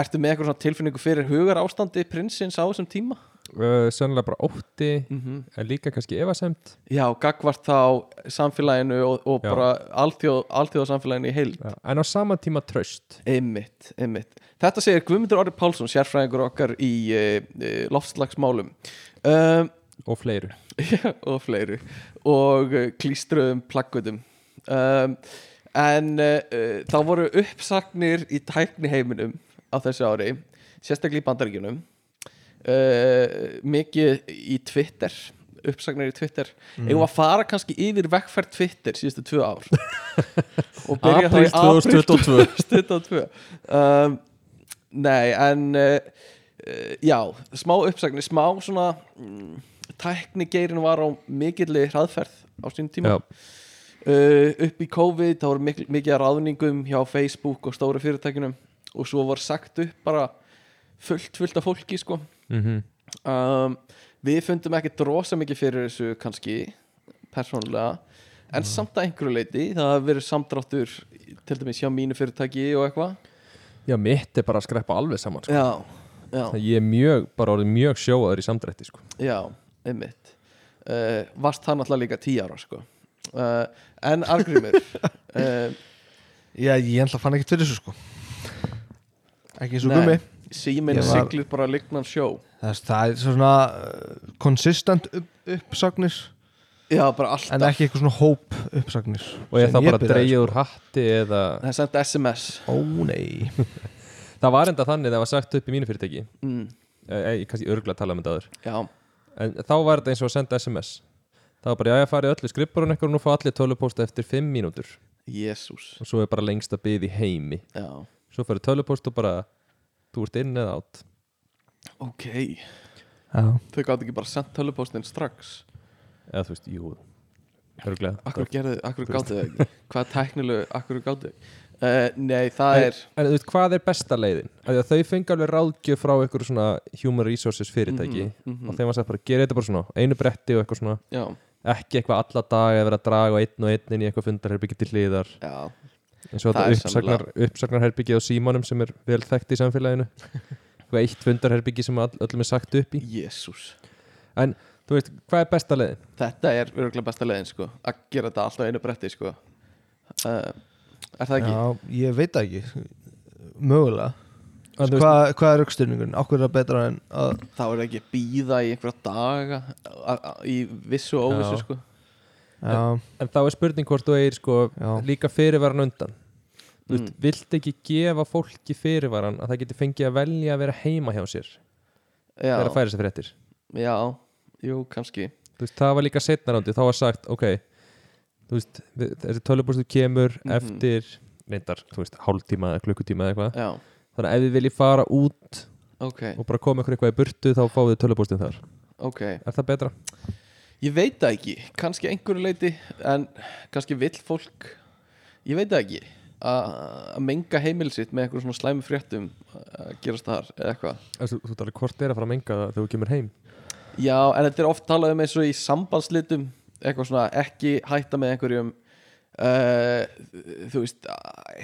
ertu með eitthvað svona tilfinningu fyrir hugar ástandi prinsins á þessum tíma? uh, sennilega bara ótti Mhm. en líka kannski efasemt Já, gagvart þá samfélaginu og, og Já. bara alþjóð, alþjóðsamfélaginu í heild Já, en á sama tíma tröst Einmitt, einmitt. Þetta segir Guðmundur Orri Pálsson, sérfræðingur okkar í uh, loftslagsmálum um, og fleiru [LAUGHS] og fleiru og eh, klístruðum plaggutum um, en uh, þá voru uppsagnir í tækni heiminum á þessu ári sérstaklega í bandaríkjunum uh, mikið í Twitter uppsagnir í Twitter mm. eigum að fara kannski yfir vegferð Twitter síðustu tvö [LAUGHS] ár og byrja þá í apríl 2022 2022 um, Nei, en uh, uh, já, smá uppsagnir smá svona mm, tæknigeirin var á mikilli hraðferð á sín tíma Já. uh, upp í COVID, þá voru mikil, mikið af ráðningum hjá Facebook og stóru fyrirtækinum og svo var sagt upp bara fullt, fullt af fólki sko mm um, Við fundum ekki drosa mikið fyrir þessu kannski persónulega en samt að einhverju leiti það hafa verið samdráttur til dæmis hjá mínu fyrirtæki og eitthvað Já, mitt er bara að skreppa alveg saman sko. Já, já, Ég er mjög, bara orðið mjög sjóaður í samdrætti sko. já, einmitt uh, Varst hann alltaf líka tíu ára sko. uh, En Argrímur uh, Já, ég ætla að fann ekkert fyrir þessu sko Ekki eins og nei, gummi Síminn Ég var- siglir bara lignan sjó Það er, það er svona uh, konsistent upp, uppsagnir Já, bara en alltaf ekki eitthvað svona hóp uppsagnir og ég Sem þá bara byrjaði, dreigja úr hatti eða... Það er sent SMS sko. Ó nei það var enda þannig það var sagt upp í mínu fyrirtæki mm, Eh, ég kannski örgulega tala um þetta aður Já, en þá var þetta eins og að senda sms það var bara, já, ég farið öllu skrippurinn eitthvað og nú fá allir tölupósta eftir 5 mínútur Jésús og svo er bara lengst að byði heimi Já, svo farið tölupóst og bara þú ert inn eða átt ok Já. Þau gátt ekki bara sent tölupóstin strax eða þú veist, jú, örgulega Akkur gerðu, akkur gáttu þau ekki Hvað tæknilegu, akkur gáttu þau uh, Nei, það er en þú veist, hvað er besta leiðin? Af því að þau fengi alveg ráðgjöf frá einhverju svona human resources fyrirtæki Mm-hmm. Mhm, og þeim var sagt bara, gera þetta bara svona einu bretti og eitthvað svona, Já, ekki eitthvað alla dag eða vera að draga einn og einn inn í eitthvað fundarherbyggi til hliðar já eins og Það þetta er uppsagnar, uppsagnarherbyggi á símanum sem er vel þekkt í [LAUGHS] samfélaginu eitthvað eitt fundarherbyggi sem all, öllum er sagt upp í Jésús en þú veist, hvað er besta leiðin? Þetta er örgulega besta leiðin sko að gera þetta alltaf á einu bretti sko uh, Er það ekki? Já, ég veit það ekki mögulega Sko- En þú veist, Hva, hvað er rauksturningun? Okkur er það betra en að Þá er það ekki að býða í einhverja daga a- a- í vissu og Já. óvissu sko Já, en þá er spurning hvort þú eigir sko Já. líka fyrirvaran undan þú veist, Mm. vilt ekki gefa fólki fyrirvaran að það geti fengið að velja að vera heima hjá sér Já, þegar að færa sér fréttir já, jú, kannski þú veist, það var líka setna rándi, þá var sagt ok, þú veist, við- þessi tölubústu kemur Mhm. eftir reyndar, þú veist, hálftíma eða klukkutíma eða eitthvað Já, þannig að ef þið viljið fara út ok, og bara koma ykkur eitthvað í burtu þá fáum við tölupóstin þar ok er það betra? Ég veit það ekki, kannski einhverju leiti en kannski vill fólk ég veit það ekki a- að menga heimil sitt með einhverjum svona slæmi fréttum að gerast þar eða eitthvað Þú ert alveg hvort er að fara að menga það þegar þú kemur heim Já, en þetta er oft talað um eins og í sambandslitum eitthvað svona ekki hætta með einhverjum uh, þú veist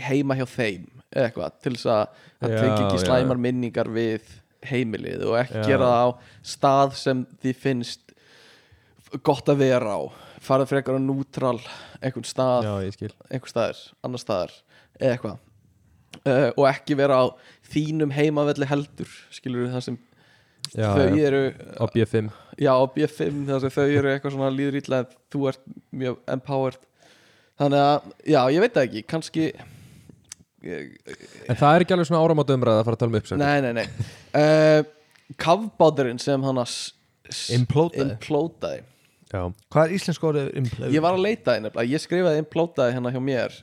heima hjá þeim eða eitthvað til þess að það Já, tengja ekki já, slæmar minningar við heimilið og ekki Já. gera það á stað sem því finnst gott að vera á fara frekar á nútral einhvern stað, Já, ég skil einhvern staðar, annar staðar eða eitthvað uh, og ekki vera á þínum heimavelli heldur skilur við það sem já, þau já. eru Á B5 Já, á B5 þar sem þau eru eitthvað svona líður illa en þú ert mjög empowered Þannig að, já, ég veit það ekki, kannski Nei, En það er ekki alveg svona áramóta umræða að fara að tala um uppsökk nei, nei uh, Kafbáturinn sem hann að s- implótaði implótaði Já, Hvað er íslensk orðið implótaði? Ég var að leita því nefnilega, ég skrifaði implótaði hérna hjá mér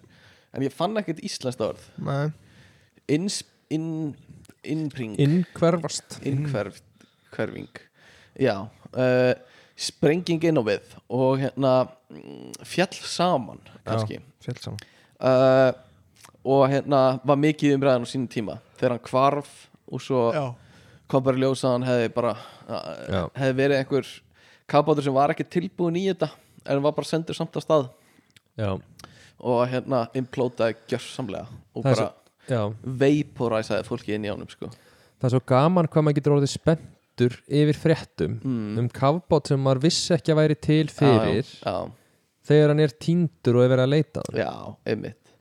En ég fann ekkert íslenskt orð Nei, Ins, inn, innpring innkverfast innhverfing hverfing. já uh, sprenging inn á við og hérna mm, fjall saman kannski féll saman uh, og hérna var mikið umræðan á sínum tíma þegar hann hvarf og svo já. kom bara í ljós að hann hefði bara Já. uh, hefði verið einhver kapátur sem var ekki tilbúin í þetta en var bara sendur samt að stað Já, og hérna implótaði gjörsamlega og Það er bara já vaporæsaði fólki inn í ánum sko. Það er svo gaman hvað maður getur orðið spennt lettur yfir fréttum Mm. um kafbát sem maður vissi ekki að væri til fyrir Já, já, þegar hann er týndur og er verið að leita að honum. já, einmitt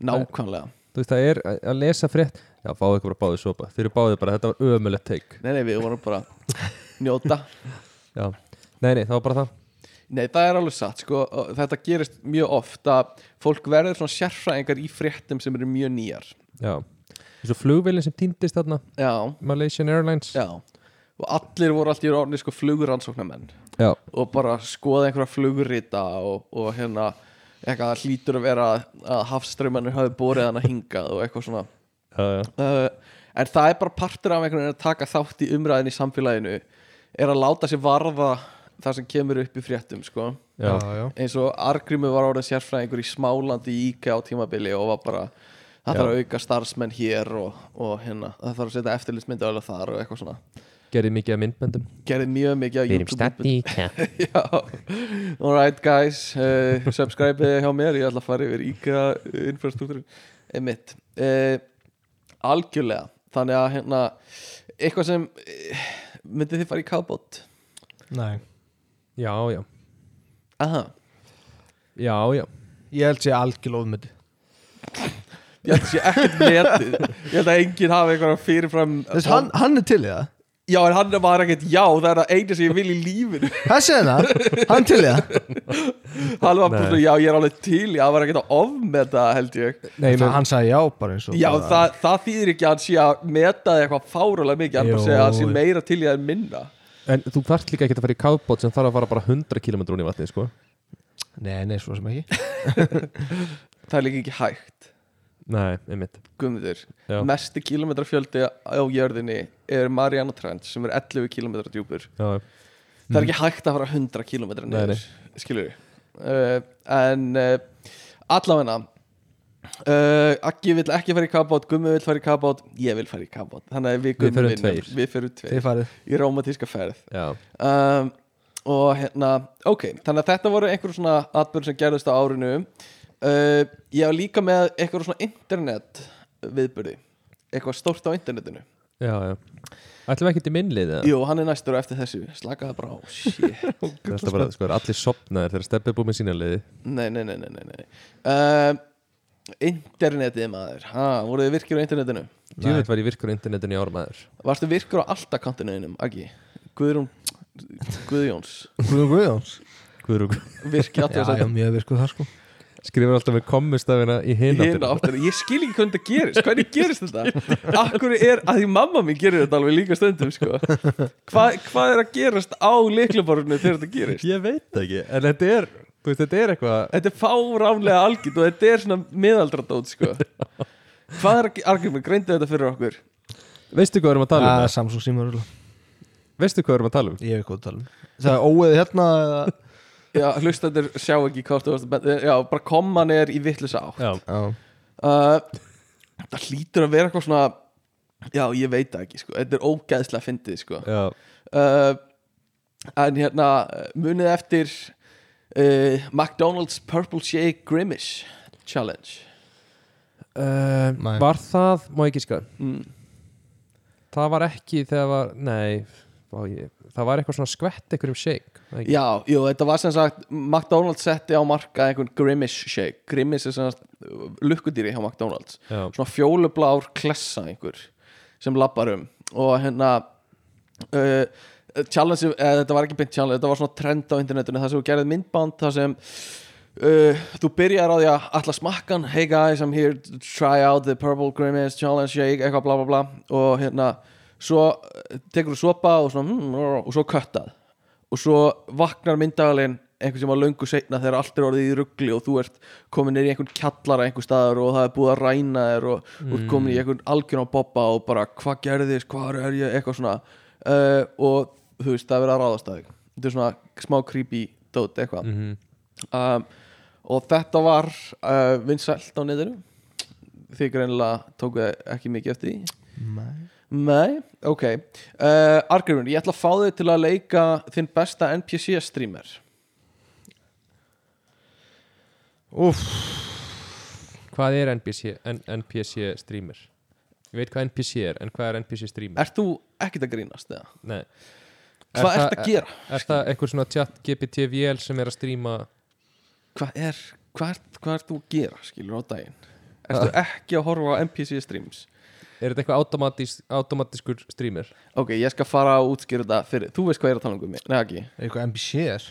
Nákvæmlega þú veist það er að- að lesa frétt já fáðu ykkur að báðu sopa þeir eru báðu bara þetta var ömulegt teik Nei, nei, við vorum bara að njóta já nei nei það var bara það Nei, það er alveg satt, sko og Þetta gerist mjög oft að fólk verður svona sérfræðingar í fréttum sem eru mjög nýjar já eins og flugvillin sem týndist þarna Já, Malaysian Airlines já Og allir voru allt í orðni sko flugurannsóknarmenn já og bara skoða einhverja flugurita og, og hérna eitthvað það hlýtur að vera að hafströmmanir hafi borið hann að hingað og eitthvað svona já, já. uh, en það er bara partur af einhvern veginn að taka þátt í umræðin í samfélaginu er að láta sér varða það sem kemur upp í fréttum sko. Já. já. eins og Argrimur var orðin sérfræðingur í smálandi í IKEA á tímabili og var bara það þarf að auka starfsmenn hér og, og hérna, það þarf að setja eftirlitsmyndi alveg þar og eitthvað svona gerði mikið af myndböndum gerði mjög mikið á YouTube IKEA [LAUGHS] Já, alright guys uh, subscribe hjá mér, ég ætla að fara yfir IKEA infrastruktúrin emitt uh, algjörlega, þannig að hérna eitthvað sem uh, myndið þið fara í kábót Nei. já já aha, já já ég held sé algjörlega ofmyndi ég held að sé ekkert metið ég held að enginn hafi einhverja fyrirfram Þess, hann, hann er til í það já, en hann var ekkert já, það er það eina sem ég vil í lífinu þessi er það, hann til í það hann var bara Nei. svona, já, ég er alveg til já, hann var ekkert að ofmeta, held ég nei það menn hann sagði já bara eins og Já, bara, það, það þýðir ekki að hann sé að meta þig eitthvað fárulega mikið, hann bara Jú. segja að hann sé meira til í það en minna En þú þarft líka ekki að fara í kafbót sem þarf að fara bara 100 km unni vatni, sko nei, nei, svo sem [LAUGHS] ekki Það er líka ekki hægt, Nei, einmitt guðmundur Já. Mesti kilometrafjöldi á jörðinni er Mariana Trench sem er 11 km djúpur Já, Það er ekki hægt að fara 100 km Mm. Nei, nei. niður, skilur við uh, En uh, allavegna uh, Akki vill ekki fara í kabát, Gummi vill fara í kabát Ég vil fara í kabát, þannig að við Við Gummi förum vinnum. tveir. Við fyrir þið tveir farið Í rómatíska ferð já, um, og hérna, ok, þannig að þetta voru einhver svona atbyrð sem gerðist á árinu uh, ég var líka með eitthvað svona internet viðbyrði eitthvað stórt á internetinu já, já. Ætlum við ekki til minnlið eða? jú, hann er næstur á eftir þessu, slakaði bara á shit, Þetta er bara, sko, er allir sopnaðir þegar steppið búið með sína liði nei, nei, nei, nei, nei, nei. Um, internetið maður, ha, voruð þið virkir á internetinu Tjúfett var ég virkur á internetinu í ármaður varstu virkur á alltakantinuðinum, Aggi Guðrún Guðjóns Guðjón Guðjóns Guðrúk virki já, alltaf já, mjög virkuð það sko Skrifur alltaf með kommustafina í hinn hináttina áttina ég skil ekki hvernig þetta gerist, hvernig [LAUGHS] gerist þetta akkur er, að því mamma mín gerir þetta alveg líka stundum sko Hva, hvað er að gerast á leiklaborðinu þegar þetta gerist Ég veit það ekki, en þetta er, þú veist, þetta er eitthvað þetta er fáránlega algjörn og þetta er svona miðaldradót sko hvað er að argument, greindi þetta fyrir okkur Veistu hvað við erum að tala um? Já, Samsung símur Veistu hvað við erum að tala um? ég veit hvað það tala um það er óeðið hérna eða- já, hlustandur sjá ekki hvað þú varst að benda já, bara komman er í vittlusa átt Já, já, uh, það hlýtur að vera eitthvað svona já, ég veit það ekki sko þetta er ógæðslega fyndið sko já, uh, en hérna munið eftir uh, McDonald's Purple Shake Grimace Challenge uh, Nei. Var það, má ég ekki skar mm. Það var ekki þegar var, nei vá, ég, Það var eitthvað svona skvett einhverjum shake það ekki? já, jú, þetta var sem sagt McDonald's setti á marka einhvern Grimace Shake Grimace er sem sagt uh, lukkudýri hjá McDonald's Já. svona fjólublár klessa einhver sem labbar um og hérna uh, challenge, eða þetta var ekki beint challenge þetta var svona trend á internetinu þar sem þú gerðið myndband þar sem uh, þú byrjar á því að alla smakkan hey guys I'm here to try out the purple grimace challenge shake eitthvað bla bla bla og hérna svo eh, tekur þú sopa og svona hmm, og svo köttað og svo vaknar myndagalinn einhvern sem var löngu seinna þegar allt er orðið í ruggli og þú ert komin nýr í einhvern kjallara einhver staðar og það er búið að ræna þér og þú ert komin í einhvern algjörn á bobba og bara hvað gerðist, hvað er ég, eitthvað svona uh, og þú veist, það er verið að ráðast að þig þetta er svona smá creepy dót eitthvað um, og þetta var uh, vinsælt á netinu þið greinilega tókuð ekki mikið eftir því Nei. Nei, ok uh, Argrifun, ég ætla að fá þig til að leika þinn besta NPC streamer Úff, Hvað er NPC, N NPC streamer? Ég veit hvað NPC er, en hvað er NPC streamer? Ert þú ekkert að grínast eða? Nei Hvað það- ert að gera? Er það einhver svona chat GPT-VL sem er að stríma Hvað er, hvað, ert- hvað ert þú að gera skilur á daginn? Ertu ekki að horfa á NPC streams? Er þetta eitthvað automatis, automatiskur streamer? Ok, ég skal fara að útskýra þetta fyrir Þú veist hvað ég er að tala um mig, neða ekki Eitthvað MBC er?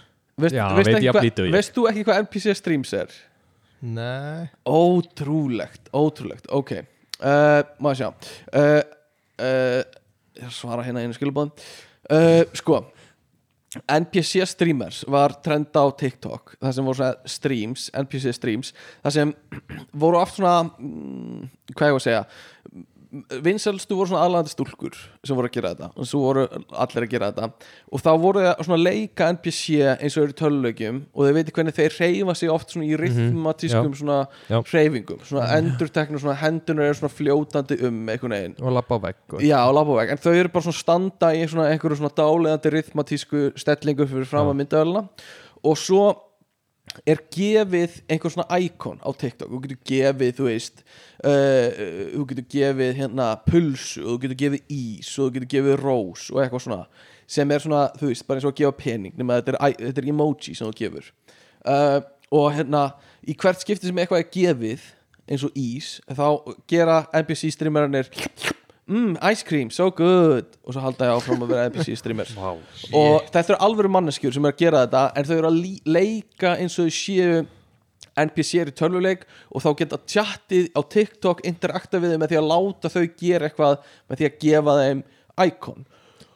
Veist, Já, veist veit ekki ég hvað- jafnlítið og ég. Veist þú ekki hvað NPC streams er? Nei Ótrúlegt, ótrúlegt, ok uh, Maður sjá uh, uh, Ég er að svara hérna einu skilubóðum uh, Sko NPC streamers var trend á TikTok Það sem voru svona streams, NPC streams Það sem [CLEARS THROAT] voru oft svona mm, Hvað ég var að segja Vinselstu voru svona aðlandi stúlkur sem voru að gera þetta og svo voru allir að gera þetta og þá voru það svona að leika NPC eins og eru í tölulegjum og þau veitir hvernig þeir reyfa sig oft svona í rytmatískum svona Já. hreyfingum svona endurteknum, svona hendunar eru svona fljótandi um einhvern veginn Og lappa á vegg og... já, á labaveg, en þau eru bara svona standa í svona einhverju svona dáleðandi rytmatísku stellingu fyrir fram að myndaöluna og svo er gefið einhver svona íkon á TikTok þú getur gefið, þú veist uh, þú getur gefið hérna pulsu, þú getur gefið ís og þú getur gefið rós og eitthvað svona sem er svona, þú veist, bara eins og að gefa pening nema þetta er, æ- þetta er emoji sem þú gefur uh, og hérna í hvert skipti sem eitthvað er gefið eins og ís, þá gera NPC streamerarnir mm, ice cream, so good og svo halda ég áfram að vera NPC streamer wow, og þetta eru alvöru manneskjur sem eru að gera þetta en þau eru að lí- leika eins og þau séu NPC er í tölvuleik og þá geta chatið á TikTok interakta við þau með því að láta þau gera eitthvað með því að gefa þeim icon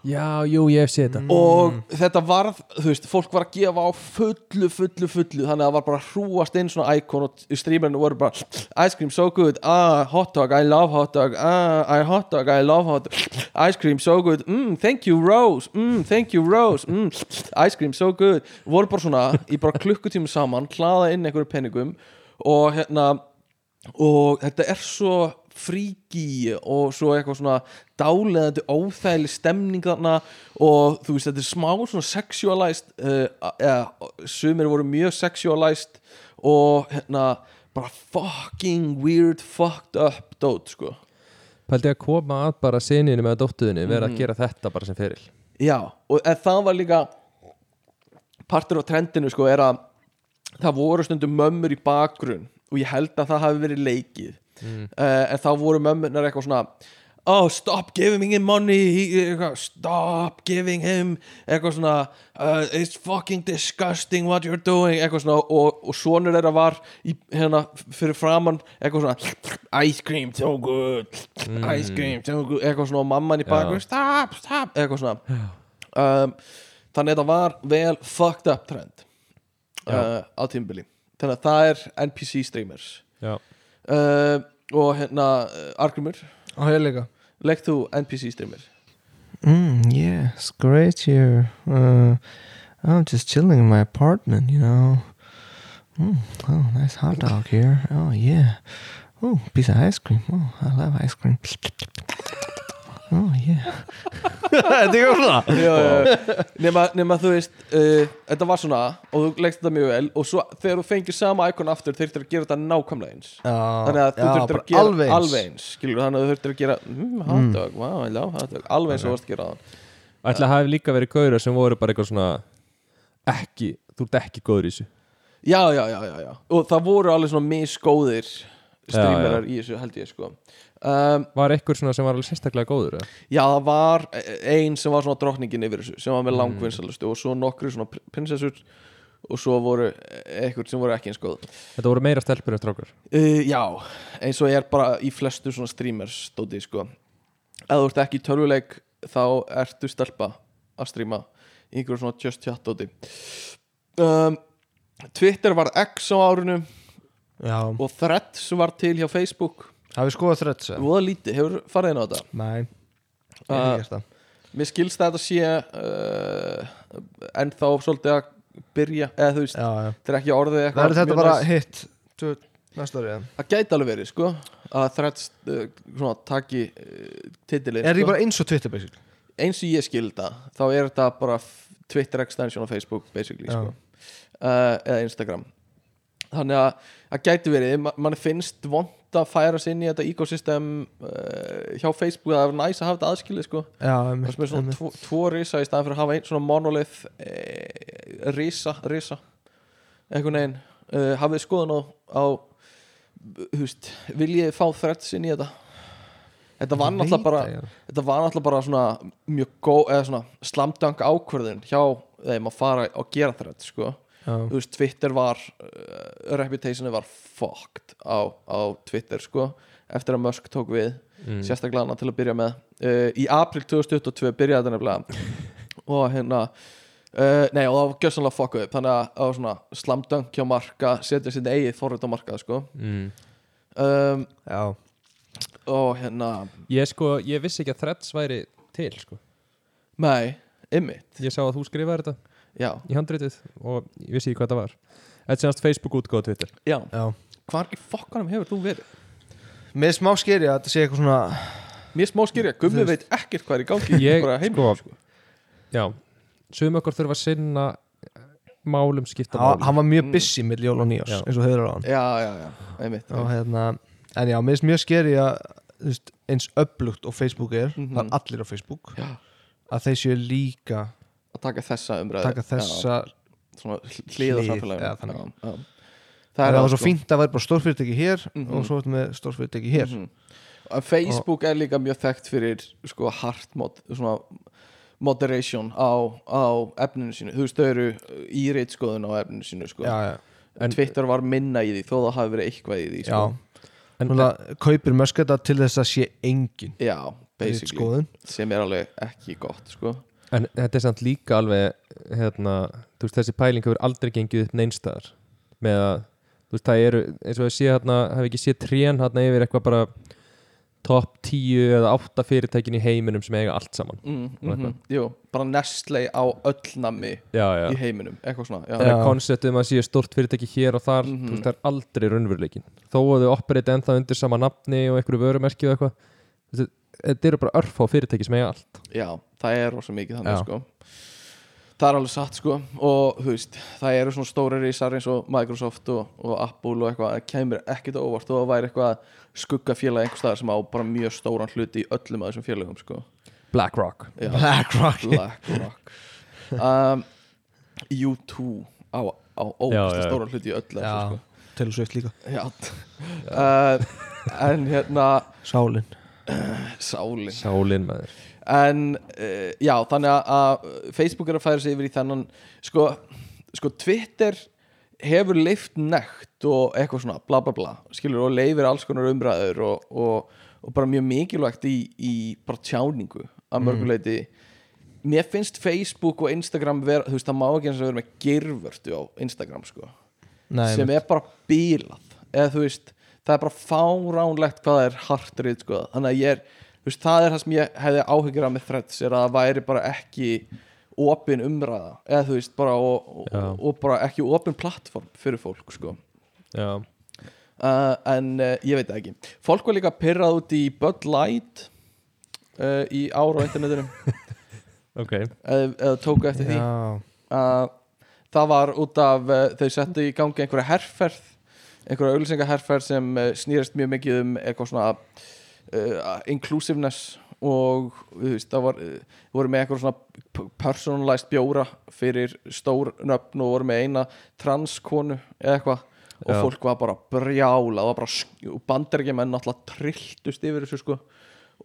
já, jú, ég hef séð Mm. þetta og þetta varð, þú veist, fólk var að gefa á fullu, fullu, fullu þannig að það var bara að hrúast inn svona íkon og streamerinu voru bara ice cream so good, ah, hot dog, I love hot dog ah, I hot dog, I love hot dog ice cream so good, mm, thank you Rose mm, thank you Rose mm, ice cream so good, voru bara svona í bara klukkutími saman, hlaða inn einhverju penningum og hérna og þetta er svo fríki og svo eitthvað svona dáleðandi óþægileg stemning þarna og þú veist þetta er smá svona sexualized uh, eða, sumir voru mjög sexualized og hérna bara fucking weird fucked up dót sko Pældi að koma að bara sininu með dóttuðinu vera að gera þetta bara sem feril Já, og en það var líka partur á trendinu sko er að það voru stundum mömmur í bakgrunn og ég held að það hafi verið leikið uh, en þá voru mömmunar eitthvað svona oh stop giving him money he- eitthvað, stop giving him eitthvað svona uh, it's fucking disgusting what you're doing eitthvað svona og, og sonur þeirra var í, hérna fyrir framann eitthvað svona ice cream so good ice cream so good eitthvað svona og mamman í bakgrunn stop stop eitthvað svona um, þannig að þetta var vel fucked up trend uh, á tímbili þannig að það er NPC streamers Já uh, og hérna uh, Argrymur, Á ég líka legg þú NPC streamer Mm, yeah, it's great here. Uh, I'm just chilling in my apartment, you know. Mm, oh, nice hot dog here. Oh, yeah. Oh, piece of ice cream. Oh, I love ice cream. [LAUGHS] Oh, yeah. [LAUGHS] Þetta er svona. [LAUGHS] já, já. uh, nema, nema þú veist uh, þetta var svona og þú leggst þetta mjög vel og svo þegar þú fengir sama íkon aftur þeir þurftir að gera þetta nákvæmlega eins þannig að þú þurftir að gera alveg eins. Ah. alveg eins skilur, þannig að þú þurftir að gera mm, hot dog, wow, I love hot dog alveg eins og þú varst að gera þann Ætla að hafi líka verið gauðra sem voru bara eitthvað svona ekki, þú ert ekki góður í þessu já, já, já, já, já og það voru alveg svona misgóðir streamerar í þessu held ég sko um, Var eitthvað svona sem var alveg sérstaklega góður eða? já, það var ein sem var svona drottningin yfir þessu sem var með langvinsalustu og svo nokkru svona pr- prinsessur og svo voru eitthvað sem voru ekki eins góð Þetta voru meira stelpur en strákar Uh, já, eins og ég er bara í flestu svona streamers stóti sko Ef þú ert ekki í tölvuleik þá ertu stelpa að streama í einhverjum svona just chat stóti um, Twitter var X á árinu Já, og Threads var til hjá Facebook hafið skoðað þrödd sem? Voða lítið, hefur farið inn á þetta Nei, ég hef Uh, ekki gert það. Mér skilst að þetta sé uh, ennþá svolítið að byrja eða þú veist, Já, já. þetta er ekki orðið eitthvað Verður þetta mjög bara næs. hitt tvö- næsta árið? eða? Það gæti alveg verið sko að Threads uh, svona taki uh, titili Er sko. því bara eins og Twitter, basically? eins og ég skil það þá er þetta bara f- Twitter extension á Facebook basically Já. sko. Eh, uh, eða Instagram þannig að það gæti verið, ma mann finnst vond gott að færa sig inn í þetta ecosystem uh, hjá Facebook það er næs að hafa þetta aðskilið sko já, það einmitt, sem er svona einmitt. tvo, tvo risa í staðan fyrir að hafa einn svona monolith eh, risa, risa einhvern veginn uh, hafið þið skoðun á, á húst, viljið þið fá threads inn í þetta þetta var Ég náttúrulega veit bara það, já. þetta var náttúrulega bara svona mjög góð eða svona slamdang ákvörðun hjá þeim að fara og gera þrætt sko. Já. þú veist Twitter var uh, reputationi var fucked á, á Twitter sko eftir að Musk tók við sérstaklega hana til að byrja með uh, í april 2022 byrjaði þetta nefnilega og hérna uh, nei og það var gjössanlega fuckuð upp þannig að það var svona slamdang hjá marka setja sinni eigið forrönd á marka sko Mm. um, já, og hérna Ég sko, ég vissi ekki að Threads væri til sko. nei, ymmi, Ég sá að þú skrifaði þetta já, í handritið og ég vissi ekki hvað þetta var Þetta séðast Facebook útgóð Twitter já já hvar í fokkanum hefur þú verið? Mér er smá skeri að þetta sé eitthvað svona Mér er smá skýrja, gummi Þú veit ekkert hvað er í gangi Ég, bara heim, sko, Já, sögum okkur þurfa að sinna málum skipta hann, málum hann var mjög Mm. busy með jól og nýjás Já. eins og höfður á hann Já, já, já, einmitt og hérna, en já, mér er mjög skeri að þú veist, eins öflugt og Facebook er Mhm. það er allir á Facebook Já. að þeir séu líka Að taka þessa umræðu taka þessa já, Svona hlið á Hlið, samfélaginu já, já, þannig. já. það er allt, það svo sko. fínt að vera bara stórfyrirtæki hér Mhm. og svo ertu með stórfyrirtæki hér Mhm. Að Facebook er líka mjög þekkt fyrir sko hart mod, svona moderation á, á efninu sínu, þú veist þau eru í reitskoðun á efninu sínu sko. já, já, En- Twitter var minna í því þó það hafi verið eitthvað í því já. sko. En- Núna, kaupir möskata til þess að sé engin já. basically, skoðun sem er alveg ekki gott sko. En þetta er samt líka alveg hérna, þú veist, þessi pæling hefur aldrei gengið upp neinstæðar með að, þú veist, það eru eins og að sé hérna, hef ekki séð trén hérna yfir eitthvað bara top 10 eða 8 fyrirtækin í heiminum sem eiga allt saman mm, Og mm eitthvað. Jú, bara nestlei á öll nami Já, já, í heiminum, eitthvað svona já. það Já. er koncept um að séu stort fyrirtæki hér og þar Mhm. þú veist, það er aldrei raunveruleikin þó að þau operate ennþá undir sama nafni og einhverju vörumerki og eitthvað Þú veist, þetta eru bara örf á fyrirtæki sem eiga allt Já, það er rosa mikið þannig Já. sko Það er alveg satt sko og þú veist, það eru svona stóri risar eins og Microsoft og, og Apple og eitthvað það kemur ekkert á óvart og það væri eitthvað skuggafélag einhvers staðar sem á bara mjög stóran hluti í öllum af þessum félagum sko BlackRock Já, BlackRock BlackRock um, U2 á, á Já, óvart já. stóran hluti í öllu af Já. þessu, til þess líka sko. Já. Uh, en hérna sálin sálin Sálin maður en uh, já, þannig að- að Facebook er að færa sig yfir í þennan sko, sko Twitter hefur leift nekt og eitthvað svona bla bla bla skilur og leifir alls konar umræður og, og, og bara mjög mikilvægt í, í bara tjáningu að mörguleiti mér finnst Facebook og Instagram vera, þú veist það má ekki eins og vera með girvörtu á Instagram sko Nei, sem einmitt. er bara bílað eða þú veist, það er bara fáránlegt hvað það er hartrið sko þannig að ég er, þú veist, það er það sem ég hefði áhyggjur af með threads er að það væri bara ekki opin umræða eða þú veist, bara og, Já. og, og bara ekki opin plattform fyrir fólk sko Já, uh, en uh, ég veit það ekki fólk var líka pyrrað út í Bud Light uh, í ár á internetinu [LAUGHS] ok eða, eða tóku eftir því já, að það var út af uh, þau settu í gangi einhverja herrferð einhverja auðlýsingaherrferð sem uh, snýrist mjög mikið um eitthvað svona uh, inclusiveness og þú veist, það var, uh, voru með eitthvað svona p- personalized bjóra fyrir stór nöfn og voru með eina transkonu eða eitthvað og Já. fólk var bara brjála það var bara, sk- og bandaríkjumenn náttúrulega trilltust yfir þessu sko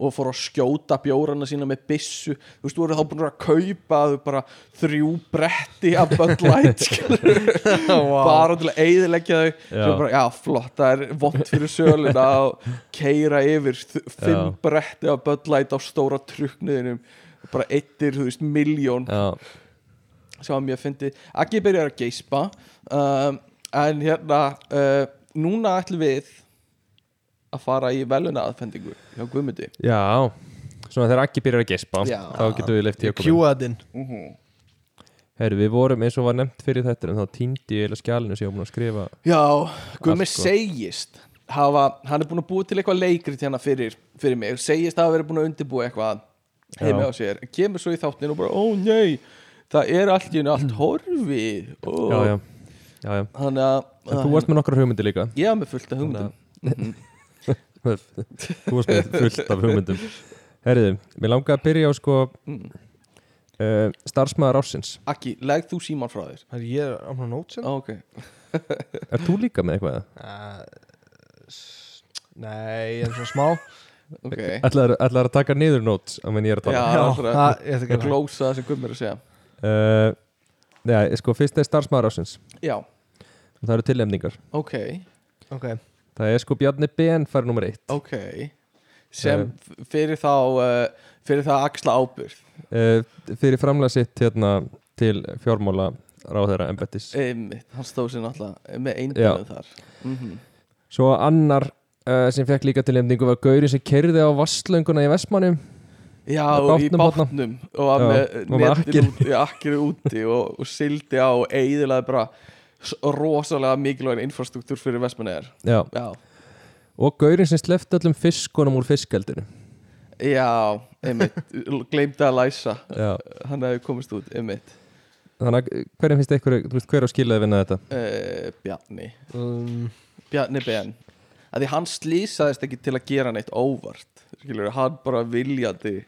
og fór að skjóta bjórana sína með byssu þú veist, þú voru þá búin að kaupa þau bara þrjú bretti af Bud Light skilur [LAUGHS] bara til að eyðileggja þau Já. Svo bara, já, flott, það er vond fyrir [LAUGHS] söluna að keira yfir þ- fimm Já. bretti af Bud Light á stóra trukkniðinum bara eittir, þú veist, miljón Já, sem að mér fyndi Aggi byrjar að geispa um, en hérna uh, núna ætlum við að fara í veluna aðfendingu hjá Guðmundi já. Svona þegar ekki byrjar að gespa Já. þá getum við leift í okkur kjúaðinn Herru, við vorum eins og var nefnt fyrir þetta en þá týndi ég eða skjálinu sem ég var búin að skrifa Já, Gummi Allt gott. segist hafa, hann er búin að búa til eitthvað leikrit hérna fyrir, fyrir mig, segist hafa verið búin að undirbúa eitthvað heima Já. á sér kemur svo í þáttin og bara, ó nei það er allt í henni allt horfið ó. Já, já, já, já. Þannig að hérna, En þú varst með nokkra hugmyndi líka Ég var með fullt af hugmyndum Þú varst með fullt af hugmyndum Herriði, mér langaði að byrja á sko mm. uh, starfsmæður ársins Akki, legg þú síman frá þér Herri, ég er á hann nót sem Ó, ok Er þú líka með eitthvað? Uh, Nei, ég er svona smá Ok Ætlaður ætlaðir að taka niður nót á meðan ég er að tala um? Já, aldrei. það- ég ætla ekki Ég að glóð glósa það sem Guðm er að segja uh, Nei, sko fyrst er starfsmæður ársins Já, og það eru tilnefningar ok Ok, Það er sko Bjarni Ben farið nummer eitt Ok Sem Eh. f- fyrir þá uh, Fyrir það að axla ábyrð uh, Fyrir framlega sitt hérna til fjármála ráðherra embættis Einmitt, hann stóð sér náttúrulega Með Já. eindunum þar mm Svo annar uh, sem fekk líka tilnefningu var Gauri sem kerði á vasslönguna í Vestmannum Já, Með og í bátnum þarna. bátnum og var Já, með og með netin úti, akkir úti og, og sildi á og eiðilaði bara s- rosalega mikilvægin infrastruktúr fyrir Vestmannegar Já, Já, og Gauri sem slefti öllum fiskunum úr fiskeldinu já, einmitt gleymdi að læsa, Já, hann hefði komist út einmitt, þannig að eh, hverjum finnst ykkur, þú veist, hver á skilaði vinna þetta? uh, Bjarni um, Bjarni Ben að því hann slýsaðist ekki til að gera neitt óvart skilur, hann bara viljandi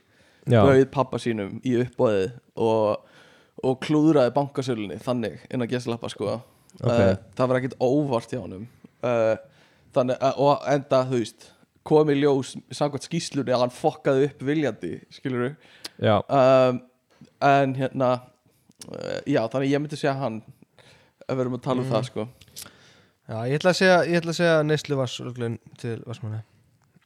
Já, bauð pappa sínum í uppbóðið og, og klúðraði bankasölunni þannig inn að geslappa sko uh, það var ekkit óvart hjá honum uh, þannig, uh, og enda þú veist komið ljós samkvæmt skýslunni að hann fokkaði upp viljandi skilur já, um, en hérna uh, já þannig ég myndi segja hann ef við erum að tala Mm. um það sko Já, ég ætla að segja, ég ætla að segja neyslu vasslöglun til Vassmanni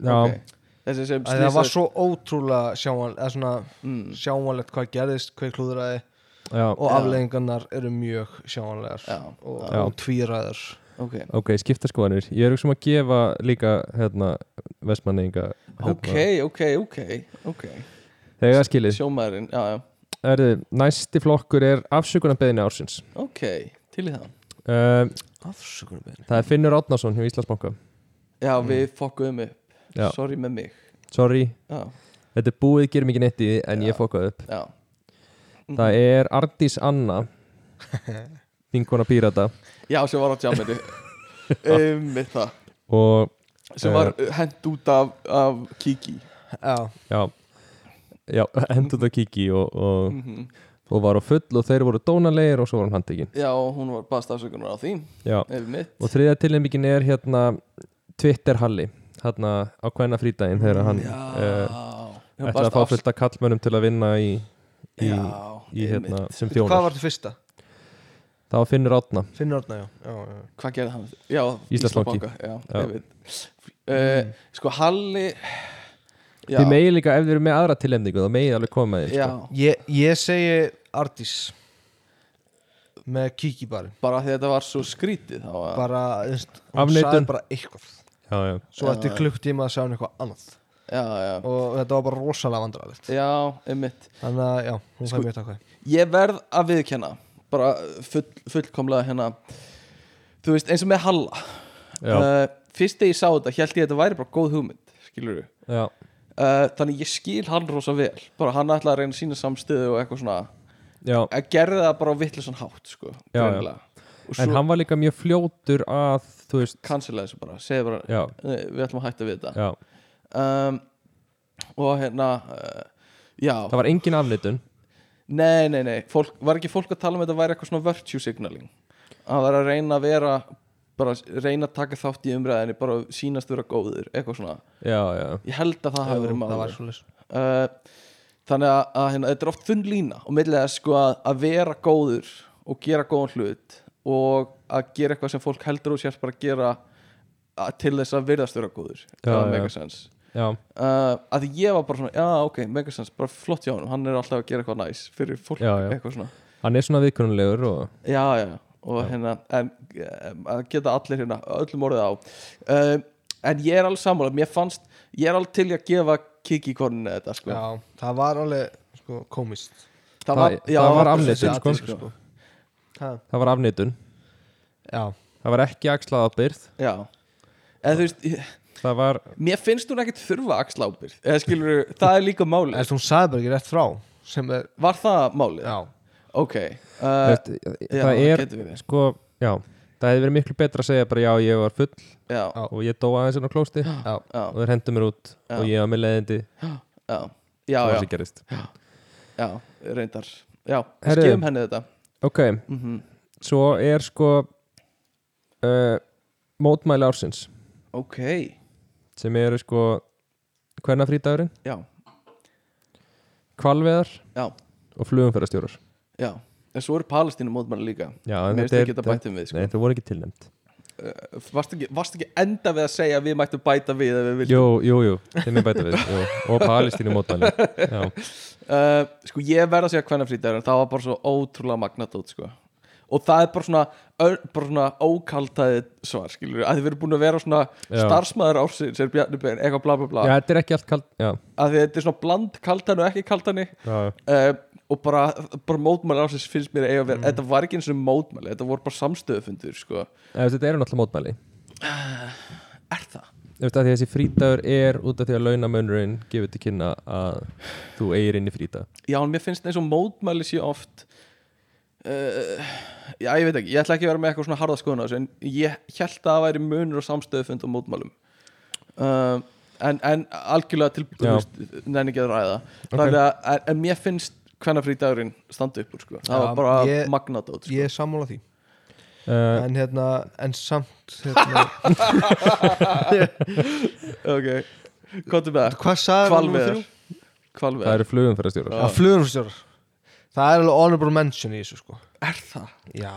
já, Ok. þessi sem Æ, Það var slýsaðist svo ótrúlega sjáan, eða svona Mm. sjáanlegt hvað gerðist, hver klúðraði já og Já. afleggingarnar eru mjög sjáanlegar Já. og, Já. og tvíræðar ok, Ok, skipta skoðanir Ég er hugsa um að gefa líka, hérna, vestmanninga hérna, ok, ok, ok, okay. Þegar skilið sjómaðurinn, já já Erðu, næsti flokkur er afsökunarbeðinni ársins ok, til í það uh, Afsökunum beðin Það er Finnur Átnason hjá Íslandsbanka já við fokkuðum upp, Mm. Já. sorry með mig Sorry, já, þetta er búið, gerum ekki neitt í því en Já. Mhm. ég fokkaði upp já, Það er Ardís Anna [LAUGHS] Vinkona Pírata já sem var á [LAUGHS] [LAUGHS] tjámiði um, með það og, sem var Eh. hend út af, af Kiki Já, já Já, [LAUGHS] hendur það kiki og, og mm og var á full og þeir voru dónalegir og svo var hann handtekinn Já, og hún var baðst afsökunar á því Já. ef mitt og þriðja tilnefningin er hérna Twitter Halli hérna á hvenna frídaginn þegar hann Já, uh, hún ætlaði að baðst fá afs- fullt af kallmönnum til að vinna í, í, Já, í hérna, einmitt. sem hvað þjónar var þetta fyrsta? þá finnur átna Finnur Orna, já, já, já. Hvað gerði hann? Já, Íslandsbanki. Íslandsbanka, Já, Já. Mm. ég veit uh, Sko, Halli Já, þið megið líka ef þið eru með aðra tilnefningu þá megið alveg koma með því já sko. Ég, ég segi Ardís með kíki bara bara því þetta var svo skrítið þá var bara, þú veist, hún Afneitun. sagði bara eitthvað já, já. svo Já, eftir já. klukktíma að sagði hún eitthvað annað Já, já, og þetta var bara rosalega vandrarlegt já, einmitt þannig að, já, hún Sko- fæði mér takkvæði ég verð að viðkenna bara full, fullkomlega hérna þú veist eins og með Halla Já. uh, fyrst þegar ég sá þetta held ég að þetta væri bara góð hugmynd skilur við Já. uh, þannig ég skil hann rosa vel bara hann ætlaði að reyna að sína samstöðu og eitthvað svona Já. að gerði það bara á vittlusan hátt sko Já, já. greinilega. og en svo hann var líka mjög fljótur að þú veist cancelaði þessu bara segði bara já, "Nei, við ætlum að hætta við þetta já. um, og hérna uh, já það var engin afnitun Nei, nei, nei, fólk, var ekki fólk að tala um þetta væri eitthvað svona virtue signaling að vera að reyna að vera bara að reyna að taka þátt í umræðinni bara að sýnast vera góður, eitthvað svona já, já, ég held að það hafi verið það var maður svolítið uh, þannig að, að hérna, þetta er oft þunn lína og millilega sko að, að vera góður og gera góðan hlut og að gera eitthvað sem fólk heldur og sérst bara að gera að, til þess að virðast vera góður Já, það já. meika sens já, uh, að því ég var bara svona, já ok, meika sens bara flott hjá honum, hann er alltaf að gera eitthvað næs fyrir fólk, Já, já. eitthvað svona hann er svona viðkunnulegur og já, já, og hérna en em, að geta allir hérna öllum orðið á um, en ég er alveg sammála, mér fannst ég er alveg til í að gefa kiki koninu þetta sko. já, það var alveg, sko, komist það- það var afneitun, Þessi sko. atriði, Ha, það var afnitun já, það var ekki axlað ábyrð já eða þú veist, ég- það var, mér finnst hún ekkert þurfa axlábir, eða skilur það er líka en málið, þú sagði bara ekki rétt frá sem er, var það málið? já, ok, uh, uh, það já, er getur verið. sko, já það hefði verið miklu betra að segja bara já ég var full já, Já. og ég dó aðeins inn á klósti já, og þeir hendur mér út Já. og ég var með leiðindi já, já, og já, það gerist já, reyndar Já, Herru. skefum henni þetta ok, mm svo er sko uh, mótmæli ársins Ok, sem eru sko hvernig frítagurinn, já, kvalveðar Já. og flugumferðarstjórar já En svo eru Palestínu mótmæli líka já, en Mér finnst þetta er ekki þetta bættum við sko. nei, það voru ekki tilnæmt Uh, varstu, ekki, varstu ekki enda við að segja að við mættum bæta við ef við viljum jú, jú, jú, þeim er bæta við jú. og palestínu [LAUGHS] mótmæli já, uh, Sko ég verð að segja hvernig frítagur Það var bara svo ótrúlega magnatótt sko Og það er bara svona, ör, bara svona ókaltæði svar, skilur að þið verið búin að vera svona Já. starfsmæður ársins er Bjarni Ben, eitthvað bla bla bla já, þetta er ekki allt kald já, að því þetta er svona bland kaltæðin og ekki kaltæðin já, uh, og bara, bara mótmæli ársins finnst mér eiga að Mm. vera þetta var ekki eins og mótmæli, þetta voru bara samstöðufundur sko. Ef þetta eru náttúrulega mótmæli Eh, er það? Þú veist að því þessi frítagur er út af því að launamönurinn gefur til kynna að þú eigir inn í frítag Já, en mér finnst eins og mótmæli sé oft uh, Já, ég veit ekki Ég ætla ekki að vera með eitthvað svona harða skoðun á þessu En ég held að það væri munur og samstöðufund og mótmælum uh, en, en algjörlega til þú Já. veist, Nenni ekki að ræða Þannig að, en, en mér finnst hvenna frídagurinn standa upp úr sko. Það Já, var bara ég- magnadót sko. Ég er sammála því uh, En hérna, en samt hérna, [LAUGHS] Ok, hvað er með það? Hvað sagði Hvalveðar Það Hvalveðar eru flugumferðarstjórar Já. Að flugumstjórar Það er alveg honorable mention í þessu sko Er það? Já,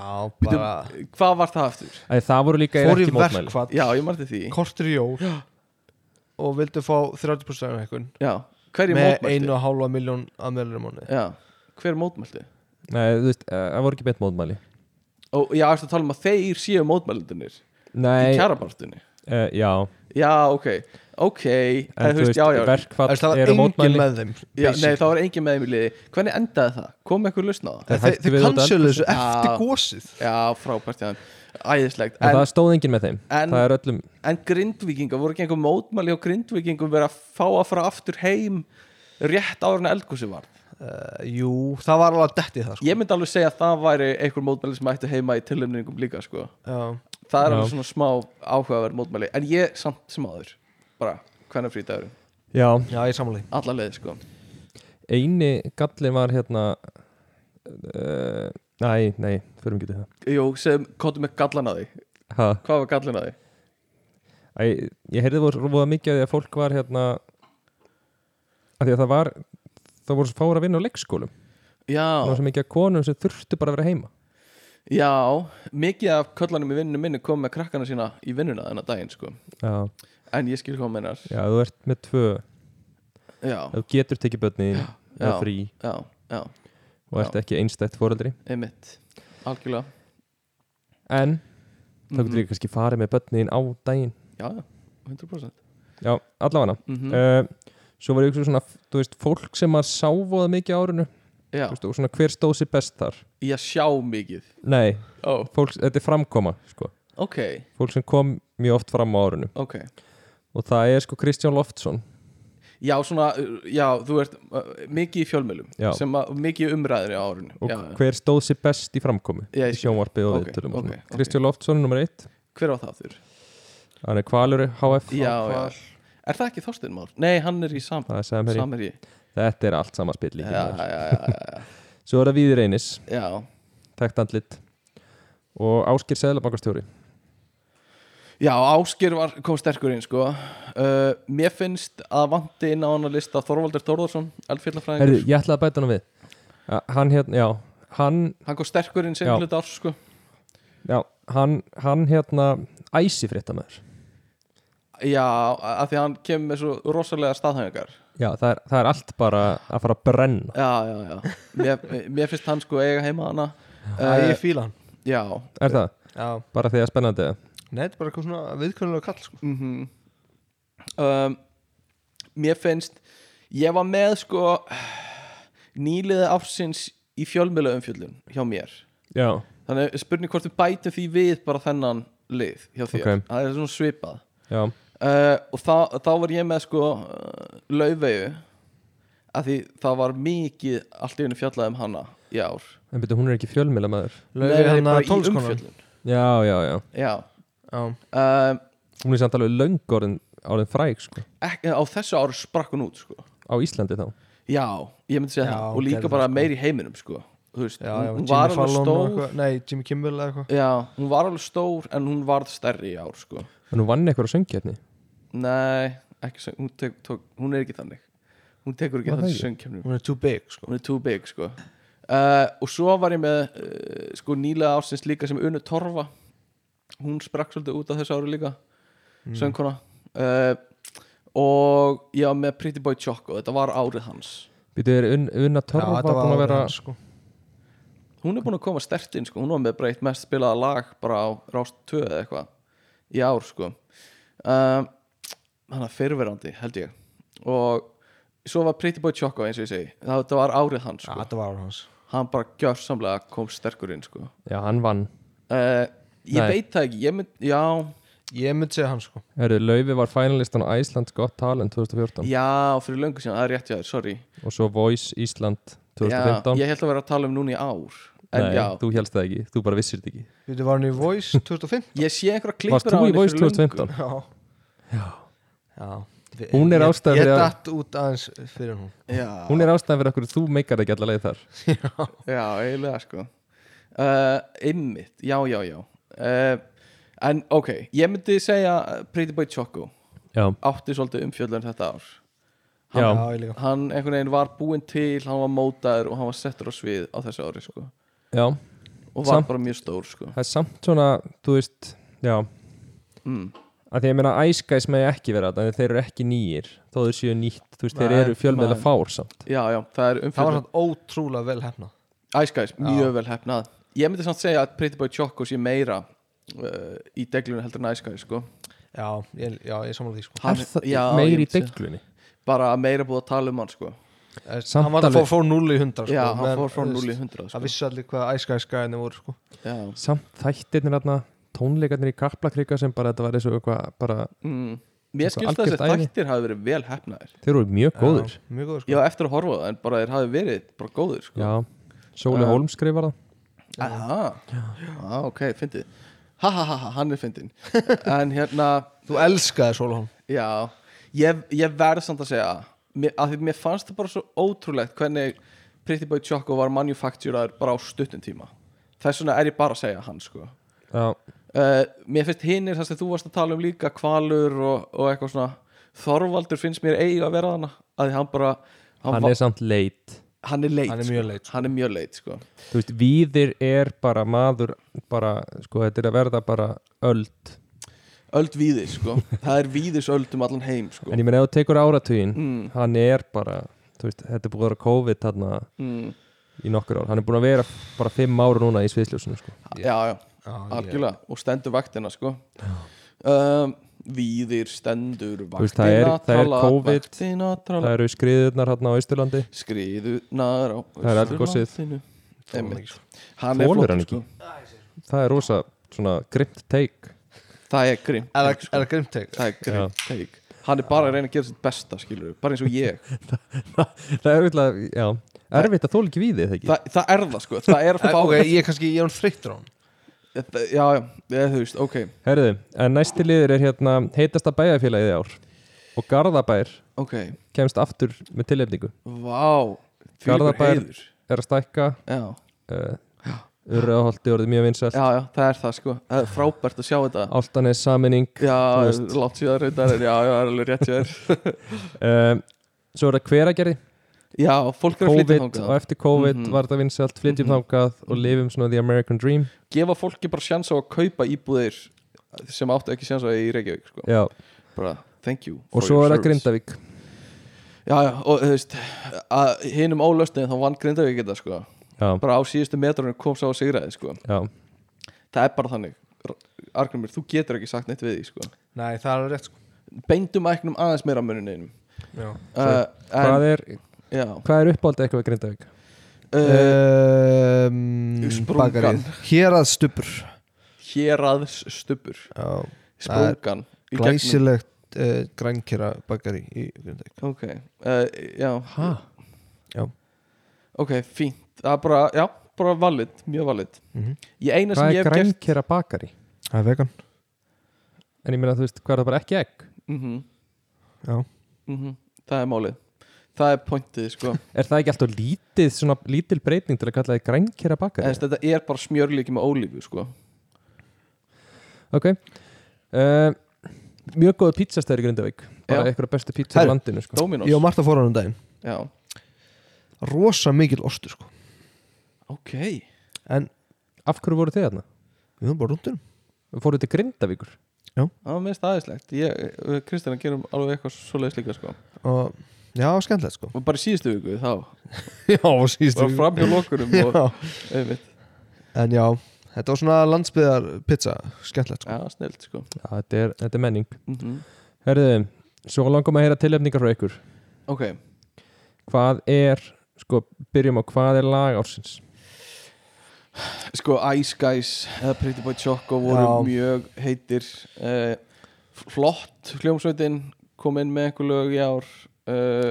bara Hvað var það aftur? Æ, Það voru líka Fór í ekki mótmæli verkfall Já, ég marði því Kortur í jól Og vildu fá 30% af einhvern Já, hverju Með mótmælti? einu og hálfa miljón að meðlurum mánu Já, hver mótmælti? Nei, þú veist, eh, það voru ekki bett mótmæli og já, ertu að tala um að þeir séu mótmælendunir í Nei, kjarabartunni uh, já já, ok, ok en, þú veist, já, já, verkfall Það var eru engin mótmæli með þeim já basic. nei, það var engin með þeim í liði hvernig endaði það? kom eitthvað lausn á það? Þeir Þeir, hættu þeir við út af kansilu þessu eldhúsi. eftir Já. gósið já, frábært, já, æðislegt En en, það stóð enginn með þeim en, Það er öllum en grindvíkinga, voru ekki einhver mótmæli á grindvíkingum verið að fá að fara aftur heim rétt áður en eldgósi var uh, Jú, það var alveg að detti það sko. ég myndi alveg segja að það væri einhver mótmæli sem ættu heima í tilumningum líka sko. Já. það er Já. alveg svona smá áhugaverð mótmæli en ég samt sem áður bara hvernig frítagurinn, Já, Já, ég samanlega alla leið sko. eini gallin var hérna uh, Nei, nei, förum ekki til það Jú, sem, kóttu með gallan að því ha, Hvað var gallan að því? æ, Ég heyrði voru voða mikið að því að fólk var hérna að Því að það var Það voru svo fáur að vinna á leikskólum Það var Já, svo mikið að konum sem þurftu bara að vera heima já, mikið af kallanum í vinnunum minni kom með krakkana sína í vinnuna þennan daginn sko Já, En ég skil hvað mennar já þú ert með tvö Já, Ef Þú getur tekið börnin eða já. frí já, já, og ert ekki einstætt foreldri einmitt Algjörlega En þá Mhm. getur líka kannski farið með börnin á daginn Já, já, 100% Já, allavega mm uh, Svo var ég hugsa svona, þú veist, fólk sem maður sá voða mikið á árinu Já, Þú veist, og svona hver stóð sér best þar ég sjá mikið Nei, Ó, fólk, þetta er framkoma sko. ok, Fólk sem kom mjög oft fram á árinu ok Og það er sko Kristján Loftsson Já, svona, uh, já, þú ert uh, mikið í fjölmjölum Já. sem að, mikið í umræðinu á árinu Og já, já. hver stóð sér best í framkomi Já, ég Í skil. sjónvarpi og Ok, viðtölum ok, okay, ok. Kristján Loftsson, nummer eitt Hver var það þurr? Hann er kvalur HF Já, já Er það ekki Þorstein Már? Nei, hann er í sam Það er Samherji Samherji Þetta er allt sama spill Já, já, líka já, já, Svo er það Víðir Einis, já, já. tækt andlit og Áskir Sæðlabankastjóri Já, Áskir var, kom sterkur inn sko. uh, Mér finnst að vandi inn á hann að lista Þorvaldur Þorðarsson, eldfjallafræðingur Herðu, ég ætlaði að bæta hann við Ja, Hann hérna, já Hann, Hann kom sterkur inn sem Já. hluta árs sko. já, hann, hann hérna æsifréttamaður Já, af því að hann kemur með svo rosalega staðhæfingar Já, það er, það er allt bara að fara að brenna Já, já, já Mér, mér finnst hann sko eiga heima hana Æ, uh, ég fíla hann Já, Er það? Eh, Já, Bara því að spennandi eða? nei, þetta er bara eitthvað svona viðkvæmlega kall sko. mhm um, Mér finnst Ég var með sko Nýliði ársins í fjölmjölu umfjöllun hjá mér Já, Þannig er spurning hvort við bætum því við bara þennan lið hjá þér Ok. Það er svona svipað já, uh, Og þá, þá var ég með sko uh, Laufeyju að því það var mikið allt í henni fjallað um hana í ár en betur hún er ekki fjölmjöla maður Laufey hérna Nei, hana bara í tónlistakonan? umfjöllun. Já, já, já já Já, um, Hún er samt alveg löng orðin, orðin fræg sko. ekki, á þessu ári sprakk hún út sko. á Íslandi þá já, ég myndi segja Já, það og líka gerði bara það, sko. meir í heiminum sko. Þú veist, já, hún- já hún var Jimmy alveg Fallon og stór eitthvað Nei, Jimmy Kimmel eða eitthvað já, hún var alveg stór en hún varð stærri í ár sko. En hún vann eitthvað á söngjarni nei, ekki, söng- hún, tek, tók, hún er ekki þannig hún tekur ekki Var það þannig ekki? söngkjöfnum Hún er too big, sko hún er too big sko uh, og svo var ég með uh, sko nýlega ársins líka sem Unu Torfa hún sprakk svolítið út á þessu ári líka söngkona uh, og ég var með Pretty Boy Choco þetta var árið hans Býtu er un, Una Torfa þetta búin að árið vera hans, sko. hún er búin að koma stert inn sko hún var með breytt mest spilaða lag bara á Rást 2 eða eitthvað í ár sko uh, hann er fyrirverandi held ég og svo var Pretty Boy Choco eins og ég segi þetta var árið hans Já, sko Þetta var árið hans hann bara gjörsamlega kom sterkur inn sko Já, hann vann Uh, ég Nei. veit það ekki, ég mynd, já Ég myndi segja hann, sko Herru, Laufi var finalistan á Ísland Gott Talent 2014 Já, fyrir löngu síðan, það er rétt hjá þér, sorry og svo Voice Ísland já, 2015 Ég held að vera að tala um núna í ár En Nei, já, þú helst það ekki, þú bara vissir þetta ekki Þetta var hann í Voice 2005 ég sé einhverja klippur Varst þú í Voice 2015? Já Já Hún er Ég- ástæðan Ég fyrir að- datt út aðeins fyrir hún Já, Hún er ástæðan fyrir okkur, þú meikar ekki allaveg þar já, eiginlega sko uh, Einmitt, já, já, já uh, En ok, ég myndi segja uh, Pretty Boy Choco Já, Átti svolítið umfjöllun þetta ár já, Já, ég líka Hann einhvern veginn var búinn til, hann var mótaður Og hann var settur á svið á þessu ári sko já Og var Samt- bara mjög stór sko Það er samt svona, þú veist Já, mm. að því ég meina Ice Guys með ekki vera þetta, en þeir eru ekki nýjir þó þeir séu nýtt, þú veist, þeir Nei, eru fjölmiðla nei. fár samt Já, já, það er Það var umfjöllun hann ótrúlega vel hefna Ice Guys, mjög vel hefnað Ég myndi samt segja að Pretty Boy Choco sé meira uh, í deglunum heldur en Ice Guys sko. Já, ég, já, ég samla því, sko Hann- Er það já, ég meir í myndi segja. deglunni bara meira búið að tala um hann sko. Eh, Samt Hann var að alveg- fór, fór 0 í 100, sko Já, hann meðan, fór frá þú 0 í veist, 100 Það sko. vissi allir hvað Ice Guys gæðinni voru, sko Já, samt þættirnir hérna tónleikarnir í Kaplakrika sem bara þetta var eins og eitthvað bara, mm. Mér Eitthvað skilst að algjört þessi æði. þættir hafi verið vel hefnaðir þeir eru mjög góður Já, Mjög góður, Ég sko var eftir að horfa á það en bara þeir hafi verið bara góðir sko. Já, Sóli Já. Hólm skrifar það Aha. Já. ok, fyndið Ha ha ha ha, hann er fyndin [LAUGHS] En hérna, Þú elskaði Solon Já, ég, ég verð samt að segja mér, að því mér fannst það bara svo ótrúlegt hvernig Pretty Boy Choco var manufacturaður bara á stuttum tíma þess vegna er ég bara að segja hann sko Já, uh, mér finnst hinnir það sem þú varst að tala um líka kvalur og, og eitthvað svona Þorvaldur finnst mér eigi að vera þarna að því hann bara hann, hann va- er samt leit hann er leit Hann er mjög leit, sko. hann er mjög leit sko þú veist, Víðir er bara maður bara, sko, þetta er að verða bara öld, öld víðis sko það er víðis öld um allan heim sko en ég meina ef þú tekur áratugin mm, hann er bara, þú veist, þetta er búið að vera COVID þarna mm, í nokkur ár hann er búin að vera bara fimm ára núna í sviðsljósinu sko. já já algjörlega og stendur vaktina sko um, víðir stendur veist, vaktina það er- það er tralla, COVID, vaktina, það tralla, eru skriðurnar hérna á Ísturlandi skriðunar á Það er eldgosið. Austurlandinu. Einmitt. Einmitt hann er Þolir flott hann sko. það er rosa svona grimt take það er grimm Er það- take, er það grimmt teik? sko. það er grimm take hann er bara að reyna að gera sitt besta skilur bara eins [LAUGHS] og ég það er auðvitað, já, erfitt að þóla ekki við þið ekki Þa, það er það sko það er að fá Eh, Ok, ég er kannski, ég er hann þreyttur á hann Þetta- já já ég, þú veist ok herðu, en næsti liður er hérna heitasta bæjarfélagið í ár og Garðabær ok kemst aftur með tilefningu vá þvílíkur Garðabær. heiður. er að stækka já uh, urraðholti orðið mjög vinsælt já já það er það sko það er frábært að sjá þetta áltanis saminning Já, Þú veist. látt síðan reyndar en já, já, það er alveg rétt sér uh, svo er það hveragerði Já, fólk er að flytja COVID og þangað eftir COVID Mhm. var það vinsælt, flytjum Mhm. Oh, þangað og lifum svona the American dream Gefa fólki bara sjans á að kaupa íbúðir sem áttu ekki sjans á í Reykjavík sko. já. bara, thank you og for svo your er það service. Grindavík Já, já, og þú veist að hinum ólöstin þá vann Grindavík þetta sko já, bara á síðustu metrunum kom sá að sigraði sko já, það er bara þannig Argrymur, þú getur ekki sagt neitt við því sko Nei, það er alveg rétt, sko beindum æknum aðeins meira mununinum Já uh, hvað en, er, já hvað er uppáld eitthvað við Grindavík? uh, Eh, um, Sprungan. Hér að stupur hér aðs stubur Það er sprungan í gegnum- Glæsilegt uh, grænkera bakari í Grindavík Ok, uh, já Ha? Já. Ok, fínt, það er bara, já, bara valid, mjög valid Mhm. Ég eina sem Hvað ég er hef gert grænkera bakari? Það er vegan En ég meina þú veist, hvað er það bara ekki egg? Mhm. Já. Mhm. Það er málið Það er pointið sko Er það ekki alltaf lítið, svona lítil breyting til að kalla það grænkera En bakari? þetta er bara smjörlíki með ólífu sko Ok uh, Mjög góða pizzastæður í Grindavík Bara Já. einhverja bestu pizza í Herru, landinu sko. Dominos Ég og Marta fór á hann um daginn Já, Rosa mikil ostur sko ok En Af hverju voru þið þarna? við höfum bara rundunum Fóruð til Grindavíkur? Það var mest aðeinslegt eh, Kristjana gerum alveg eitthvað svoleiðis líka sko Og já, það var skemmtilegt sko Og bara í síðustu viku þá [LAUGHS] Já, og síðustu Bara fram hjá lokunum og [LAUGHS] Já. einmitt En já, þetta var svona landsbyðar pizza Skemmtilegt sko Já, snilt sko Já, þetta er, þetta er menning Mhm. Herðu, svo langum að heyra tilefningar frá ykkur Ok, Hvað er, sko, byrjum á hvað er lag ársins? sko Ice Guys eða Pretty Boy Choco voru Já. mjög heitir uh, flott hljómsveitin kom inn með einhver lög í ár uh,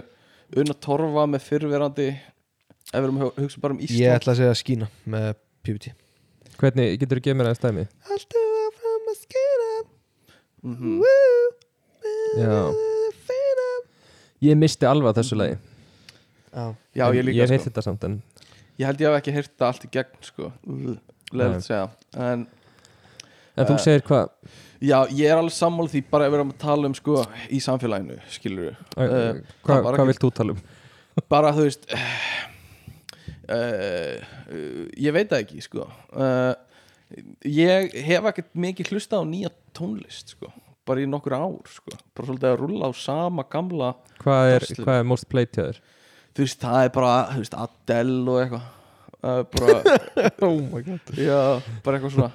unna torfa með fyrrverandi ef við erum að hu- hugsa bara um Ég Ísland ætla að segja skína með PBT Hvernig, getur þú gefið mér aðeins dæmi? Alltaf áfram að skína Mhm. Já. Ég misti alveg af þessu lagi Já, Já, ég líka Ég sko hef sko. þetta samt en Ég held ég haf ekki heyrt það allt í gegn sko Nei. Leðið að segja En En þú Eh. segir hvað já, ég er alveg sammála því bara ef við erum að tala um sko í samfélaginu, skilur við uh, Eh, Hvað það var hva ekki- vilt þú tala um? bara þú veist [SIGHS] uh, uh, ég veit það ekki sko uh, ég hef ekkert mikið hlustað á nýja tónlist sko bara í nokkur ár sko bara svolítið að rulla á sama gamla Hvað er, Drasli. hvað er most played hjá [LAUGHS] þér? þú veist það er bara þú veist Adele og eitthvað uh, [LAUGHS] bara, oh my god já, bara eitthvað svona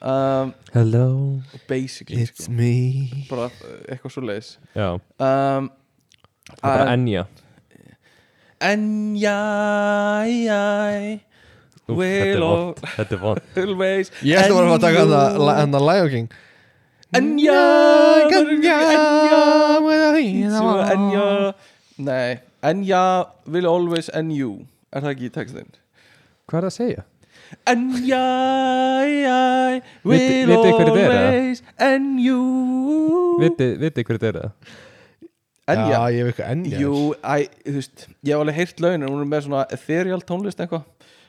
um, Hello basically It's sko me bara uh, eitthvað svo leiðis Já, um, bara en- ennja en jæ jæ Úff, Þetta er will al- vond, þetta er vond always Ég ætla bara að fara að taka and hana- you- hana Lion King Enja Enja Enja Nei, Enja will always en you Er það ekki í textin? Hvað er það að segja? Enja Viti- will vitið hver þetta er, eða? always en you Viti, viti hverju þetta er það? Já, Enja ég hef eitthvað Enja Jú, æ, þú veist Ég hef alveg heyrt launin, hún er með svona ethereal tónlist eitthvað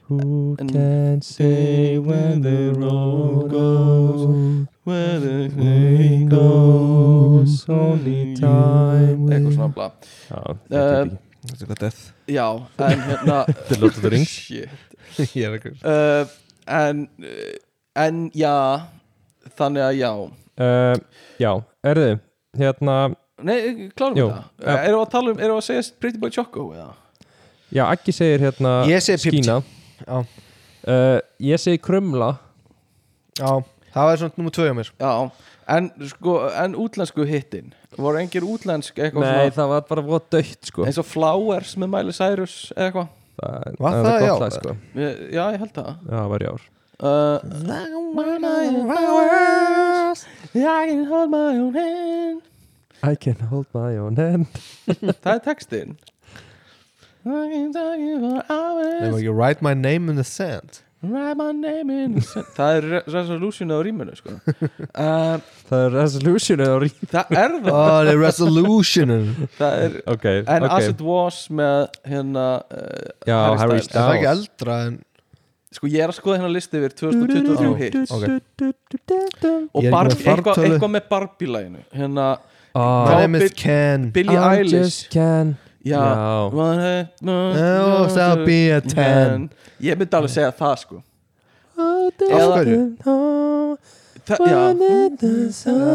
Who En- can say when the road goes Where the Way goes only time will- Eitthvað svona bla Já, Eh, þetta Þetta er eitthvað death Já, en hérna er Lord of the Rings. Shit [LAUGHS] Ég er eitthvað uh, en, uh, en já Þannig að já er ekki uh, Já, erðu Hérna, Nei, klárum Jú, við það uh, Erum við að tala um, erum við að segja Pretty Boy Choco eða? já, Aggi segir hérna Ég segi PBT. Skína Já. uh, Ég segi krumla Já, það var svona nummer tvö hjá mér Já, en sko, en útlensku hittin Voru engir útlensk eitthvað Nei, svona það var bara voða dögt sko Eins og Flowers með Miley Cyrus eða eitthvað Það, Var er það í gott ár, lag, sko. Ég- Já, ég held það Já, það var í ár uh, I can hold my own hand I can hold my own hand Það er textin I can talk you for Nefnum hours ekki Write my name in the sand Write my name in the sand. Það er re- resolution á rýminu sko uh, Það er resolution eða rí Það er það Oh, the resolution Er Það er Ok, En ok As It Was með hérna uh, Já, Harry Harry Styles. [LAUGHS] Styles það ekki eldra en Sko ég er að skoða hérna listi yfir 2023 hits ok. Og Ég er ekki Barbie, með fartölu. eitthvað, eitthvað með Barbie-læginu Hérna My Ah, Hvað- name is Bill- Ken Billie I Eilish just can Já Já. Oh, Oh, that'll be a ten Ég myndi alveg segja það sko Af Eða- hverju? Þa, Já Já.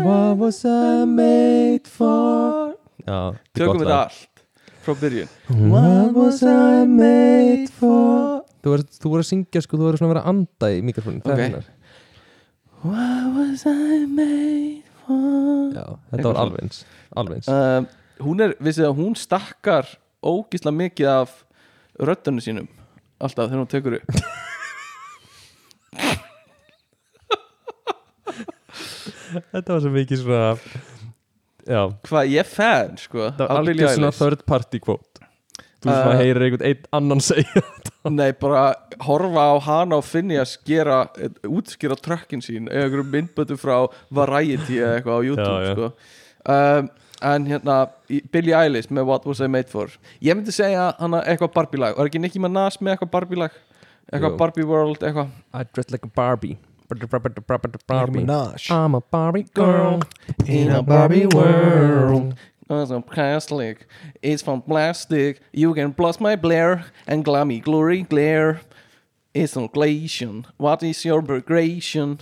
What was I made for Já, Tökum við það allt Frá byrjun What was I made for Þú voru, þú voru að syngja sko, þú voru svona að vera að anda í mikrofónin Ok. What was I made for Já, þetta var alveg eins Alveg eins um, Hún er, vissið að hún stakkar Ógisla mikið af Röddunum sínum Alltaf þegar hún tekur upp Þetta var svo mikið svona Já, hvað ég er fan sko það var af Billie algjör svona Eilish. third party quote þú veist Eh. maður heyrir einhvern einn annan segja Nei, bara horfa á hana og finni að skera, útskýra trökkin sín eða einhverjum myndbötu frá Variety eða eitthvað á YouTube Já, já. Sko. Um, en hérna í- Billie Eilish með What Was I Made For ég myndi segja hana eitthvað Barbie lag var ekki Nicki Minaj með eitthvað Barbie lag eitthvað Jú. Barbie World eitthvað [LAUGHS] I dress like a Barbie Barbie Minaj I'm a Barbie girl In a Barbie world That's a plastic um It's from plastic You can blast my blare And glammy glory glare It's an glacian What is your progression?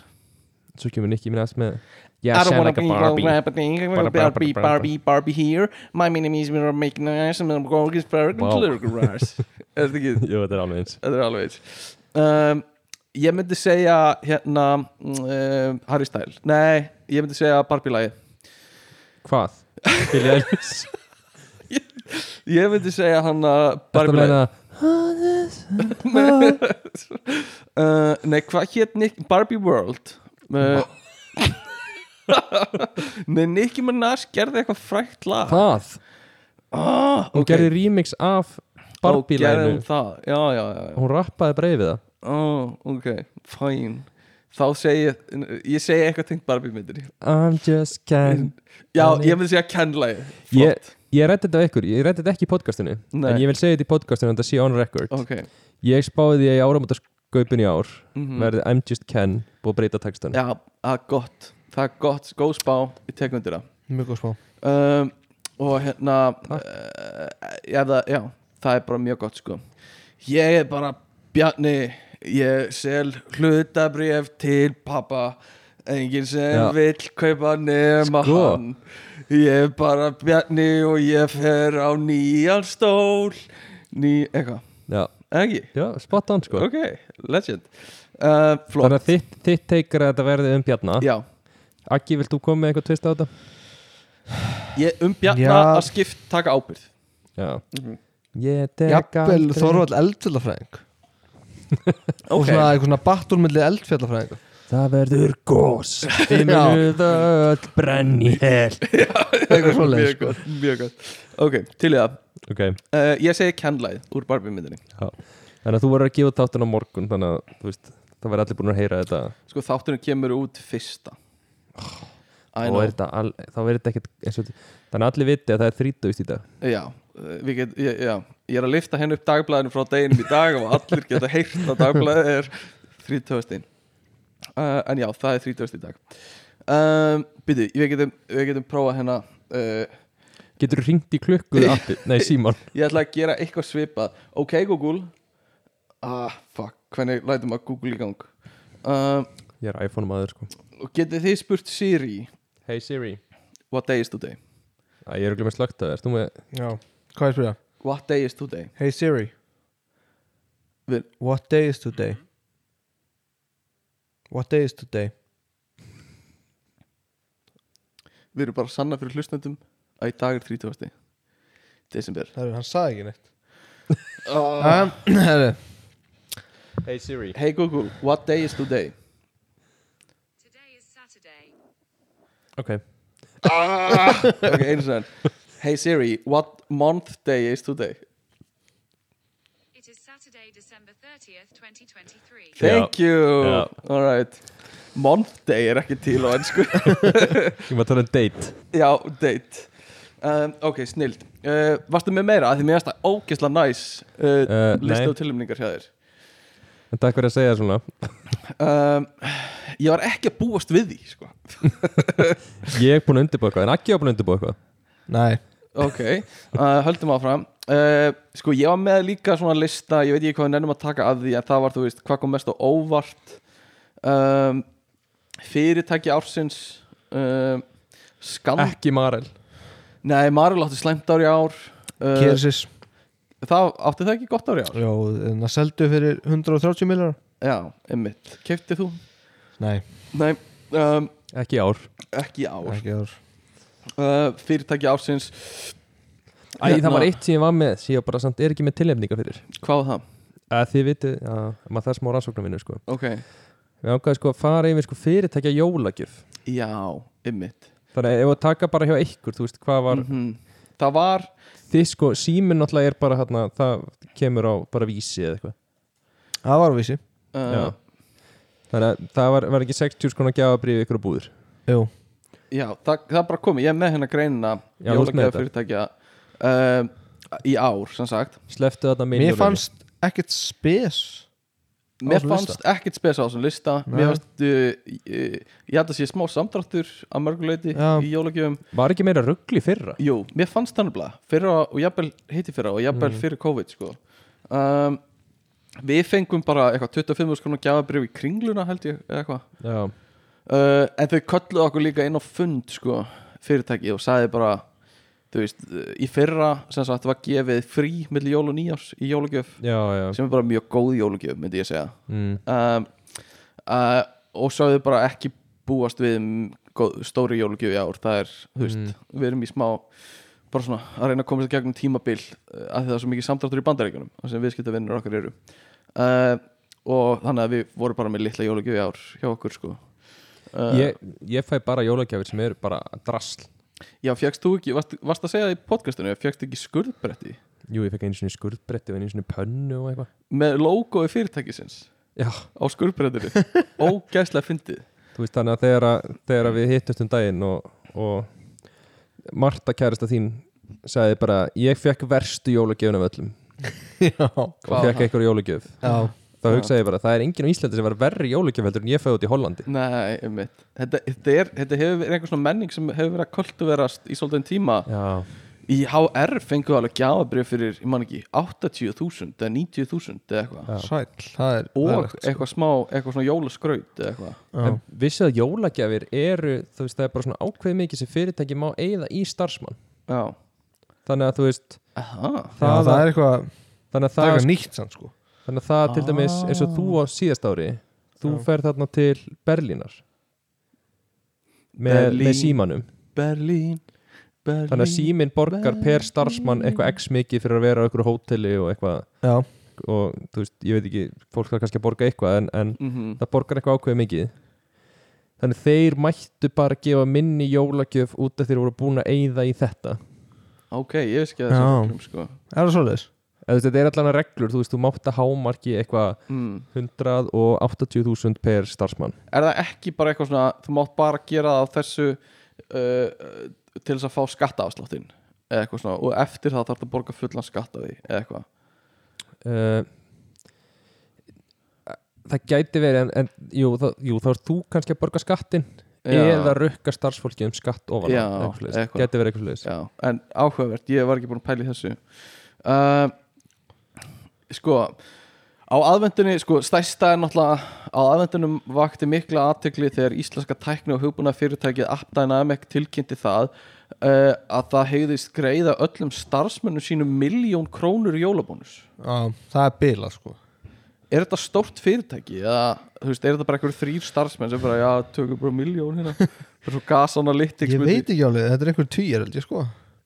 Svo kemur Nicky minn aðeins með I Yeah, don't sound wanna like a be Barbie Barbie, Barbie, Barbie, Barbie here. My name is Mira Making Eyes and I'm going to Bergen Vá. Glur [LAUGHS] Garage. Er þetta [LAUGHS] ekki, Jú, þetta er alveg eins þetta er alveg eins. Um, ég myndi segja hérna um, Harry Style. Nei, ég myndi segja Barbie lagi. Hvað? Billie [LAUGHS] Eilish Ég myndi segja hann að Þetta Barbie lagi. meina [LAUGHS] Uh, nei, hvað hétt Nick Barbie World? Uh, [LAUGHS] nei, Nicki Minaj gerði eitthvað frækt lag. Hvað? Ah, Hún ok. gerði remix af Ó, Barbie gerði læginu hún það, já, já, já, já. Hún rappaði breyfið það oh, ok, fine þá segi ég, ég segi eitthvað tengt Barbie myndinni I'm just can já, Þannig- ég myndi segja kennlægi Ég, ég rætti þetta við ykkur, ég rætti þetta ekki í podcastinu Nei. En ég vil segja þetta í podcastinu en þetta sé on record ok, Ég spáði því að í áramótasköpun í ár mhm. Verði I'm just can Búið að breyta textan já, það er gott það er gott, góð spá, ég tek undir Mjög góð spá það um, og hérna Takk. uh, já, það, já, það er bara mjög gott sko ég er bara Bjarni ég sel hlutabrif til pappa enginn sem Já. vill kaupa nema Sko. hann ég er bara Bjarni og ég fer á nýjan stól ný, eitthvað, Já, eða ekki já spot on sko ok, legend uh, flott, Þannig að þitt, þitt teikir að þetta verði um Bjarna já Akki, vilt þú koma með eitthvað tvist á þetta? ég um Bjarna Já. að skipt taka ábyrð Já Mhm. Ég tek Jafnvel aldrei- Þorvald eldfjallafræðing Og svona eitthvað svona battúrmilli eldfjallafræðing Það verður gós [LAUGHS] Já. Finnur öll brenn í hel Eitthvað svoleiðis, [LAUGHS] sko. mjög gott, mjög gott ok, til í það, Ok, uh, ég segi kennlæð úr Barbie myndinni þannig að þú verður að gefa þáttun á morgun Þannig að þú veist, það verður allir búin að heyra þetta Sko þátturinn kemur út fyrsta I Og know, er þetta al, þá verður þetta ekkert eins og þetta- Þannig að allir viti að það er þrítugst í dag já, eh, við get, ég, já Ég er að lifta henni upp dagblæðinu frá deginum í dag og allir geta heyrt að dagblæði er 30. Uh, en já, það er 30. í dag um, Býtu, við getum, við getum prófað hérna uh, Getur þú ringt í klukku [LAUGHS] appi? Nei, Símon Ég ætla að gera eitthvað svipað Ok Google Ah, fuck, hvernig lætum að Google í gang um, Ég er iPhone maður sko og Getið þið spurt Siri Hey Siri What day is today? Æ, ég er ekki með slögt að það með... Já Hvað er að spyrja? What day is today? Hey Siri Við- What day is today? What day is today? Við erum bara að sanna fyrir hlustnendum að í dag er 30. desember. Það er, hann sagði ekki [LAUGHS] neitt um, herri, Hey Siri Hey Google, what day is [LAUGHS] today? Today is Saturday. Ok, [LAUGHS] Ok, eins og enn. Hey Siri, what month day is today? It is Saturday, December 30th, 2023. Thank you. Já. All right. Month day er ekki til á ennsku. ég var að tala um date [LAUGHS] Já, date. Um, ok, snild. Uh, varstu með meira? Af Því mér finnst það ógeðslega næs uh, Eh, nei. listu og tilumningar hjá þér. En takk fyrir að segja svona Um, ég var ekki að búast við því, sko. Ég er búin að undirbúa eitthvað, en Akki var búin að undirbúa eitthvað Nei Ok, uh, höldum áfram uh, Sko, ég var með líka svona lista Ég veit ekki hvað við nennum að taka að því En það var, þú veist, hvað kom mest á óvart um, Fyrirtæki ársins um, Skand Ekki Marel Nei, Maril átti slæmt ári ár Eh, uh, Kersis Það átti það ekki gott ári ár Jó, en það hérna seldu fyrir 130 millar Já, einmitt Kefti þú? Nei, Nei, um, Ekki í ár ekki ár ekki ár uh, Fyrirtæki ársins Æ, það var eitt sem ég var með sem ég bara samt er ekki með tilefninga fyrir Hvað var það? að Þið vitið, já, maður það er smá rannsóknar mínu sko. Ok, Við ákvæðum sko að fara yfir sko fyrirtækja jólagjöf já, einmitt Þannig að ef að taka bara hjá ykkur, þú veist, hvað var Mhm. það var Þið sko, síminn náttúrulega er bara hérna, það kemur á bara vísi eða eitthvað Það var vísi uh, Já. Þannig að það var, var ekki 60 skona gjafabrið ykkur á búður Jú já, það, það bara komið, ég er með hérna greinina Já, þú ert með jólagjöf fyrirtækja uh, í ár, sem sagt Sleftu þarna Mér miljóninni. fannst ekkert spes Mér þessum fannst ekkert spes á þessum lista Nei. Mér fannst uh, ég, ég held að sé smá samdráttur að mörguleiti Já. í jólagjöfum Var ekki meira ruggli fyrra? Jú, mér fannst þannig blað fyrra og jafnvel hitti fyrra og jafnvel Mhm. fyrir COVID sko. um, Við fengum bara eitthvað 25 skonar gjafabrif í kringluna held ég eða eitthvað Já, uh, En þau kölluðu okkur líka inn á fund sko, fyrirtæki og sagði bara þú veist, uh, í fyrra sem sagt var gefið frí milli jól og nýjárs í jólugjöf já, já sem er bara mjög góð jólugjöf myndi ég segja mm. um, uh, og svo þau bara ekki búast við um góð, stóri jólugjöf í ár það er, þú veist, Mm. við erum í smá bara svona að reyna að komast í gegnum tímabil uh, af því það er svo mikið samdráttur í bandaríkjunum þar sem viðskiptavinnur okkar eru uh, og þannig að við vorum bara með litla jólugjöf í ár hjá okkur sko uh, ég, ég fæ bara jólagjafir sem eru bara drasl Já, fjöxt þú ekki, varst, varst að segja það í podcastinu fjöxt ekki skurðbretti Jú, ég fekk einu sinni skurðbretti og einu sinni pönnu og eitthvað með logoði fyrirtækisins Já, á [LAUGHS] skurðbrettinu, ógæslega fyndið þú veist þannig að þegar, að, þegar að við hittumst um daginn og, og Marta kærasta þín sagði bara, ég fekk verstu jólagjöfnum öllum Já og Hvað var fekk það? eitthvað jólagjöf Já þá hugsaði ég bara, það er enginn á Íslandi sem var verri jólagjöf heldur en ég fæði út í Hollandi Nei, einmitt Þetta, þetta, er, þetta hefur verið einhver svona menning sem hefur verið að kultuverast í svolítið tíma Já, Í HR fengu alveg gjafabrif fyrir, ég man ekki, 80.000 eða 90.000 eða eitthvað Sæll Það er það er Og legt, sko. eitthvað smá, eitthvað svona jólaskraut eða eitthvað Já. en vissið að jólagjafir eru, þú veist, það er bara svona ákveð mikið sem fyrirtæki má eigða í starfsmann Já, þannig að þú veist, aha, Já, það, Það er eitthvað þannig að Það er það, eitthvað nýtt sann sko þannig að það til dæmis eins og þú á Ah. síðast ári, þú ferð þarna til Berlínar með, Berlín. með símanum Berlín, Berlín þannig að síminn borgar per starfsmann eitthvað x mikið fyrir að vera á einhverju hóteli og eitthvað Já og þú veist, ég veit ekki, fólk þarf kannski að borga eitthvað en, en Mhm. það borgar eitthvað ákveðið mikið þannig þeir mættu bara að gefa minni jólagjöf út af þeir voru búin að eyða í þetta Ok, ég veist ekki að Já. það sem sko Er það svoleiðis? Eða, þú veist, þetta er allan að reglur, þú veist, þú mátt að hámarki eitthvað mm. 180.000 per starfsmann Er það ekki bara eitthvað svona, þú mátt bara gera það á þessu uh, til þess að fá skatta afsláttinn eða eitthvað svona, og eftir það þarf það að borga fullan skatt af því eða eitthvað uh, það gæti verið en, en jú, það, jú, þá er þú kannski að borga skattin eða rukka starfsfólki um skatt ofan á, Já, eitthvað svoleiðis. eitthvað. gæti verið eitthvað slags Já, en áhugavert, ég var ekki búin að pæla í þessu uh, Sko á aðvendunni, sko, stærsta er náttúrulega á aðvendunum vakti mikla aðtegli þegar íslenska tækni og hugbúna fyrirtækið AppDynamic tilkynnti það uh, að það hegðist greiða öllum starfsmönnum sínum miljón krónur í jólabónus Já Það er bila sko Er þetta stórt fyrirtæki eða, þú veist, er þetta bara einhverjur þrýr starfsmenn sem bara, já, tökum bara miljón hérna [LAUGHS] bara svo gasanalytics Ég veit ekki alveg Þetta er einhver týjar held ég sko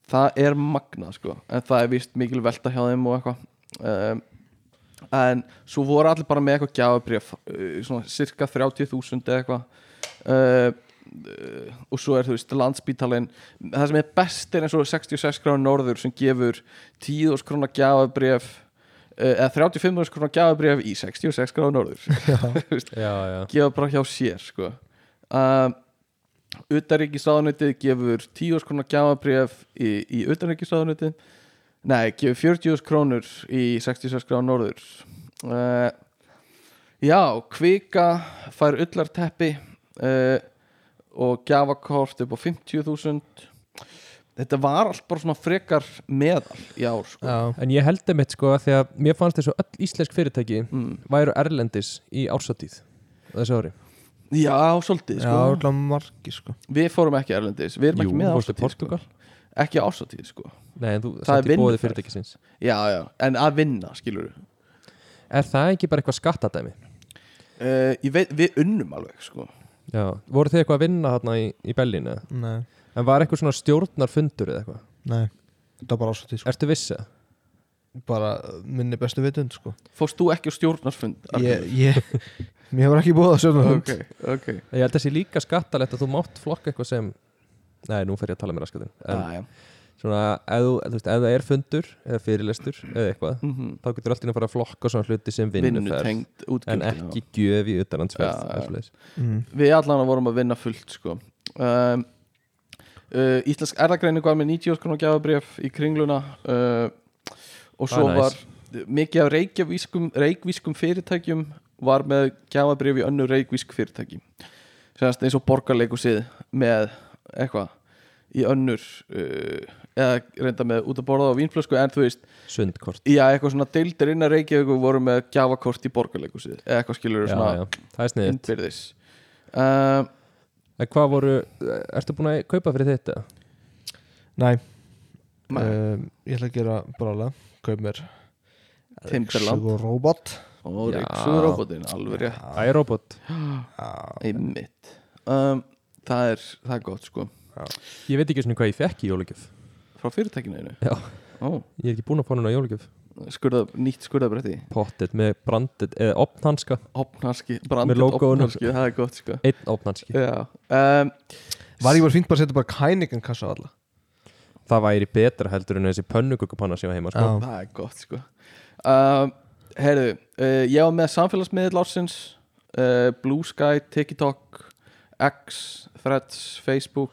það er magna sko en það er vist mikil velta hjá þeim og eitthvað um, en svo voru allir bara með eitthvað gjafabrif uh, svona cirka 30.000 eða eitthvað uh, uh, og svo er þú veist landsbítalinn það sem er best er eins og 66 krónar norður sem gefur 10.000 krónar gjafabrif uh, eða 35.000 krónar gjafabrif í 66 krónar norður Þú veist, já, já. gefa bara hjá sér sko. uh, Utaríkisráðunitið gefur 10 krónar gjafabrif í, í Utaríkisráðunitið Nei, gefur 40 krónur í 66 gráð norður uh, Já, kvika fær ullarteppi uh, og gjafakort upp á 50.000 Þetta var allt bara svona frekar meðal í ár sko. Já En ég held þeim eitt sko að því að mér fannst þessu öll íslensk fyrirtæki Mm. væru erlendis í ársatíð þessu ári. Já, svolítið Já sko. Það er margi sko Við fórum ekki erlendis, við erum ekki með fórstu ásatíð sko. Portugal? Ekki ásatíð sko Nei, en þú Það satt er í bóði vinnuferð. fyrirtækisins. Já, já, en að vinna, skilur við Er það ekki bara eitthvað skattadæmi? Eh, Ég veit, við unnum alveg, sko Já, voru þið eitthvað að vinna hérna í, í Berlínu? Nei En var eitthvað svona stjórnarfundur eða eitthvað? Nei Það er bara ásvöldið sko Ertu vissið? Bara uh, minni bestu vitund sko Fórst þú ekki á stjórnarsfund? Ég, ég [LAUGHS] Mér hefur ekki búið að sjöfna Ok, ok Ég held þessi líka skattalegt að þú mátt flokka eitthvað sem Nei, nú fer ég að tala með raskatum en, Já, já svona ef þú- þú veist, ef það er fundur eða fyrirlestur eða eitthvað Mhm. þá getur allt í einu að fara að flokka svona hluti sem vinnuferð vinnutengt útgjöld en ekki gjöf í utanlandsferð Já, eða já. svoleiðis. mm. við allan vorum að vinna fullt sko. um, uh, Íslensk erðagreinu var með 90 skrónu gjafabrif í kringluna uh, og svo Það er var mikið af reykjavískum, reykvískum fyrirtækjum var með gjafabrif í önnu reykvísk fyrirtæki Sérst, eins og borgarleikusið með eitthvað í önnur uh, eða reynda með út að borða á vínflösku en þú veist, sundkort já eitthvað svona deildir innan Reykjavík og voru með gjafakort í borgarleikusið eða eitthvað skilur já, svona já. það er sniðið innbyrðis uh, en hvað voru, ertu búin að kaupa fyrir þetta? Næ, Nei. um, ég ætla að gera brála Kaup mér Timberland Sugar Robot og Eh, Já. Riksuðurróbotin alveg rétt iRobot einmitt um, það, er, það er gott sko ég veit ekki svona hvað ég fekk í jólugjöf frá fyrirtækinu einu Já. Ó, ég er ekki búin að fá núna jólugjöf skurða, nýtt skurðabrætti pottet með branded eða opnhanska opnarski, brandið Með logoinu. opnarski það er gott sko einn opnhanski Já, um, Var ég bara fínt bara að setja bara kæningan kassa á alla það væri betra heldur en þessi pönnugukupanna sem ég á heima sko. það er gott sko um, herru, uh, ég var með samfélagsmiðl ársins uh, Blue Sky, TikTok X, Threads, Facebook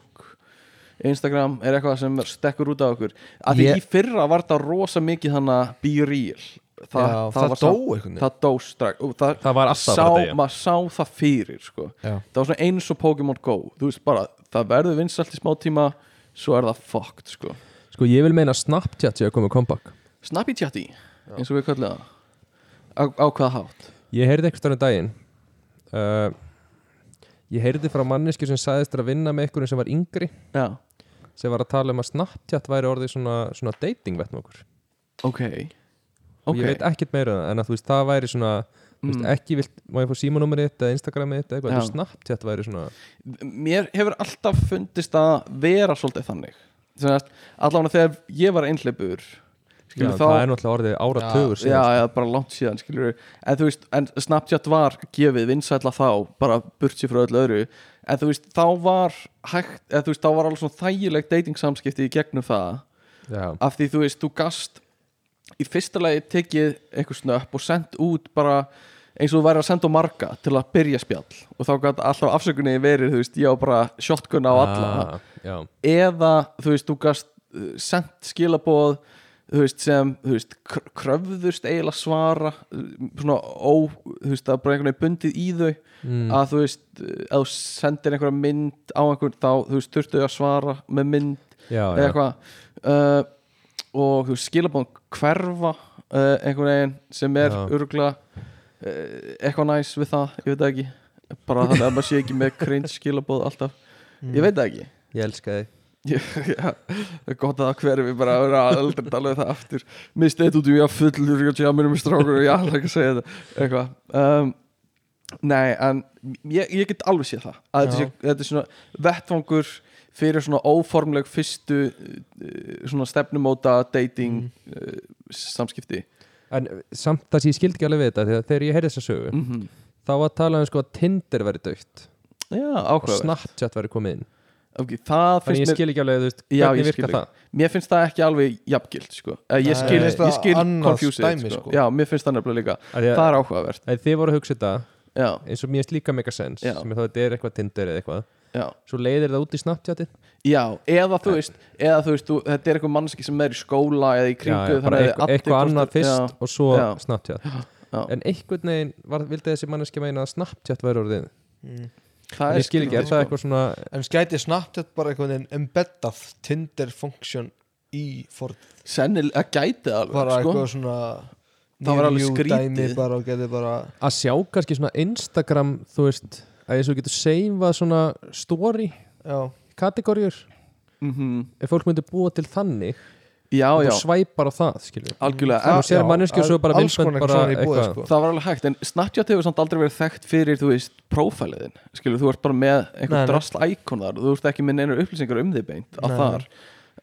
Instagram er eitthvað sem stekkur út af okkur af því Ég- í fyrra var þetta rosa mikið þannig að be real Þa, Já, það var dó samt- einhvern veginn. það dó strax og það, Það var alltaf að sá, fara að deyja. maður sá það fyrir sko. Já. það var svona eins og Pokémon Go þú veist bara, það verður vinsalt í smá tíma svo er það fucked sko. sko ég vil meina Snapchat sé að koma með comeback Snappy Chatty eins og við kallum það á, á hvaða hátt Ég heyrði eitthvað um daginn uh, Ég heyrði frá manneski sem sagðist þér að vinna með einhverjum sem var yngri Já, sem var að tala um að Snapchat væri orðið svona, svona dating vettmokkur ok og ég veit ekkert meira um það, en að þú veist það væri svona mm. veist, ekki vilt, má ég fá símanúmerið þitt eða Instagramið þitt eða eitthvað, Já. þú Snapchat væri svona Mér hefur alltaf fundist að vera svolítið þannig Sennast, Allavega þegar ég var einhleipur já, Skilur það þá er náttúrulega orðið áratugur Já, síðan, sko. já, bara langt síðan skilur En þú veist, en Snapchat var gefið vinsætla þá Bara burt sér frá öllu öðru En þú veist, þá var hægt eða, Þú veist, þá var alveg svona þægileg dating samskipti í gegnum það sko. já. af því þú veist, þú gast í fyrsta lagi tekið eitthvað snöpp og sendt út bara eins og þú væri að senda á marga til að byrja spjall og þá gæti alltaf afsökunni verið þú veist, ég á bara shotgun á alla ah, já. eða þú veist, þú gast uh, sendt skilaboð þú veist, sem, þú veist, kr- kröfðust eiginlega svara uh, svona ó, þú veist, það er bara einhvern veginn bundið í þau Mm, að þú veist, uh, ef þú sendir einhverja mynd á einhvern, þá þú veist, þurftu að svara með mynd Já, Ah, eða já. eitthvað uh, og þú skilabóðum hverfa uh, einhvern veginn sem er Já. öruglega uh, eitthvað næs við það, ég veit það ekki bara þannig að maður sé ekki með cringe skilabóð alltaf, Mm. Mm. ég veit það ekki ég elska þig Ég- [LAUGHS] Já, það er gott að það hverfi bara að vera aldrei tala um það aftur mistið þetta út um ég að fullur og tjáminu með strákur og ég ætla ekki að segja þetta eitthvað um, nei, en ég, ég get alveg séð það að þetta, Já. sé, þetta er svona vettvangur fyrir svona óformleg fyrstu uh, svona stefnumóta dating Mhm. uh, samskipti en uh, samt það sem ég skildi ekki alveg við þetta því að þegar ég heyrði þessa sögu Mm. Mhm. þá var að tala um sko að Tinder væri dögt já, og ákveð Snapchat væri komið inn okay, það þannig finnst ég mér skil ekki alveg, þú veist, Já, ég hvernig skil virkar ekki. það mér finnst það ekki alveg jafngilt sko. Eh, ég Nei, skil, mér ég finnst það skil annað confused dæmi, sko. sko. já, mér finnst það nefnilega líka Af því að- það er áhugavert Ef þið voru að hugsa þetta já, eins og mér finnst líka megasens Já. sem er þá að þetta er eitthvað Tinder eða eitthvað já, svo leiðir það út í Snapchatið já, eða Eh. þú veist eða þú veist, þú, þetta er eitthvað mannski sem er í skóla eða í já, kringu já, bara eitthvað, eitthvað annað fyrst og svo já. Snapchat Já. en einhvern veginn var, vildi þessi manneskja meina að Snapchat væri orðið það en ég skil ekki, er það skrítið, sko. eitthvað svona En skæti Snapchat bara einhvern veginn embeddað Tinder function í Ford sennilega, það gæti það alveg bara sko. eitthvað svona Það var alveg new skrítið. dæmi bara og getið bara að sjá kannski svona Instagram þú veist, að eins og getur seifað svona story, já, kategóriur ef fólk myndi búa til þannig Mhm. já, og já, þú svæpar á það, skilur algjörlega þú en, sér já, manneskju og svo bara alls myndbönd konar bara svona í búið, eitthvað. sko. það var alveg hægt, en Snapchat hefur samt aldrei verið þekkt fyrir, þú veist, prófæliðin skilur, þú ert bara með Nei, einhver nei. drasl íkonar þú ert ekki með neinar upplýsingar um þig beint að Nei, þar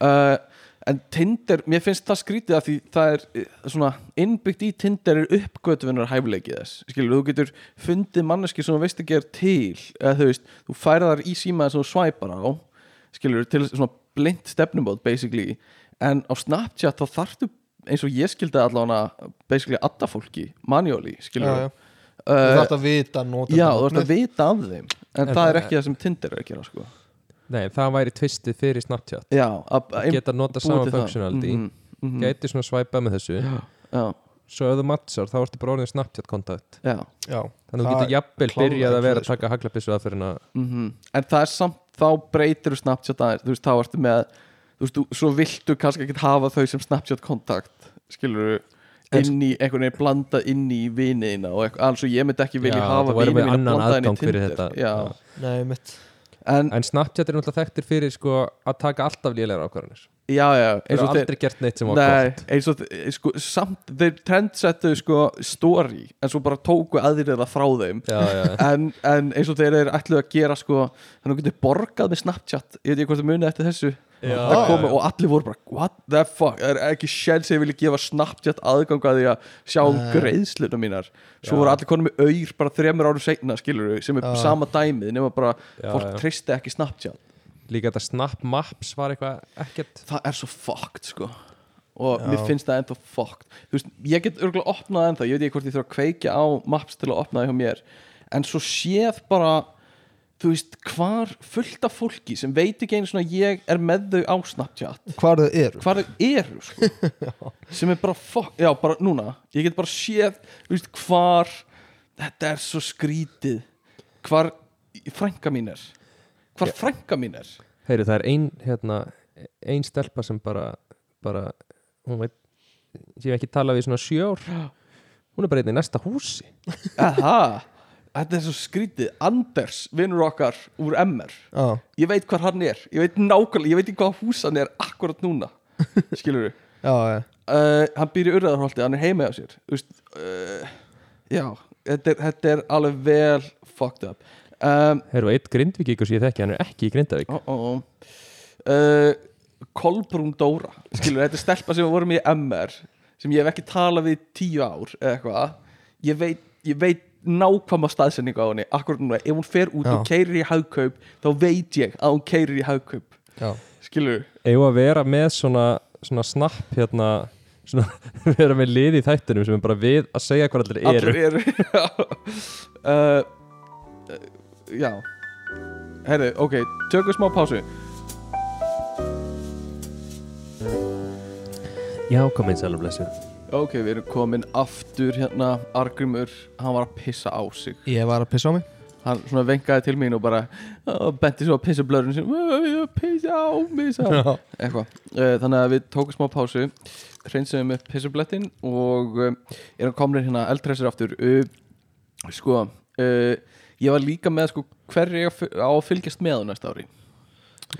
uh, en Tinder, mér finnst það skrítið að því það er eh, svona, innbyggt í Tinder er uppgötvinar hæfleikið þess skilur, þú getur fundið manneski sem þú veist ekki er til, eða þú veist, þú færa þar í síma þess að þú svæpar á skilur, til svona blind stefnumót basically en á Snapchat þá þarftu eins og ég skildi allavega basically adda fólki manually skilur já, já. Þú Uh, þarft að vita nota já, þú ert að vita af þeim en En það það- er ekki það sem Tinder er að gera sko. Nei, það væri tvistið fyrir Snapchat já, að, að Geta nota búa sama til það. functionality mm Mhm, mhm. Gæti svona svæpa með þessu já, Svo ef þú matchar, þá ertu bara orðin Snapchat kontakt já Já, Þannig að þú Það getur jafnvel klárar byrjað að vera ekki, að taka haglabissu aðferðin að -hmm. en það er samt þá breytir Snapchat aðeins, þú veist, þá ertu með þú veist, þú, svo viltu kannski ekkert hafa þau sem Snapchat kontakt, skilur En- inn í, einhvern veginn blandað inn í viniðina og eitthvað, alls og ég myndi ekki vilja Já, hafa þú væri vinið með mína annan blandað inn í aðgang fyrir Tinder. þetta. já, Já. nei, mitt en, En Snapchat er náttúrulega þekktir fyrir sko að taka alltaf lélegar ákvarðanir já, já Þeir eins eru og þeir aldrei gert neitt sem var Nei, gott eins og þeir- sko, samt þeir trendsettu sko story en svo bara tóku aðrir það frá þeim Já, já, [LAUGHS] en, en eins og þeir eru ætluð að gera sko, þannig að þú getur borgað með Snapchat ég veit ekki hvort það munið eftir þessu það komi og allir voru bara what the fuck, það er ekki sjálf sem ég vilja gefa Snapchat aðgang að því að sjá um Nei. greiðsluna mínar svo voru allir konum með auður bara þremur árum seinna skilur sem er Já. sama dæmið nema bara Já, fólk já. tristi ekki Snapchat Líka þetta Snap Maps var eitthvað ekkert það er svo fucked sko og Já. mér finnst það ennþá fucked þú veist, ég get örgulega opnað ennþá ég veit ekki hvort ég þarf að kveikja á maps til að opna það hjá mér en svo séð bara þú veist, hvar fullt af fólki sem veit ekki einu svona ég er með þau á Snapchat Hvar þau eru hvar þau eru sko sem er bara fuck, já bara núna ég get bara séð, þú veist, hvar þetta er svo skrítið hvar frænka mín er hvar frænka mín er Heyri, það er ein, hérna, ein stelpa sem bara, bara hún veit, sem ég hef ekki talað við í svona sjö ár hún er bara einn í næsta húsi Aha, þetta er svo skrítið Anders, vinnur okkar úr MR Já, Ég veit hvar hann er Ég veit nákvæmlega, ég veit ekki hvað hús hann er akkurat núna Skilur við já, já uh, Hann býr í urðarholti, hann er heima á sér Þú veist, uh, Já, þetta er, þetta er alveg vel fucked up um, Heyrðu, eitt grindvíkíkur sem ég þekki, hann er ekki í Grindavík oh, oh, uh, Kolbrún Dóra Skilur, þetta er stelpa sem við vorum í MR Sem ég hef ekki talað við í tíu ár Eða eitthvað Ég veit, ég veit nákvæma staðsendingu á henni Akkurat núna, ef hún fer út Já. og keirir í hagkaup Þá veit ég að hún keirir í hagkaup Já. Skilur, eigum að vera með svona, svona snapp hérna svona, [LAUGHS] vera með lið í þættinum sem er bara við að segja hvað allir eru allir eru [LAUGHS] Já uh, Já Herri, ok, tökum smá pásu Já, kom eins alveg blessu Ok, við erum komin aftur hérna Argrimur, hann var að pissa á sig Ég var að pissa á mig hann svona vengaði til mín og bara og benti svo að pissa blörun sem pissa á mig sagði hann. eitthvað, Eh, þannig að við tókum smá pásu hreinsum upp pissablettin og eh, erum komnir hérna eldhressir aftur Eh, sko, eh, ég var líka með sko hverju ég á að fy- á að fylgjast með á næsta ári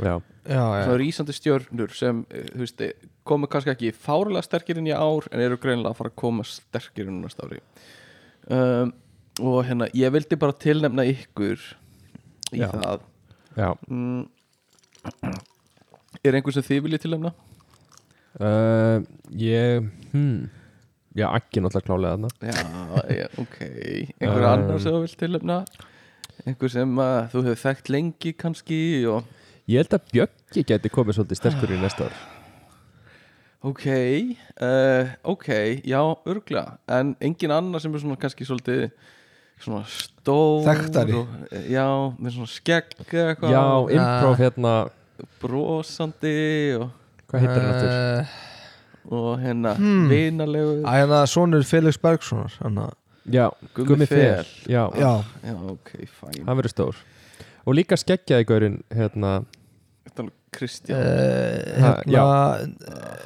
Já, Já, já, svona rísandi stjörnur sem eh, þú veist, eh, komu kannski ekki fárlega sterkir inn í ár en eru greinilega að fara að koma sterkir inn á næsta ári um, og hérna, ég vildi bara tilnefna ykkur í Já. það já mm. er einhver sem þið viljið tilnefna? uh, Ég, hmm Já, ekki náttúrulega klálega þarna Já, já, ok einhver Um. annar sem þú vilt tilnefna einhver sem uh, þú hefur þekkt lengi kannski og Ég held að Bjöggi gæti komið svolítið sterkur í næsta ár Ok, uh, ok, já, örgla En engin annar sem er svona kannski svolítið Svona stór Þekktari. og, eh, Já, með svona skegg eða eitthvað Já, Ah. improv hérna Brosandi og, Hvað heitir hann aftur? Eh, og hérna Hmm. Vinalegur Æ, hérna, sonur Felix Bergssonar hann að- Já, Gummi Gummi Fel. Fel Já, Já, Já, ok, fæn hann verður stór Og líka skeggjaði gaurinn hérna Þetta er alveg eh, Kristján hérna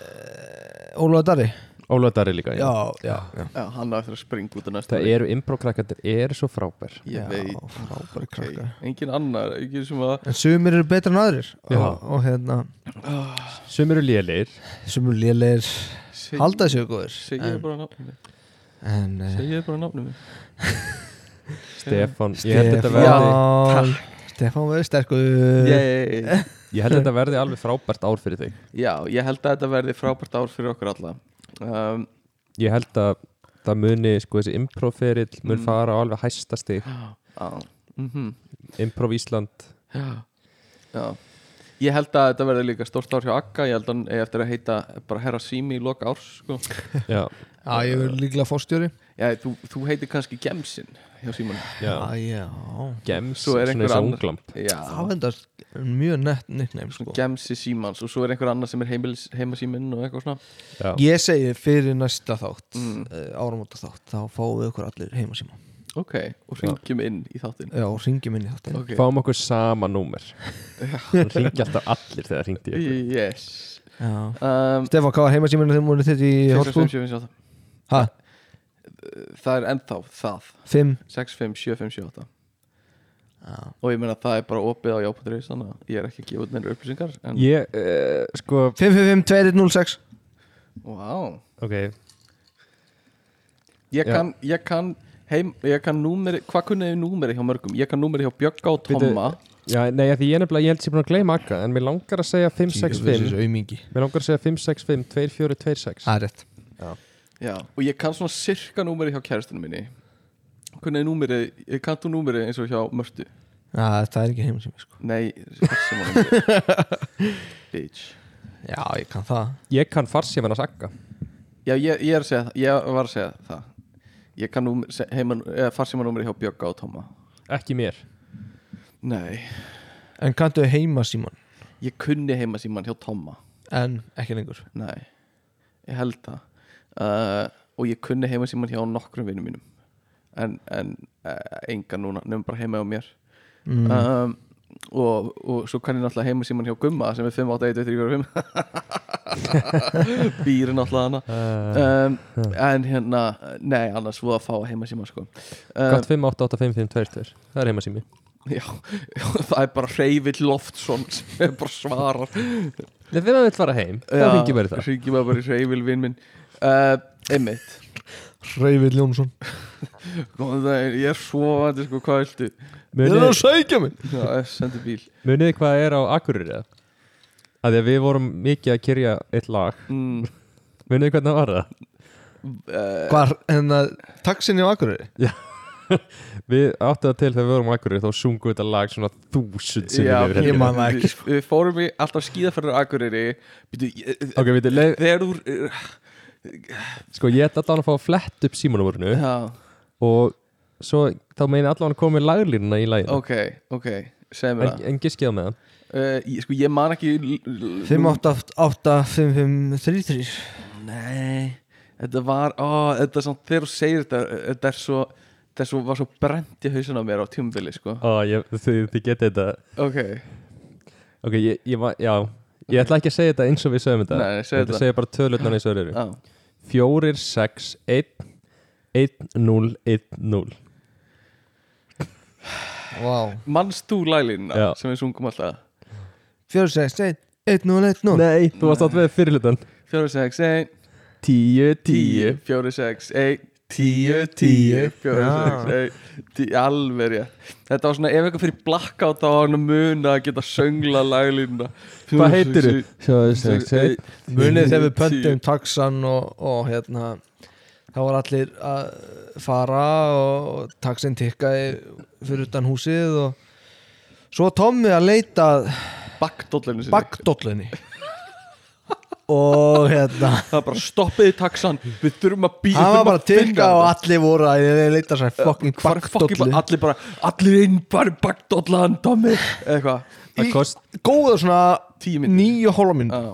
Ólaða Dari Ólaug Darri líka Já, já, já Já, hann á eftir að springa út að næsta Það leik. eru improvkrakkandir, eru svo frábær Ég veit, Frábæri ok krakkar Engin annar, ekki sem að En sumir eru betri en aðrir Já. og, og hérna, ah, Sum eru lélir sumir lélegir seg- halda sig góður Segja bara nafnum mitt En, eh, en Segja bara nafnum mitt Stefan, ég held þetta verði Stefán Stefán verður sterkur Yay Ég held þetta verði alveg frábært ár fyrir þig Já, ég held að þetta verði frábært ár fyrir okkur alla um, Ég held að það muni sko þessi improvferill mun Mm. fara á alveg hæsta stig á, mhm, Improv Ísland Já, já Ég held að þetta verði líka stórt ár hjá Akka Ég held að hann eigi eftir að heita bara herra sími í loka árs sko. já, Já, ég verður líklega fórstjóri Já, þú, þú heitir kannski Gemsin hjá síman já, ah, já. gems Svo er einhver eins og annar- unglamp Já, Það vendar mjög nett nickname sko. Gemsi símans og svo er einhver annar sem er heimilis, heimasíminn og eitthvað svona já, Ég segi fyrir næsta þátt mm. Mm. áramóta þátt, þá fáum við okkur allir heima síma Ok, og ringjum inn í þáttin Já, og ringjum inn í þáttin Ok, fáum okkur sama númer það ringi alltaf allir þegar ringdi ég yes okay. um, Stefán, hvað var heima síminu þegar múinu þitt í sko. hotspú? 65758 Ha, Það er ennþá það 5 65758 Já, Og ég meina það er bara opið á jápatreis Þannig að ég er ekki að gefa út neina upplýsingar En, ég, eh, sko 555-2106 wow ok, Ég Já. kann, ég kann heim, ég kann númeri, hvað kunnið þið númeri hjá mörgum? Ég kann númeri hjá Bjögga og Bíddu. Tomma já, nei, af því ég er nefnilega ég held sér búin að gleyma akka, en mér langar að segja 565, aumingi mér langar að segja 565 2426, Það er rétt Já, og ég kann svona sirka númeri hjá kæristinu minni Kunnið þið númeri, ég kann þú númeri eins og hjá Mörtu Já, það er ekki heima sími sko Nei, sem var númeri [LAUGHS] Bitch Já, ég kann það ég kann farsíman að sakka Já, ég, ég er að segja það, ég var að segja það Ég kann númer, se- heiman, eða farsíma númeri hjá Bjögga og Tomma ekki mér, Nei, En kanntu heima síman ég kunni heima síman hjá Tomma En ekki lengur Nei, ég held það uh, Og ég kunni heima síman hjá nokkrum vinnum mínum En, en uh, enga núna, nefnum bara heima hjá mér mm. um, og, og svo kann ég náttúrulega heima síman hjá Gumma Sem er 581235 Býri náttúrulega hana Eh. um, En hérna, nei, annars voða að fá heima síman sko um, gott 588552 það er heimasími [LAUGHS] já, já, það er bara Reyvill Loftsson Sem er bara svarar Nei, þegar það vil fara heim, þá ringi verið það Ringi bara í Reyvill vinn minn uh, Einmitt Reyvill Jónsson Góðan daginn, ég er svovandi sko, hvað viltu? Það er að Munið- sækja mig Já, sendi bíl Munið þið hvað er á Akureyri eða? Að því að við vorum mikið að kyrja eitt lag mm, Munið þið hvernig það var það? uh, Hvar, hérna, en að taxinni á Akureyri Við áttu það til þegar við vorum á Akureyri þá sungum við þetta lag svona þúsund hérna. sem já, við ég hefum man- það ekki, Við, við fórum í alltaf skíðaferður Akureyri Býtu, ég- Ok, veitir, leið, þegar þú sko ég ætla allan að fá að flett upp símanumurinu Já, og svo þá meina allan að koma í laglínuna í laginu ok, ok, segðu mér En, en giskið á með það það uh, Sko, ég man ekki l- l- 588-5533 Nei, þetta var, ó, þetta er samt Þegar þú segir þetta, þetta er svo Þetta er svo, var svo brent í hausin á mér á tjúmbili, sko Ó, ég, þið, þið getið þetta Ok, Ok, ég, ég var, já Ég ætla ekki að segja þetta eins og við sögum þetta Nei, nei, Ég ætla segðu þetta. Ah. að segja bara tölutnar eins og þeir eru á, Fjórir, sex, einn, einn, núl, einn, núl Vá manst þú lælínuna Já. sem við sungum alltaf 461-1010 Nei, þú varst átt með fyrirlutan 4, 6, 1 Tíu, 10, 4, 6, 1 10, 10, 4, 6, 1 10, alveg rétt Þetta var svona, ef eitthvað fyrir blackout þá var hann að muna að geta söngla laglínuna Hvað heitir þú? Munið þegar við pöntum taxan og, og hérna þá var allir að fara og taxin tikkaði fyrir utan húsið og svo var Tommi að leita að Backdollinu sinni bakdollunni og hérna Það var bara stoppiði taxan Við þurfum að býja hann var bara að tikka og allir voru að leita sér fucking Bakdollu bakdollu Allir bara, allir inn bara backdollan Dami, eitthvað Það kost góða Tíu svona mínútur. nýju hóla minn Já,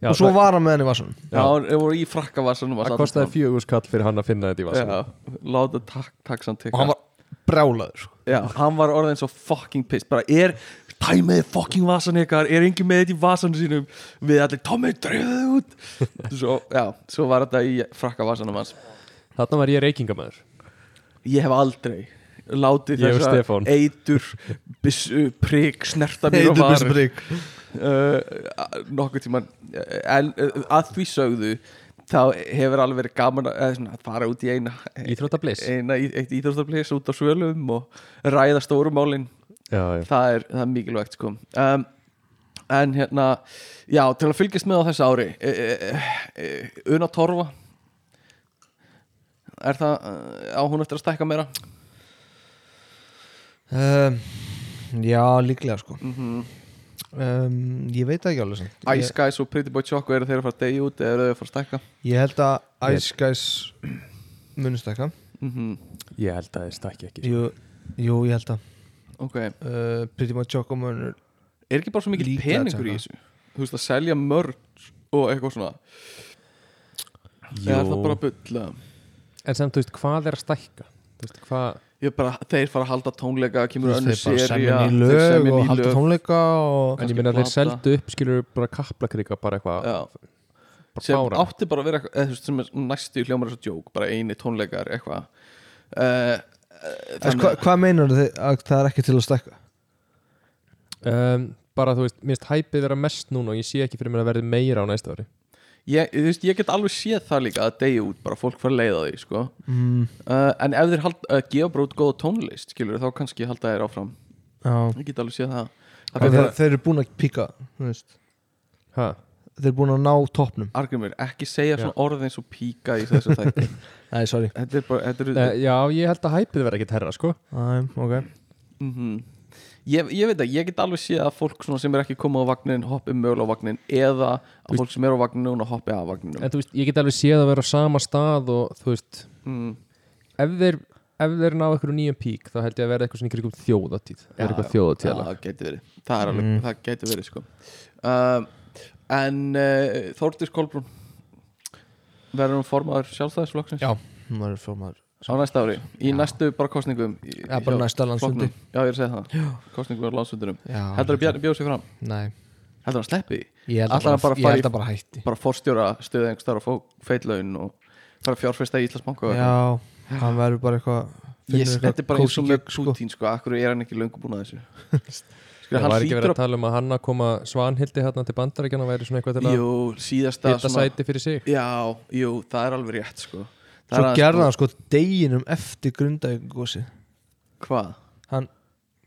Já, og svo það- var hann með henni vassan Já, það voru í frakkavasanum Það kostaði fjögur skall fyrir hann að finna þetta í vasan Já, láta tak- taxan tikka og hann var brjálaður sko. Já, hann var orðin svo fucking piss bara er, tæmiði fucking vasan ykkar er engin með þetta í vasanum sínum við allir, Tommy, dröðu út [LAUGHS] svo, já, svo var þetta í frakka vasanum hans Þarna var ég reykingamæður ég hef aldrei látið Ég og þessa Stefán. eitur byssu prik snerta mér Heitur á varir bisbrik. uh, nokkuð tíman en uh, að því sögðu þá hefur alveg verið gaman að, eða svona, að fara út í eina Íþróttabliss. eina, í- eitt íþróttablis út á svölum og ræða stórumálin Já, já það er, það er mikilvægt sko um, en hérna já, til að fylgjast með á þessu ári e, e, e, Una Torfa er það eh, á hún eftir að stækka meira Ehm, Mhm. Um, já, líklega sko um, ég veit það ekki alveg samt. Ice Guys og Pretty Boy Choco eru þeir að fara að deyja út eða eru þeir að fara að stekka ég, ég held að Ice Guys munist ekka mm Ég held að það stakki ekki sko. jú, jú, ég held að ok, er uh, Pretty much Choco munur ekki bara svo mikil Líklega peningur í að þessu þú veist að selja mörg og eitthvað svona eða er það bara bull eða? En sem, þú veist, hvað er að stækka? Þú veist, hvað ég er bara, þeir fara að halda tónleika kemur þeir önnur bara seria semja ný þeir lög semja og ný halda lög. tónleika og En Kannski ég meina að þeir plata. seldu upp skilur bara kaplakríka bara eitthvað Já, bara sem fára átti bara að vera eitthvað, eða þú veist, sem er næstu hljómar þessu djók bara eini tónleikar eitthvað uh, Þannig... Hva, hvað meinar þið að það er ekki til að stekka? um, Bara þú veist, minnst hæpið vera mest núna og ég sé ekki fyrir mér að verði meira á næsta ári ég, þú veist, ég get alveg séð það líka að deyja út bara fólk fara að leiða því sko. Mm, uh, en ef þeir hald, uh, gefa bara út góða tónlist skilur þá kannski halda þeir áfram já, ég get alveg séð það þeir, það fyrir bara, þeir eru búin að píka þú veist. Ha, Þeir eru búin að ná toppnum Argrimur, ekki segja svona orð eins og píka í þessu þætti Nei, sorry þetta er bara, þetta er Eh, Já, ég held að hæpið vera ekkit herra, sko Æ, okay. Mhm. ég, ég veit að ég get alveg séð að fólk svona sem er ekki komið á vagnin hoppi mögulega á vagnin eða að fólk sem er á vagnin núna hoppi af vagninum En þú veist, ég get alveg séð að vera á sama stað og þú veist, mm. ef þeir ef þeir ná eitthvað nýjum pík þá held ég að verða eitthvað svona í kringum þjóðatíð það er eitthvað Mm. Já, þjóðatíðala það geti verið það, er alveg, það geti verið sko um, en uh, Þórdís Kolbrún verður hún formaður sjálfstæðisflokksins Já, hún var formaður á næsta ári, í næstu bara kostningum í, Já, bara hjá næsta landsfundi. flokknum. já, ég er að segja það, kostningum á landsfundunum Já. heldur að Bjarni bjóð sér fram, Nei, heldur að hann sleppi því? ég held að Ætlar hann bara bara, að ég fara í- held að bara hætti bara forstjóra stöðu einhver starf og feitlaun og fara að fjárfesta í Íslandsbanka og eitthvað. Já, hann verður bara eitthvað Sko, Ég, finnur þetta er bara eins og kósí með gig, Putin sko, akkur er hann ekki löngu búin að þessu [LAUGHS] Skur, Það hann var ekki verið hlýtur að tala um að hann að koma svanhildi hérna til bandaríkjana væri svona eitthvað til að að jú, síðasta hitta sæti fyrir sig já, jú, það er alveg rétt sko Það er Svo aðeins gerða búið- hann sko deginum eftir grundægjósi hvað? Hann,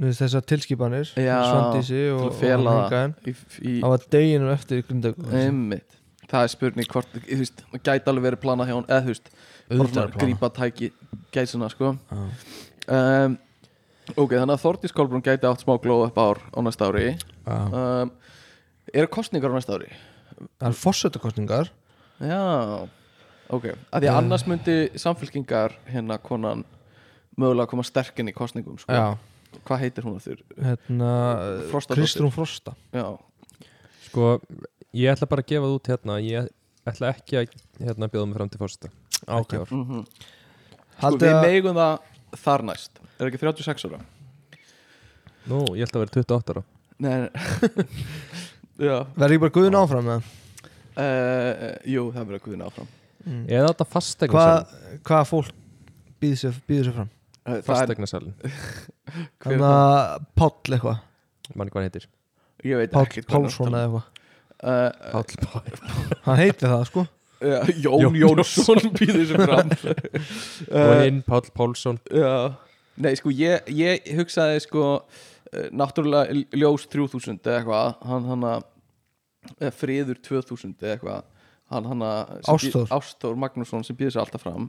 þú veist þessar tilskipanir Já, Svandísi til og, að og fela hann í, í, Það var deginum eftir grundægjósi einmitt það er spurning hvort, þú veist, það gæti alveg verið planað hjá hún eða þú veist, bara Auðvitað er svona planað. grípa tæki gæsina sko um, ok, þannig að Þordís Kolbrún gæti átt smá glóð upp ár á næsta ári um, eru kostningar á næsta ári? Það er fórsetakostningar Já, ok að Eh. Því að annars myndi samfélkingar hérna konan mögulega koma sterkinn í kostningum sko. Já, Hvað heitir hún að þurr? hérna Frostadóttir. Kristrún Frosta Já, Sko, ég ætla bara að gefa það út hérna Ég ætla ekki að hérna, bjóða mig fram til fórsta okay. Mhm. sko, Haldið við að megum það þar næst Er ekki 36 ára? Nú, ég ætla að vera 28 ára Nei, nei. [LAUGHS] Já, verður ekki bara guðin áfram með uh, jú, það verður guðin áfram Mm. Eða þetta fastegna Hvað salin hva fólk býður sér, býður sér fram Eh, Það er, Fastegna salin, Hver er Þannig að Páll eitthvað mann hvað hann heitir ég veit Páll ekki Pálsson eða eitthvað uh, Páll Bár Hann heitir það sko Eh, [LAUGHS] Jón Jónsson býður sér fram [LAUGHS] Eh, Og hinn Páll Pálsson Já, nei sko ég, ég hugsaði sko eh, náttúrulega l- ljós 3000 eða eitthvað hann hann að eh, friður 2000 eða eitthvað hann hann að sem Ástþór. býð- Ástþór Magnússon sem býður sér alltaf fram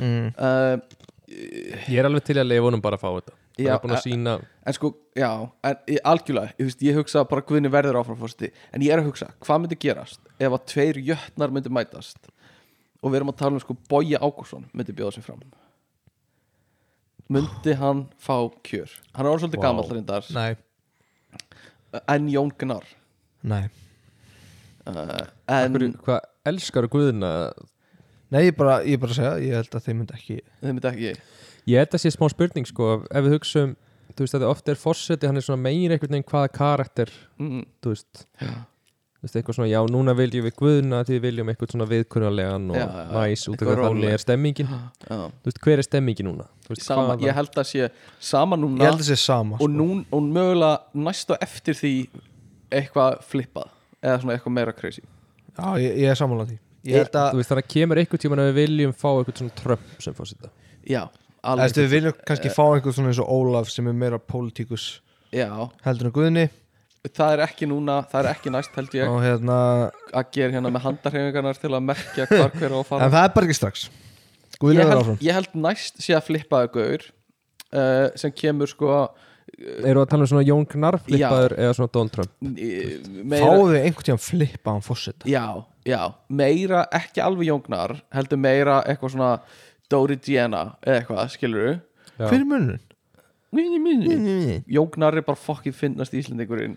mm. uh, Ég er alveg til að leifa honum bara að fá þetta Það Já, er búin eh, að sína en sko, já, en ég, algjörlega ég, veist, ég hugsa bara hvernig verður áfram fórsti en ég er að hugsa, hvað myndi gerast ef að tveir jötnar myndi mætast og við erum að tala um sko Bogi Ágúrsson myndi bjóða sér fram myndi hann fá kjör hann er orðin svolítið Vá. wow. gamall reyndar Nei, en Jón Gnar nei Eh, uh, en Hverju, Hvað elskar guðina Nei, ég bara, ég bara segja, ég held að þeim myndi ekki þið myndi ekki Ég held að sé smá spurning sko Ef við hugsaum, þú veist að þetta ofta er fórseti Hann er svona meira einhvern veginn hvaða karakter mm, Þú veist Þú veist, eitthvað svona, já, núna viljum við guðuna því við viljum eitthvað svona viðkunnulegan og Já, já, já, næs út af eitthvað hvað þannig er stemmingin já. þú veist, hver er stemmingin núna? Þú veist, sama, hvaða- ég held að sé sama Ég núna held að sé sama og, sko. nú, og mögulega næst og eftir því eitthvað flippað eða svona eitthvað meira crazy Já, ég, ég er samanlega því Ég held þú að, veist, þannig að kemur einhvern tímann að við viljum fá eitthvað svona trömp sem fórseta já, þú veist, alveg við viljum kannski fá einhver svona eins og Ólaf sem er meira pólitíkus já, heldur en Guðni það er ekki núna það er ekki næst held ég og hérna að gera hérna með handarhefingarnar til að merkja hvar hver á að En fara það er bara ekki strax Guðni ég verður held, áfram ég held næst sé að flippaðu gaur uh, sem eh, kemur sko Eru að tala um svona Jón Gnarr flippaður eða svona Donald Trump Í- meira, Fáðu einhvern tíðan flippa á fósita já, já, meira ekki alveg jóngnar, heldur meira eitthvað svona Dóri Diana eða eitthvað, skilur Já. Hver er munurinn? du Mm. jóngnar er bara fokkið finnast íslendingurinn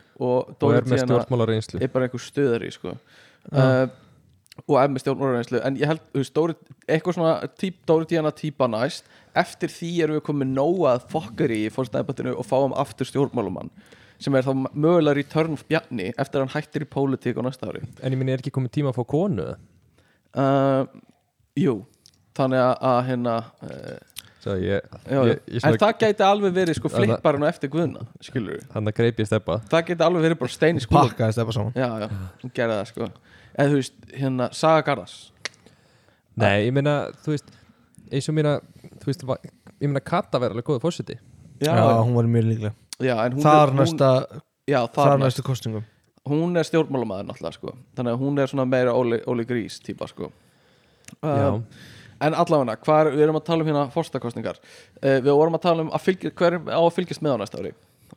og og Dóri er með Diana stjórnmálar einslu er bara einhver stöðari sko. uh, og er með stjórnmálarreynslu en ég held, þú veist, Dóri, eitthvað svona típ, Dóri Díana típa næst eftir því erum við komið nóga að fokkar í fórstæðbættinu og fáum aftur stjórnmálumann sem er þá mögulega return of Bjarni eftir að hann hættir í pólitík á næsta ári En ég minn er ekki komið tíma að fá konu uh, Jú, þannig að, að hérna uh, Svo ég, já, ég, ég en svona, það gæti alveg verið sko flipparinn og eftir guðna, skilur hann að greip ég steppa það gæti alveg verið bara stein í skúla Pakkaðist það bara saman Já, já, hún gerði það sko eða þú veist, hérna, Saga Garðars Nei, ég meina, þú veist eins og meina, þú veist va- ég meina Kata verður alveg góðu fórseti Já, Já, hún var mjög líklega já en hún Þar hún- næsta, Já, þar, þar næst næstu kostningum Hún er stjórnmálamæður náttúrulega sko Þannig að hún er svona meira Óli, Óli Grís típa sko Já, uh, En allavega, hvað er, við erum að tala um hérna Forstakostningar uh, Við vorum að tala um að fylgja, hver á að fylgjast með á næsta ári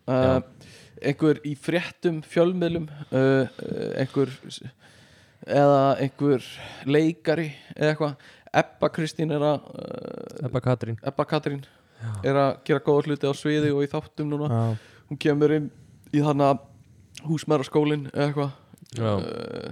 uh, Einhver í fréttum Fjölmiðlum uh, uh, Einhver Eða einhver leikari Eða eitthvað Ebba Kristín er að uh, Ebba Katrín Ebba Katrín er að gera góða hluti á sviði og í þáttum núna Já. hún kemur inn í þannig að húsmæðarskólin eða eitthvað Já, uh,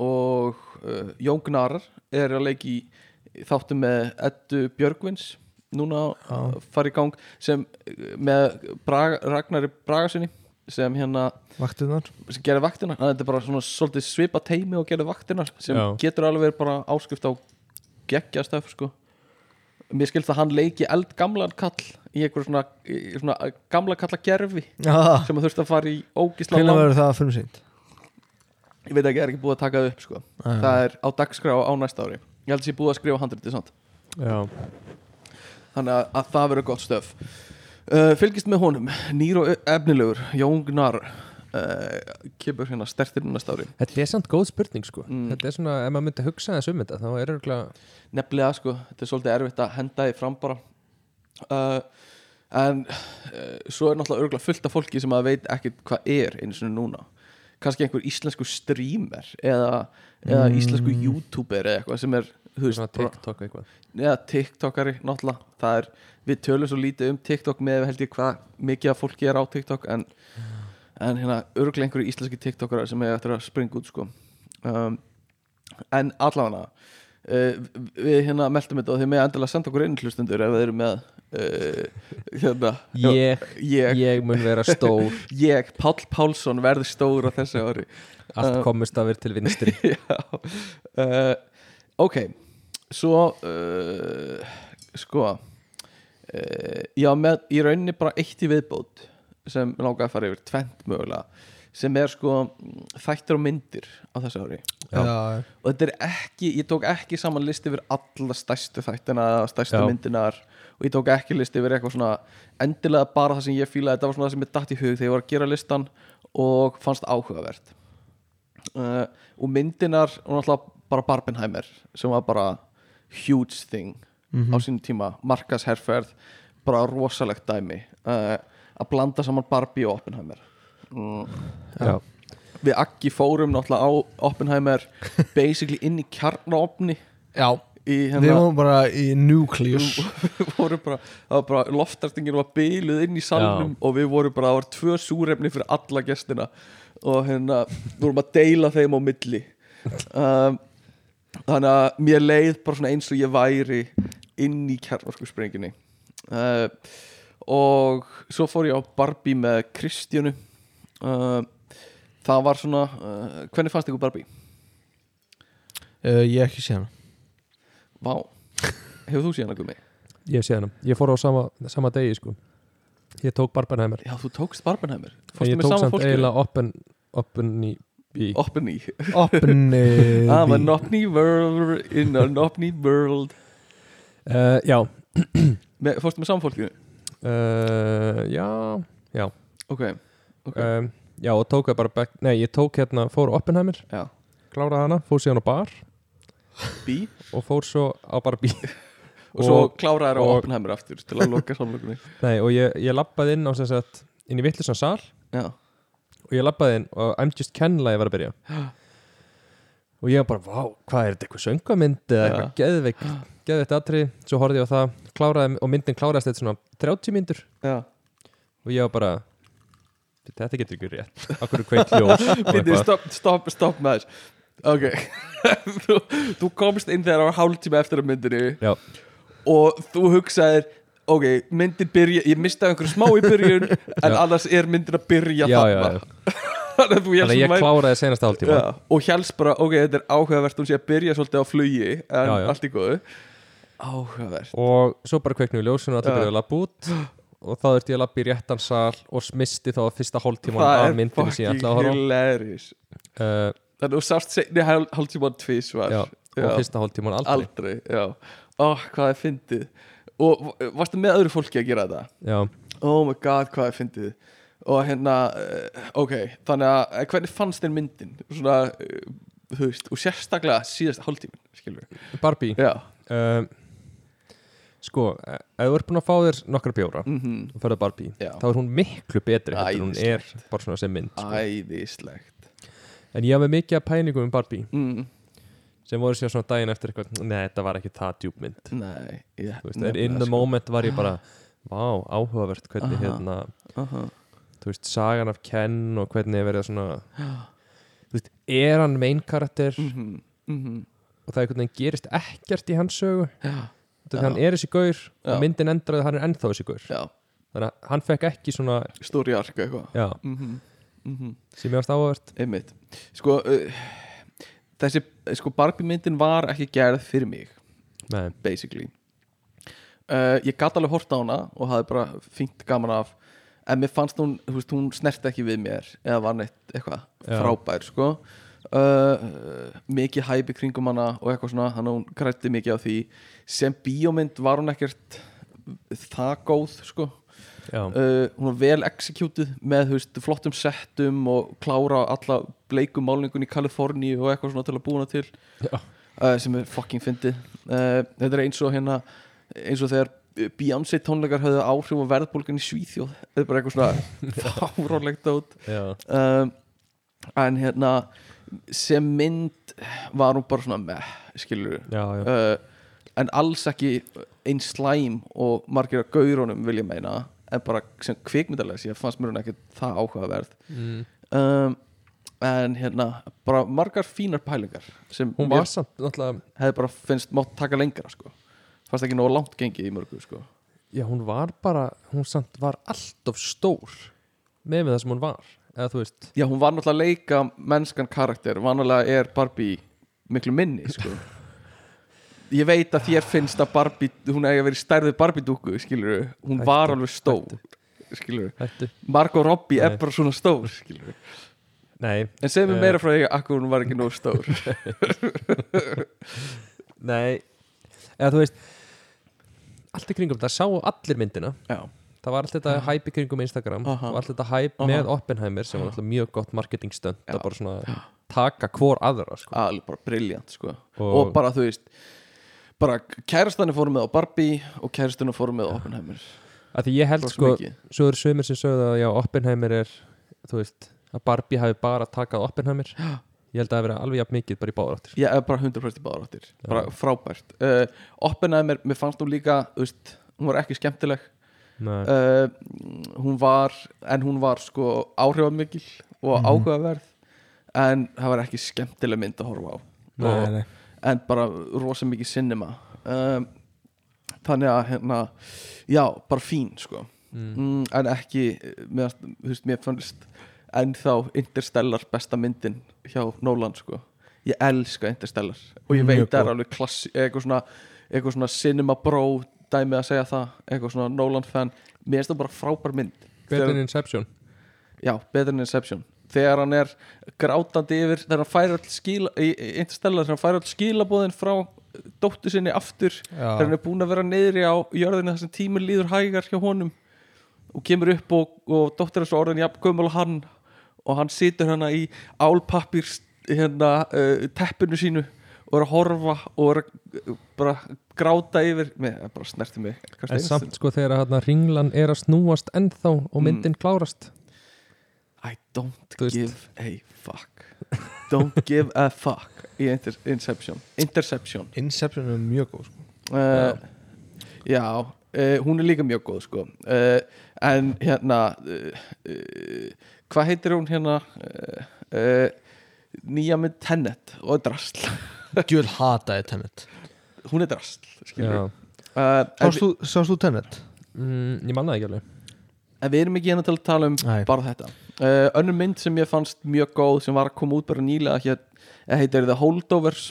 og uh, Jón Gnar er að leiki í þáttum með Eddu Björgvins núna að fara í gang sem uh, með Braga, Ragnari Bragasinni sem hérna Vaktunar sem gerir vaktina, Þannig að þetta er bara svona svolítið svipa teimi og gerir vaktina sem Já. getur alveg verið bara áskrift á geggja stöf sko mér skilst að hann leiki eldgamlan kall í einhverju svona, í svona gamla kalla gerfi Hvenær sem að þurfti að fara í ógisla lang verður það að frumsýnd? ég veit ekki, er ekki búið að taka það upp sko það er á dagskrá á næsta ári ég held að sé búið að skrifa handritið samt já, þannig að, að það verður gott stöf uh, fylgist með honum, nýr og e- efnilegur Jón Gnar uh, kemur hérna stertir næsta ári þetta er samt góð spurning sko Mm. Þetta er svona, ef maður myndi hugsa þess um þetta þá er örgulega, nefnilega sko, þetta er svolítið erfitt að henda því fram bara uh, en uh, svo er náttúrulega örgulega fullt af fólki sem að veit ekkit hvað er eins og núna kannski einhver íslensku streamer eða, eða íslensku youtuber eða eitthvað sem er þú veist, svona bara- TikTok eitthvað eða tiktokari náttúrulega það er, við tölum svo lítið um tiktok með held ég hvað mikið af fólki er á tiktok en, en hérna örglega einhverju íslenski tiktokara sem er eftir að springa út sko um, en allavega uh, við hérna meldum þetta og þið með endilega senda okkur inn hlustundur ef þið eru með uh, hérna Ég, ég, ég mun vera stór ég, Páll Pálsson verði stór á þessu ári Allt komust að vera til vinstri [LAUGHS] Já uh, Ok Svo uh, Sko uh, Já, með, í rauninni bara eitt í viðbót sem mig langaði að fara yfir, tvent mögulega sem er sko mm, þættir og myndir á þessu ári Já. Já, og þetta er ekki, ég tók ekki saman listi yfir alla stærstu þættina eða stærstu Já. myndinar og ég tók ekki listi yfir eitthvað svona endilega bara það sem ég fílaði þetta var svona það sem ég datt í hug þegar ég var að gera listan og fannst áhugavert uh, og myndinar og náttúrulega bara Barbenheimer sem var bara huge thing á sínum tíma, markasherferð bara rosalegt dæmi uh, að blanda saman Barbie og Oppenheimer [LAUGHS] Mm. Já, við Aggi fórum náttúrulega á [LAUGHS] Oppenheimer basically inn í kjarnaopni já. í Við hérna vorum bara í Nucleus [LAUGHS] við vorum bara, það var bara loftartingin var byluð inn í salnum og við vorum bara, það var tvö súrefni fyrir alla gestina og hérna við vorum að deila þeim á milli um, þannig að mér leið bara svona eins og ég væri inn í kjarnorku sprenginni uh, og svo fór ég á Barbie með Kristjánu uh, það var svona uh, hvernig fannst ykkur Barbie? uh, Ég hef ekki séð hana Vá, hefur þú séð hana gummi? ég sé hana Ég fór á sama, sama degi sko Ég tók Barbenheimer Já, þú tókst Barbenheimer En Fórstu ég með tók sama samt fólki eiginlega open, open í, í Oppen í Opni I'm an opni world in an opni world uh, Já, með, Fórstu með samfólkinu? uh, já Ok, ok um, Já, og tók það bara back, Nei, ég tók hérna, fór á Oppenheimer Já. Kláraði hana, fór síðan á bar B Og fór svo á Barbie Og svo [LAUGHS] og- kláraði þær á og- Oppenheimer aftur til að loka samlokunni Nei, og ég, ég lappaði inn á sem sagt inn í vittlusan sal [LAUGHS] Já, og ég labbaði inn og I'm Just Ken lagi var að [GASPS] byrja og ég var bara, vá, hvað er þetta eitthvað söngamynd eða Já. eitthvað geðveik geðveikt atri, svo horfði ég á það kláraði, og myndin kláraðist eitthvað svona 30 myndur já og ég var bara þetta getur ekki rétt, akkur er kveikt [LAUGHS] ljós og Bindi, eitthvað. stopp, stopp, stopp með þess Ok [LAUGHS] þú, þú komst inn þegar það var hálftíma eftir að myndinu Já. Og þú hugsaðir Ok, myndin byrja, ég mistaði einhverju smá í byrjun Já. En annars er myndin að byrja já, já, þarna já. [LAUGHS] Þannig að þú hélst þannig að ég að væri- kláraði senast hálftíma Já, Og hélst bara, ok, þetta er áhugavert Hún sé að byrja svolítið á flugi Já, En já. allt í góðu Áhugavert og svo bara kveiknum við ljósun og allir Já. byrjuðu að labba út og þá þurfti ég að labba í réttan sal og smisti þá fyrsta hóltíman Það af er myndinu sem ég fucking ætlaði að horfa á. hilarious uh, Þannig að þú sást seinni hál- hálftíman tvís var já, og fyrsta hóltíman aldrei, aldrei, já oh, hvað er fyndið og v- varstu með öðru fólki að gera þetta Já. oh my god, hvað er fyndið og hérna, eh, ok þannig að eh, hvernig fannst þér myndin svona, eh, þú veist, og sérstaklega síðast hálftímin, skilur við Barbie já, uh, sko, eh, ef þú ert búin að fá þér nokkra bjóra mhm, og ferða Barbie Já. þá er hún miklu betri heldur en hún er Æðislegt. bara svona sem mynd sko. æðislegt en ég hafði mikið að pæningum um Barbie mm, sem voru sér svona daginn eftir eitthvað nei, þetta var ekki það djúpmynd nei, ég sko. Þú veist, en in the moment var ég bara vá, áhugavert hvernig Aha. hérna moment þú veist, sagan af Ken og hvernig er verið að svona þú veist, er hann main karakter mhm, mhm, og það einhvern veginn gerist ekkert í hans sögu já, þannig að hann er þessi gaur Já. og myndin endraði að hann er ennþá þessi gaur já þannig að hann fekk ekki svona stóri arka eitthvað já, mhm, mhm sem ég varst áhugavert einmitt sko uh, þessi sko Barbie myndin var ekki gerð fyrir mig Nei. basically uh, ég gat alveg hort á hana og hafði bara fínt gaman af en mér fannst hún, þú veist, hún snerti ekki við mér eða var neitt eitthvað Já. frábær sko Uh, mikið hæpi kringum hana og eitthvað svona, þannig að hún grætti mikið á því sem bíómynd var hún ekkert það góð sko já, uh, hún var vel executed með þú veist, flottum settum og klára alla bleikum málningun í Kaliforníu og eitthvað svona til að búna til Já. uh, sem er fucking fyndið uh, þetta er eins og hérna eins og þegar uh, Beyoncé tónleikar höfðu áhrif á verðbólgan í Svíþjóð þetta er bara eitthvað svona fáránlegt át já, um, en hérna sem mynd var hún bara svona með skilur já, já, uh, en alls ekki einn slæm og margir af gaurunum vil ég meina en bara sem kvikmyndalega sér fannst mér hún ekki það áhugaverð Mm. um, en hérna bara margar fínar pælingar sem hún mér var samt náttúrulega, hefði bara finnst mátt taka lengra sko fannst ekki nógu langt gengið í mörgu sko já, hún var bara hún samt var alltof stór með við það sem hún var eða þú veist, já hún var náttúrulega að leika mennskan karakter vanalega er Barbie miklu minni [LAUGHS] sko ég veit að þér finnst að Barbie hún eigi að vera í stærðu Barbie dúku skilur hún Hættu, var alveg stór skilur hættu Margot Robbie er Nei. bara svona stór skilur. við. nei, en segðu Eh. mér meira frá því að hún var ekki nóg stór nei, eða þú veist allt í kringum, það sáu allir myndina já, það var allt þetta hæp í kringum Instagram Aha. og allt þetta hæp Aha. með Oppenheimer sem var alltaf mjög gott marketingstund Já. að bara svona taka hvor aðra sko. alveg bara briljant sko. og, Og- bara þú veist bara kærastanir fóru með á Barbie og kærastunum fóru með á Oppenheimer að því ég held Bara svo sko, mikið. svo eru sömur sem sögðu að já, Oppenheimer er, þú veist að Barbie hafi bara takað [GASPS] Oppenheimer ég held að það hafi verið alveg jafn mikið bara í báður áttir ég er bara 100% í báðar áttir bara frábært uh, Oppenheimer, mér fannst hún líka þú veist, hún var ekki skemmtileg Nei, uh, hún var en hún var sko áhrifamikil og áhugaverð en það var ekki skemmtileg mynd að horfa á og, nei. en bara rosa mikið cinema um, þannig að hérna já, bara fín sko mm. en ekki, eh, mér, þú veist, mér fannst ennþá Interstellar besta myndin hjá Nolan sko ég elska Interstellar og Mjög ég veit að það er góð. alveg klassi, eitthvað svona eitthvað svona cinema bro dæmi að segja það, eitthvað svona Nolan fan mér finnst það bara frábær mynd betur en Inception Já, betur en Inception þegar hann er grátandi yfir þegar hann fær all skila í í Interstellar þegar hann fær all skilabóðin frá dóttu sinni aftur þegar hann er búin að vera niðri á jörðinu þar sem tímur líður hægar hjá honum og kemur upp og, og dóttur er svo orðin jafn gömul og hann og hann situr hana í hérna, álpappir hérna, uh, teppinu sínu og er að horfa og er að uh, bara gráta yfir Nei, það bara snerti mig En Hvað steinast samt sko þegar hérna ringlan er að snúast ennþá og Mm. myndin klárast I don't Þú veist. give a fuck Don't give a fuck Í inter Inception Interception Inception er mjög góð sko. uh, Já uh, Hún er líka mjög góð sko uh, En hérna uh, uh, Hvað heitir hún hérna uh, uh, Nýja mynd Tenet Og drasl Djöl hataði Tenet Hún er drasl skilurðu. Já. uh, en, Sást þú, sást þú Tenet? mm, Ég manna það ekki alveg vi- en við erum ekki hérna til að tala um Nei. bara þetta uh, Önnur mynd sem ég fannst mjög góð sem var að koma út bara nýlega hér, eh, heitir The Holdovers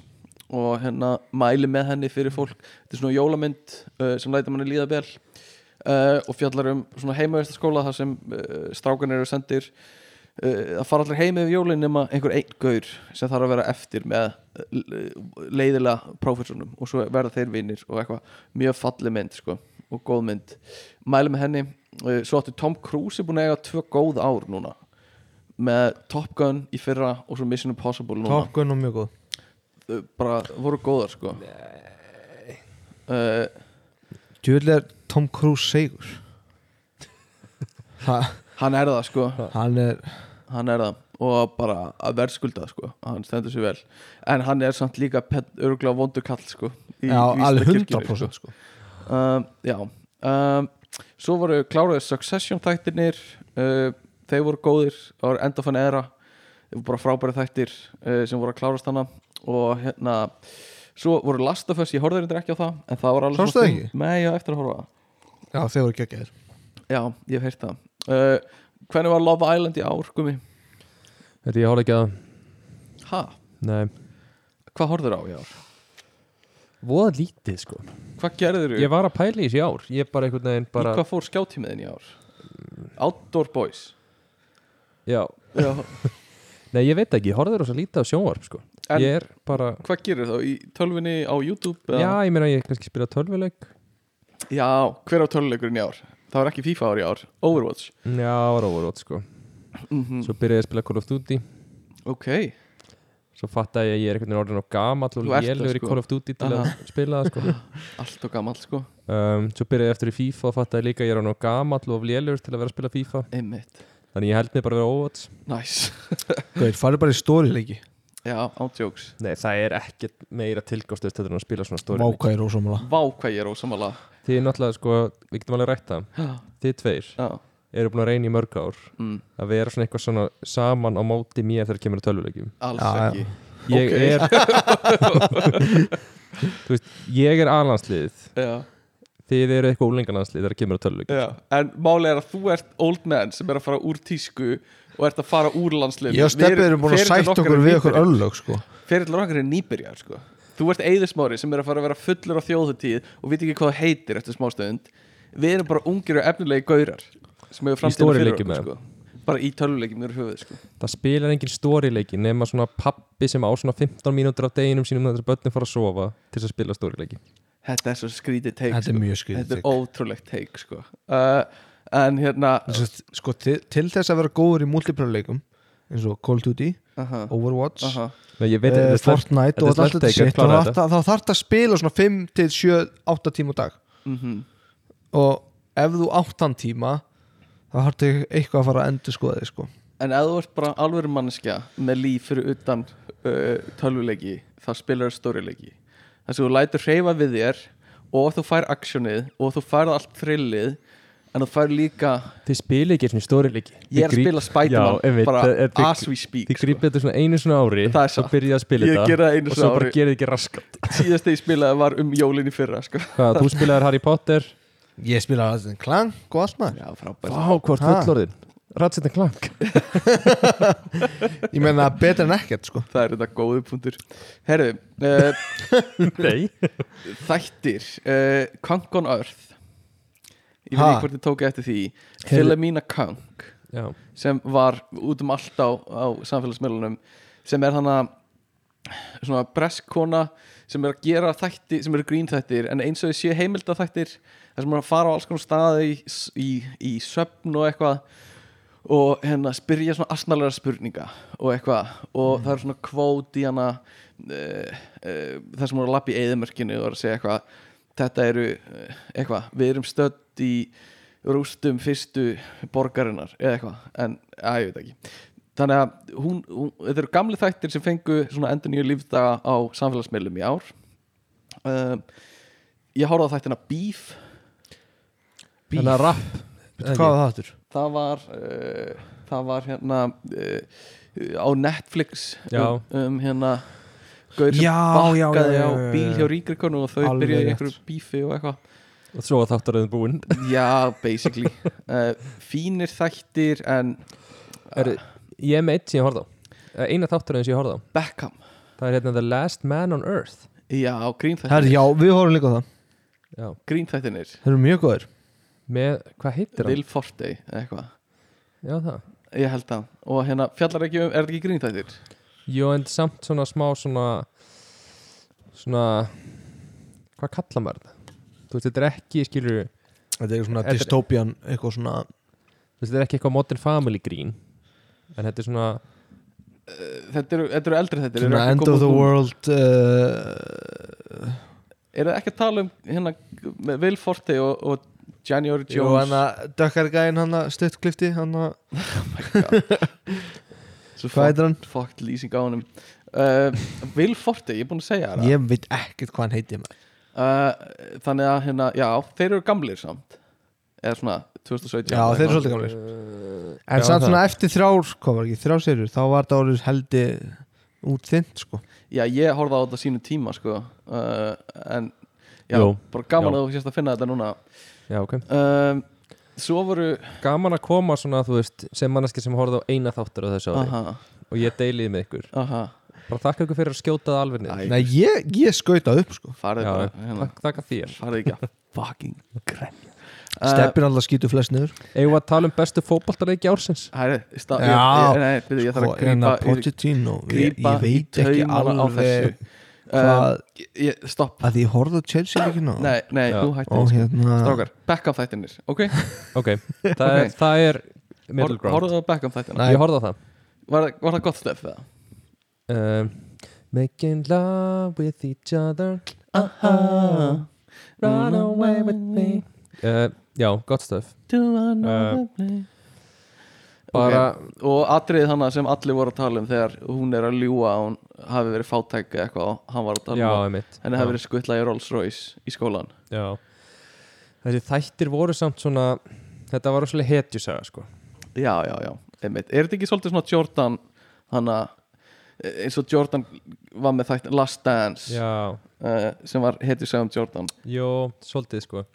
og hérna mæli með henni fyrir fólk þetta er svona jólamynd uh, sem lætur manni líða vel uh, og fjallar um svona heimavistaskóla þar sem uh, strákan eru sendir uh, að fara allir heim yfir jólin nema einhver einn gaur sem þarf að vera eftir með uh, leiðilega prófessornum og svo verða þeir vinnir og eitthvað mjög falli mynd sko og góð mynd mæli með henni uh, svo áttu Tom Cruise er búin að eiga tvö góð ár núna með Top Gun í fyrra og svo Mission Impossible núna Top Gun og mjög góð uh, bara voru góðar sko uh, Djöl er Tom Cruise segur ha, hann er það sko Hann er hann er það og bara að verðskulda sko hann stendur sér vel en hann er samt líka örgulega vondur kall sko í Já, alveg vísindakirkjunni, 100% sko. sko. um, já um, svo voru kláraði Succession þættirnir uh, þeir voru góðir það voru enda fann eðra þeir voru bara frábæri þættir uh, sem voru að klárast hana og hérna svo voru Last of Us, ég horfði reyndar ekki á það en það var alveg Sástu það fín- ekki? Nei, ég á eftir að horfa á það Já, þeir voru geggjaðir Já, ég hef heyrt það uh, Hvernig var Love Island í ár, gumi? Þetta ég horf ekki að Ha? Nei Hvað horfður á í ár? Voða lítið sko Hvað gerður þú? Ég var að pæla í þessi ár Ég bara einhvern veginn bara Í hvað fór skjáttímiðin í ár? Outdoor Boys Já Já. Nei ég veit ekki, ég horfði rosa lítið á sjónvarp sko En Ég er bara hvað gerir þá? Í tölvinni á YouTube? Já eða? ég meina ég kannski spila tölvuleik Já, hver á tölvuleikurinn í ár? Það var ekki FIFA ár í ár, Overwatch Já var óvarót sko mm Svo byrjaði ég að spila Call of Duty Ok, Svo fattaði ég að ég er einhvern veginn orðin og gamall og Þú ert það, lélegur í sko. Call of Duty til að Aha. spila það [LAUGHS] sko allt og gamall sko um, Svo byrjaði ég eftir í FIFA og fattaði líka að ég er orðin og gamall og lélegur til að vera að spila FIFA Einmitt, Þannig ég held mig bara að vera óvarót nice Gauð, farið bara í stórileiki Já, ántjóks Nei það er ekkert meira tilgóðstöðst þetta en að spila svona stóri leik. Vákvæðir ósámála Vá hvað ég er ósamála Þið er náttúrulega sko, við getum alveg rætt það Já, Þið tveir já, eru búin að reyna í mörg ár mm, að vera svona eitthvað svona saman á móti mér þegar kemur að tölvuleikjum alls Já, ekki ég Ok. er [LAUGHS] þú veist, ég er aðlandsliðið Já, þið eru eitthvað úlengarlandslið þegar kemur að tölvuleikjum Já, en máli er að þú ert old man sem er að fara úr tísku og ert að fara úr landslið Ég og Steppi erum búin að sætt okkur við okkur örlög sko. Ferillar okkar er nýbyrjar sko Þú ert eiðismári sem er að fara að vera fullur á þjóðutíð og veit ekki hvað það heitir eftir smástöðund Við erum bara ungir og efnilegi gaurar sem hefur framtíðina stóri fyrir leikjum, okkur, sko. Bara í töluleikjum mér höfuð sko. það spilar engin stórileiki nema svona pappi sem á svona 15 mínútur af deginum sínum þegar börnum fara að sofa til þess að spila stórileiki Þetta er svo skrítið teik Þetta er mjög skrítið Þetta er take. ótrúlegt teik sko. uh, En hérna Svo að- Sko, til, til þess að vera góður í multiplayer-leikum eins og Call of Duty, aha, Overwatch aha, Nei, ég veit, eh, þetta er slæmt- Fortnite þetta og er allt þetta slæmt take að shit klára og þetta. þá þarf það að spila svona 5 til 7, 8 tíma á dag mm og ef þú áttan tíma þá þarf þetta eitthvað að fara að endur skoða þig sko. En ef þú ert bara alvöru manneskja með líf fyrir utan uh, tölvuleiki, þá spilar það stórileiki. Þess að þú lætur hreyfa við þér og þú fær aksjónið og þú fær allt thrillið en þú fær líka, þið spila ekki svona stórileiki ég er að spila Já, einmitt, eh, Spiderman það bara er- þið- as we speak sko. þið grípið þetta svona einu svona ári Það er svo satt. byrjið að spila Ég geri þetta það einu og svona svo bara ári. gerið þið ekki raskat [LAUGHS] síðast þegar ég spilaði var um jólin í fyrra sko. [LAUGHS] hvað, þú spilaðir Harry Potter ég spila aðeins klang og allt maður Já, frábært Vá, hvort Ha? fullorðin Ratchet Clank [LAUGHS] ég meina betra en ekkert sko. Það er þetta góðu punktur Herðu, uh, [LAUGHS] Nei þættir uh, Kang on Earth Ég veit Ha? ekki hvort þið tóku eftir því Heyrðu- Philomena Kang Já, sem var út um allt á, á samfélagsmiðlunum sem er þannig að svona breskkona sem er að gera þætti sem eru grín þættir en eins og þið séu heimilda þættir þar sem er að fara á alls konar staði í, í, í söfn og eitthvað og hérna spyrja svona asnalega spurninga og eitthvað og það er eh, svona kvót í hana uh, uh, þar sem hún er að lappa í eðimörkinu og er að segja eitthvað þetta eru eh, eitthvað, við erum stödd í rústum fyrstu borgarinnar eða eitthvað, en að ég veit ekki þannig að hún, hún, þetta eru gamli þættir sem fengu svona endur nýju lífdaga á samfélagsmiðlum í ár um, ég horfði á þættina Beef Þannig að rapp Hvað var það áttur? það var uh, það var hérna uh, á Netflix Já. um, um hérna gaur sem Já, já, já, bakkaði já, já, á já. bíl hjá ríkrikonu og þau Alveg byrjaði í rétt. einhverju bífi og eitthvað og svo að þáttaröðin búinn [LAUGHS] Já, [LAUGHS] basically uh, Fínir þættir en eh, Heyrðu, Ég er með eitt sem ég horfði á Eh, Eina þáttaröðin sem ég horfði á Beckham Það er hérna The Last Man on Earth Já, Herri, grínþættinir já, við horfum líka á það Já, Grínþættinir Þeir eru mjög góðir með, hvað heitir hann? Will Forte eða eitthvað Já, það Ég held það Og hérna fjallar ekki um, er þetta ekki grínþættir? Jó, en samt svona smá svona Svona Hvað kalla maður þetta? Þú veist, þetta er ekki, skilur Þú Þetta er svona Þetta er- dystopian eitthvað svona veist, þetta er ekki eitthvað Modern Family grín En þetta er svona Þetta eru, þetta eru eldri þættir eru svona ekki að end koma of the út nú. world uh, Er það ekki að tala um hérna með Will Forte og, og January Jó, Jones hann að dökkar gæinn hann að stuttklifti hann að, Svo hvað heitir hann? Fokkt lýsing á honum uh, Will Forte, ég er búin að segja það Ég veit ekkert hvað hann heitir maður. uh, Þannig að hérna, já, þeir eru gamlir samt Eða svona 2017 Já, þeir eru eitthvað. svolítið gamlir En uh, já, samt það. svona eftir þrjár, hvað var ekki, þrjár serjur þá var þetta orðið heldi út þint sko Já, ég horfði á þetta á sínu tíma sko. uh, en já, Jó, bara gaman já. að þú sést að finna þetta núna Já, ok um, Svo voru Gaman að koma svona, þú veist, sem manneski sem horfði á eina þáttur á þessu ári aha, Og ég deiliði með ykkur aha, Bara þakka ykkur fyrir að skjóta það alveg niður Æ, Nei, ég, ég skauta upp sko farið Já, bara hérna, Takk, Þakka þér farið ekki að [LAUGHS] fucking grenja Steppin alltaf skýtu flest niður Eigum við að tala um bestu fótboltarleiki ársins Hæri, stá, Já. ég, Eh, ég, nei, byrju, ég þarf að Sko, hérna, grípa, ég, Pochettino, ég, grípa ég veit í ekki taumana á alveg um, hvað, ég, ég, Stopp, að ég horfði á Chelsea líka ná nei, nei, Já. þú hættir og okay. hérna Strákar, Beckham þættinir, ok? Ok, það er, Ok. það er middle Hor- ground Horfðu á Beckham þættina Nei. Ég horfði á það var, það- var það gott stöf það? um, Making love with each other Uh-huh. Aha, run away with me uh, Já, gott stöf to another place Bara, Eh, og atriðið hana sem allir voru að tala um þegar hún er að ljúa að hún hafi verið fátæk eða eitthvað og hann var að tala já, um að einmitt henni hafi já, verið skuttlað í Rolls Royce í skólan já. Þessi þættir voru samt svona Þetta var rosalega hetjusaga sko já, já, já, einmitt er þetta ekki svolítið svona Jordan hana, eins og Jordan var með þættin Last Dance Já, uh, sem var hetið segum Jordan jó, svolítið sko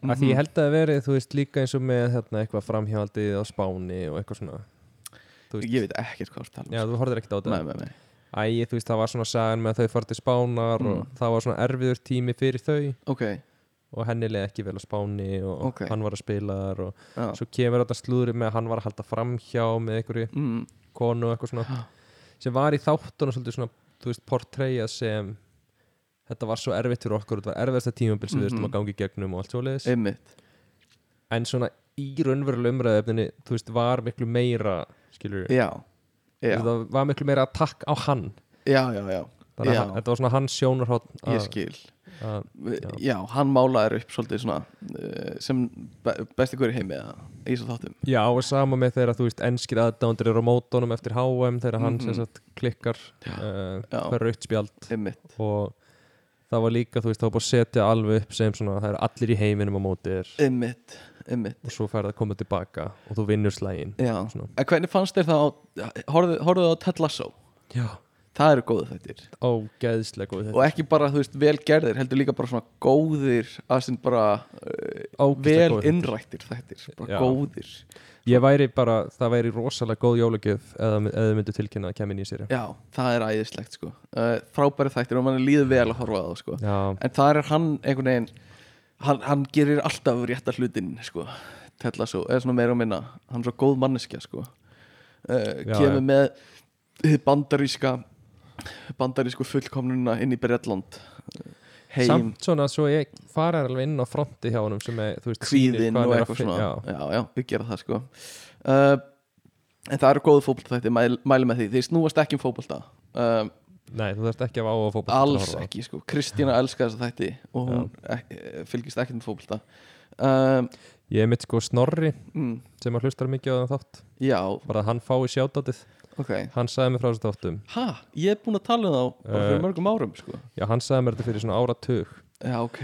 Af Mhm. Því ég held að það verið, þú veist, líka eins og með hérna, eitthvað framhjaldið á Spáni og eitthvað svona Þú veist, ég veit ekkert hvað þú ert að Já, tala um þú horfðir ekkert á þetta Nei, nei, nei. Æ, þú veist, það var svona sagan með að þau farið til Spánar og Mm. það var svona erfiður tími fyrir þau ok, og henni leði ekki vel á Spáni og Ok. hann var að spila þar og já svo kemur þetta slúðri með að hann var að halda framhjá með einhverju mm, konu og eitthvað svona sem var í þáttunum svolítið svona, þú veist, portreyja sem þetta var svo erfitt fyrir okkur og þetta var erfiðasta tímabil sem við þurftum að Mhm. gangi gegnum og allt svoleiðis einmitt en svona í raunverulega umræðefninni þú veist, var miklu meira skilur við, já, já, það var miklu meira attack á hann já, já, já, þannig að Já. hann- þetta var svona hans sjónarhátt ég að- skil Eh, að- já. hann málaður upp svolítið svona uh, sem be besti hverju heimi eða í svo þáttum Já, og sama með þeirra, þú veist, enskir aðdándir eru á mótónum eftir HM þegar hann Mhm. sem sagt klikkar uh, Já. fyrir rautt spjald einmitt, og það var líka, þú veist, það var bara að setja alveg upp sem svona, það eru allir í heiminum á móti þér einmitt, einmitt og svo færði að koma tilbaka og þú vinnur slægin já, Svona. en hvernig fannst þér það á horfðu- horfðu það á Ted Lasso Já, það eru góðu þættir ógeðslega góð og ekki bara, þú veist, vel gerðir heldur líka bara svona góðir að sem bara uh, Ógeðslega vel góðir þættir. innrættir þættir bara Já. góðir Ég væri bara, það væri rosalega góð jólagjöf eða, eða myndu tilkynna að kemja inn í sér já, það er æðislegt sko uh, frábæri þættir og mann líður vel að horfa á það sko Já, en þar er hann einhvern veginn hann, hann gerir alltaf rétta hlutin sko, tella svo, eða svona meira og minna hann er svo góð manneskja sko. uh, Já, kemur já. með hið bandaríska bandarísku fullkomnuna inn í Bretland uh, heim, samt svona, svo ég fara alveg inn á fronti hjá honum sem er, þú veist, sýnir kvíðin hvað hann er og að eitthvað fin- svona Já, já, já, við gera það sko uh, en það eru góðu fótbolta þetta mæli, mæli með því, þeir snúast ekki um fótbolta uh, Nei, þú þarft ekki að áhuga á fótbolta til að alls horfa á. ekki sko Kristína elskar þessa þætti og hún ek, fylgist ekkert með fókbalta um, Ég er mitt sko Snorri mm, sem að hlustar mikið á þann þátt já, bara að hann fái sjátátið ok hann sagði mér frá þessu þáttum ha, ég er búin að tala um það bara fyrir Eh. mörgum árum sko já, hann sagði mér þetta fyrir svona áratug já, [LAUGHS] ok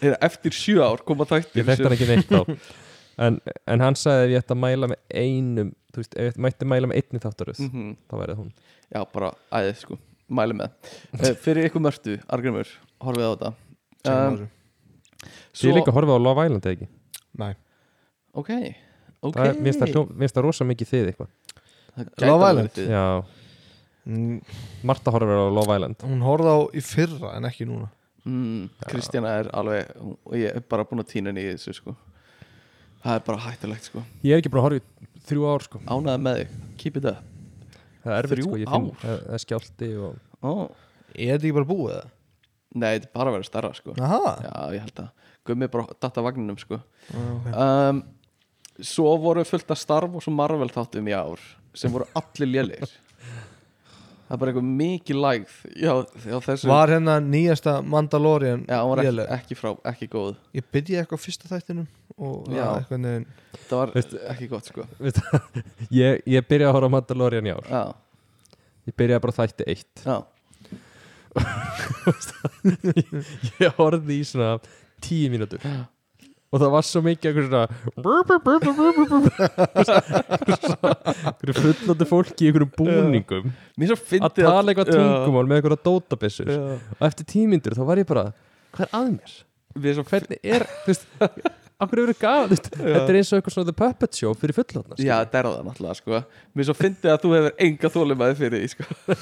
Eða eftir sjö ár koma þættir ég þekkt hann ekki neitt þá en, en hann sagði ef ég ætti að mæla með einum þú veist, ef ég mætti mæla með einni þáttaröð mm -hmm. þá væri það hún já, bara æðið sko, mæli með uh, fyrir ykkur mörtu, Argrimur, horfið á þetta Um, Svo... ég er líka horfið á Love Island eða ekki Nei ok, ok okay. er, minnst það, hljó- mér finnst það rosa mikið þið eitthvað Það gæti Love alveg Island? verið. já, Mm, Marta horfið á Love Island Hún horfði á í fyrra en ekki núna mm, Kristjana er alveg hún- og ég er bara búin að týna henni í þessu sko það er bara hættulegt sko ég er ekki búin að horfa í þrjú ár sko ánaði með þig, keep it up það er erfitt Þrjú sko, ég finn ár? það það er skjálti og oh. Er þetta ekki bara búið eða? nei, þetta er bara að vera starra sko Aha já, ég held að gummi bara datta vagninum sko okay. um, svo voru fullt af starf og svo Marvel þáttum í ár sem voru allir lélir það er bara eitthvað mikið lægð já, já þessu Var hérna nýjasta Mandalorian já, hún var ekki, léleg? ekki frá, ekki góð Ég byrjaði eitthvað á fyrsta þættinum og Já. það eitthvað neginn það var Veist- ekki gott sko ég, ég byrjaði að horfa á Mandalorian í ár já, ég byrjaði bara á þætti eitt já, ég horfði í svona tíu mínútur og það var svo mikið einhver svona brr, brr, brr, brr, brr, brr, brr. einhverju fullandi fólki í einhverjum búningum mér svo að fyndi tala eitthvað tungumál með einhverja dótabissur já. og eftir tíu mínútur þá var ég bara hvað er að mér? við erum svo hvernig er þú veist, af hverju verið gaf veist, þetta er eins og eitthvað svona The Puppet Show fyrir fullotna Já, þetta er það náttúrulega, sko Mér svo fyndi að þú hefur enga þólimaði fyrir því, sko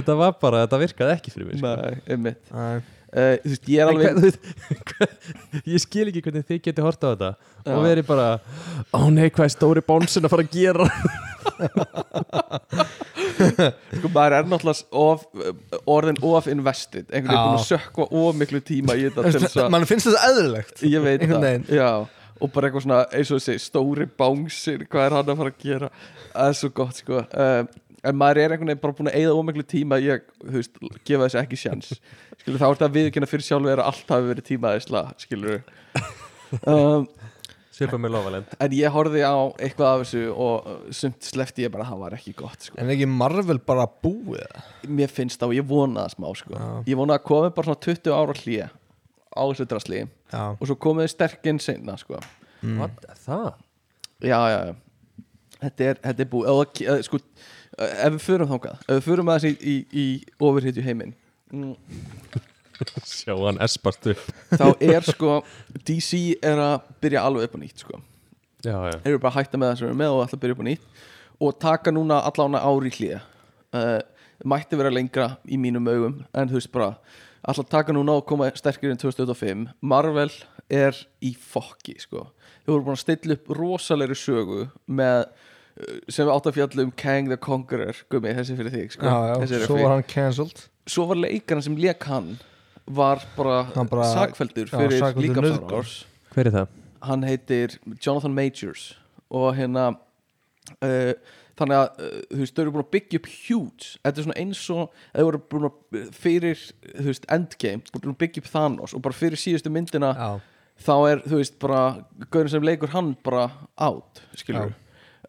þetta var bara, þetta virkaði ekki fyrir mér sko. Nei, einmitt Æ, uh, Þú veist, ég er En alveg hvað- þú veist, [LAUGHS] hvað- ég skil ekki hvernig þið geti horta á þetta og verið bara ó nei hvað er stóri bónsinn að fara að gera [LAUGHS] Sko, maður er náttúrulega of, orðin of invested Einhvern veginn Já. búin að sökva of miklu tíma í þetta til þess að Man finnst þetta eðlilegt Ég veit Einhvern það, veginn. já Og bara eitthvað svona, eins og þessi, stóri bánsinn Hvað er hann að fara að gera? Það er svo gott, sko um, En maður er einhvern veginn bara búin að eyða of miklu tíma í að, þú veist, gefa þessi ekki sjans Skilur, þá er þetta viðkynna fyrir sjálfu er að allt hafi verið tímaðisla, [LAUGHS] skilur um, svipa með lofalend En ég horfði á eitthvað af þessu og uh, sumt slefti ég bara að það var ekki gott sko. En ekki Marvel bara búið eða? Mér finnst það og ég vonaði smá sko. Já. Ég vonaði að komi bara svona 20 ára hlýja á þessu drasli Já og svo komið þið sterkinn sinna sko. What, það? Já, já, já Þetta er, þetta er búið Ef það- eh, sko, eh, Ef við förum þangað Ef við förum aðeins í, í, í ofurhýtju heiminn mm, Sjá hann espast upp Þá er sko DC er að byrja alveg upp á nýtt sko. Já, já Þeir eru bara að hætta með það sem við erum með og ætla að byrja upp á nýtt og taka núna allan ári í hlýja uh, mætti vera lengra í mínum augum en þú veist bara ætla að taka núna og koma sterkir en 2025 Marvel er í fokki sko. þau voru búin að stilla upp rosalegri sögu með eh, sem við átt að fjalla um Kang the Conqueror gummi, þessi fyrir þig sko. Já, Þessi já, er svo fyrir- var hann cancelled svo var leikarinn sem lék hann var bara, Hann bara- sakfeldur já, fyrir sakfelldur líkamsárás Hver er það? hann heitir Jonathan Majors og hérna uh, þannig að uh, þú veist, þau eru búin að byggja upp huge þetta er svona eins og þau eru búin að fyrir, þú veist, Endgame búin að byggja upp Thanos og bara fyrir síðustu myndina Já þá er, þú veist, bara gaurin sem leikur hann bara out skilur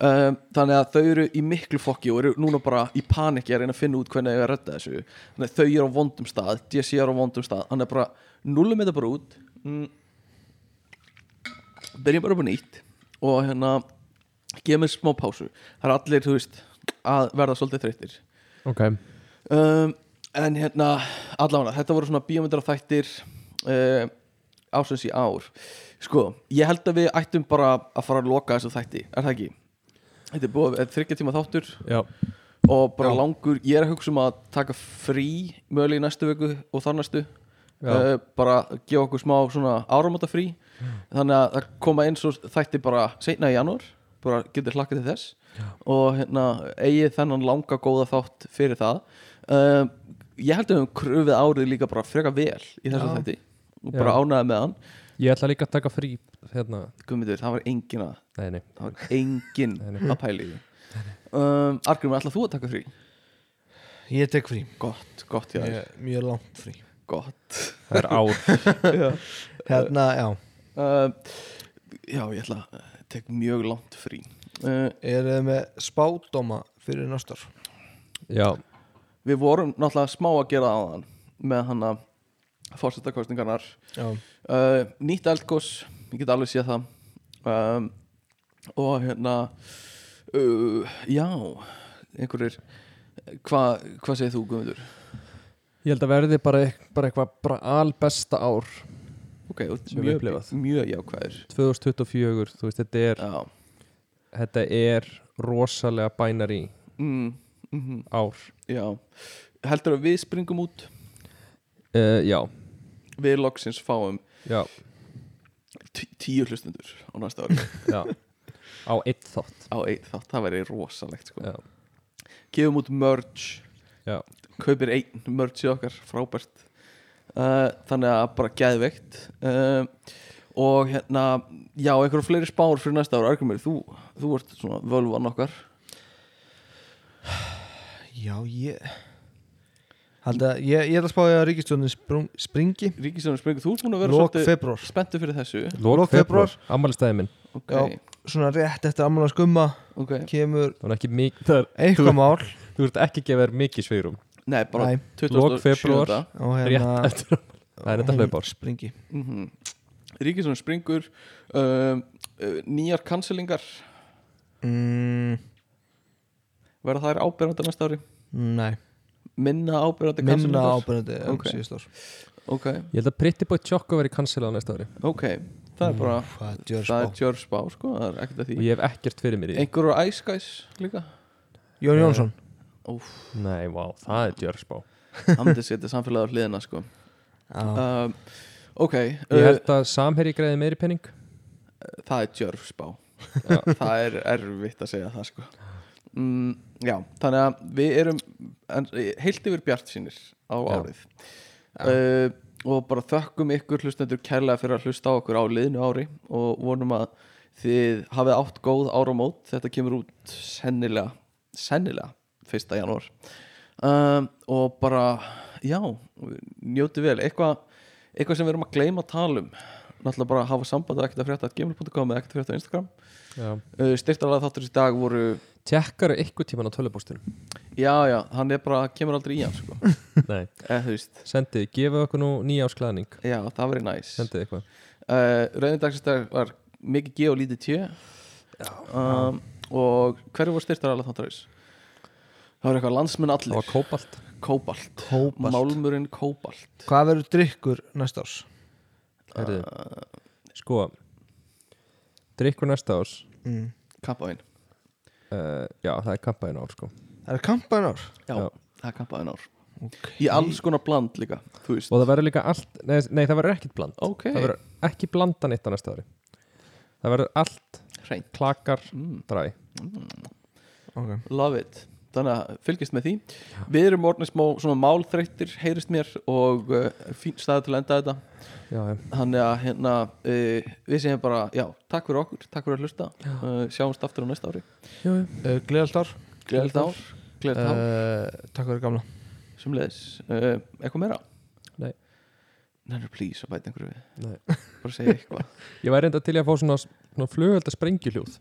Um, þannig að þau eru í miklu fokki og eru núna bara í paniki að reyna að finna út hvernig þau er að redda þessu þannig að þau eru á vondum stað, DC eru á vondum stað hann er bara, nullum þetta bara út mm. byrjum bara upp á nýtt og hérna gefa mér smá pásu það er allir, þú veist, að verða svolítið þreyttir Ok um, En hérna, allána, þetta voru svona bíómyndar og þættir uh, ásins í ár Sko, ég held að við ættum bara að fara að loka þessu þætti, er það ekki? Þetta er búið að þryggja tíma þáttur Já, og bara langur, ég er að hugsa um að taka frí mögulega í næstu viku og þar næstu Já. uh, bara gefa okkur smá svona áramóta frí þannig að það koma eins og þætti bara seinna í janúar bara getur hlakka til þess og hérna eigið þennan langa góða þátt fyrir það uh, ég held að við höfum kröfið árið líka bara freka vel í þessu Já. þætti og Já. bara ánæði með hann ég ætla líka að taka frí hérna, Guðmundur, það var engin að nei, nei það var engin Nei, nei. Eh, að pæli um, Argrim, ætlað þú að taka frí? Ég tek frí Gott, gott já Ég- Mjög langt frí Gott það er ár já. Hérna, já Uh, já, ég ætla að tek mjög langt frí uh, Eru þið með spádóma fyrir næstar? [LAUGHS] já, Við vorum náttúrulega smá að gera það áðan með hann að fórsetakostingarnar Já uh, nýtt eldgós ég get alveg séð það um, og hérna uh, já einhverjir hvað hva segir þú Guðmundur? ég held að verði bara, eit- bara eitthvað bara albesta ár ok, þú ert Sem við mjög, upplifað. mjög jákvæður 2024, þú veist, þetta er já þetta er rosalega bænari mm, mm ár já heldur að við springum út uh, já, við loksins fáum já, tí- tíu hlustundur á næsta ári já á eitt þátt á einn þátt, það væri rosalegt sko. já, gefum út merch Já. kaupir einn merch í okkar, frábært uh, þannig að bara geðveikt uh, og hérna já, einhverjum fleiri spár fyrir næsta ára Argrimur, þú, þú ert svona völvan okkar Já, ég Halda, ég, ég ætla að spáði að ríkistjónin sprung, springi Ríkisjónu sprengur, þú ert búin að vera Lok svolítið februar spenntu fyrir þessu lók Lok februar, febrúar. ammælstæði minn ok, Já. Svona rétt eftir ammala skumma ok, Kemur það er ekki mikið, það er, eitthvað mál þú ert ekki að gefa þér mikið sveirum nei, bara Nei. 27. Lok febrúar. Og rétt hérna eftir það er þetta hún hlaupár Springi mm Ríkisjónu sprengur uh, uh, nýjar kanselingar mm, verða þær ábyrjandi næsta ári Nei minna ábyrjandi Minna kanselingar ábyrðandi en Ok. síðust ár ok, ég held að Pretty Boy Choco veri cancelað næsta ári ok, það Mm. er bara Hvað er djörn það er spá? tjörspá sko, það er ekkert að og því ég hef ekkert fyrir mér í því. einhverjur á Ice Guys [LAUGHS] líka Eh, Jón Jónsson nei, vá, það er djörspá andið setja samfélagið á hliðina sko Já um, ok, ég uh, held að Samherji greiði meiri penning það er [LAUGHS] tjörspá það er erfitt að segja það sko mm, já, þannig að við erum en, heilt yfir bjart sínir á Já. árið uh, og bara þökkum ykkur hlustendur kærlega fyrir að hlusta á okkur á liðinu ári og vonum að þið hafið átt góð áramót þetta kemur út sennilega sennilega 1. janúar um, og bara já, njóti vel eitthvað eitthva sem við erum að gleyma að tala um náttúrulega bara að hafa samband að ekkert að frétta gmail.com eða ekkert að frétta á Instagram uh, styrtarlega þáttur í dag voru tjekkar ykkur tíman á tölubústunum já já, hann er bara, kemur aldrei í hann sko. [LAUGHS] nei, eða þú veist, sendið, gefið okkur nú nýjásklæðning já það verið næs uh, sendið eitthvað rauðin dagsins dag var mikið G og lítið tjö um, og hverju voru styrtarlega þáttur ís? það var eitthvað landsmenn það var allir kópalt Kóbalt, Kóbalt. Málmurinn Kóbalt Hvað verður drykkur næst árs? Heyrðu, sko drikkur næsta ás Mm. Kampaðin uh, já, það er kampaðin ár sko Það er kampan ár Já, Já. það er kampaðin ár Í alls konar bland líka, þú veist og það verður líka allt, nei, nei það verður ekkit bland Ok, það verður ekki blandan eitt á næsta ári það verður allt hreint klakar mm. dræ okay. Love it Þannig að fylgist með því Við erum orðin smá svona málþreyttir heyrist mér og uh, fín staði til að enda þetta já, já. Þannig að hérna uh, við segjum bara, já, takk fyrir okkur takk fyrir að hlusta, uh, sjáumst aftur á næsta ári uh, Gleðalt ár Gleðilegt ár, gleðilegt ár uh, Takk fyrir gamla sem leðis uh, Eitthvað meira? Nei. Nennir please að bæta einhverju við Nei. Bara segja eitthvað ég væri enda til í að fá svona, svona flugölda sprengjuljóð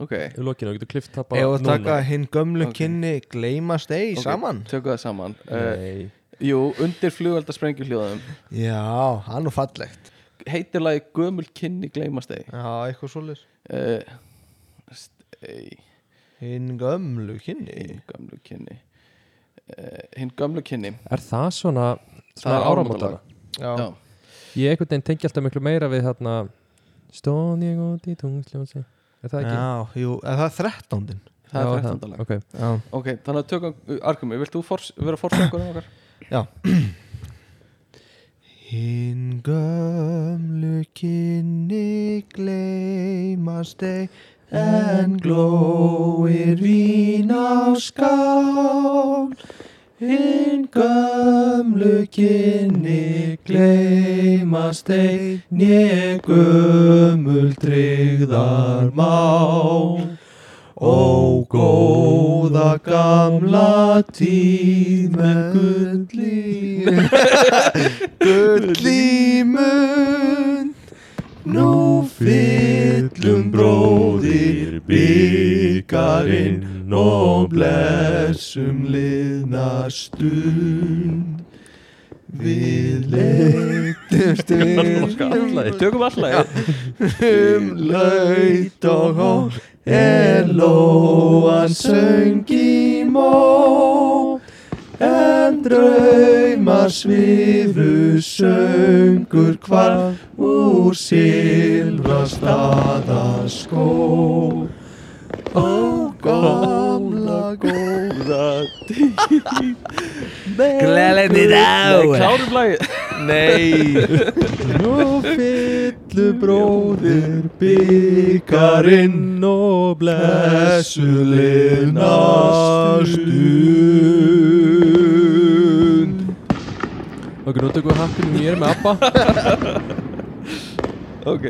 Ok, í lokinu og getur klift það bara Ef að taka núna. hinn gömlu Ok. kynni Gleimast ei Ok. saman tökum það saman uh, nei, Jú, undir flugvelda sprengjuhljóðum Já, hann og fallegt Heitir lagi Gömul kynni gleymast ei Já, eitthvað svoleiðis uh, st- ei, Hinn gömlu kynni Hinn gömlu kynni uh, Hinn gömlu kynni er það svona Það er svona áramótara áramótalag. Já, Já, ég einhvern veginn tengi alltaf miklu meira við þarna stón ég út í tungsljósi er það ekki? já jú, en það er þrettándin það Já, er þrettándalag ok. Já, Ok, þannig að tökum Arkumi, vilt þú fors, vera forsöngur um okkar? Hinn gömlu kynni gleymast ei en glóir vín á skál. Hinn gömlu kynni gleymast ei né gömul tryggðar má. Ó góða Góða gamla tíð með [LAUGHS] gullí Gullí mun Nú fyllum bróðir byggarinn og blessum liðna stund Við leitumst við Tökum alltaf um laut og hó Elóan söng í mó En drauma svifu söngur hvar Úr silfra staða skó Ó gamla góða Gleðilegni dag. Klárum lagið Nei Nú fyllu bróðir byggarinn og blessu liðna stund Ok, nú tökum við hakkinu mér með Abba Ok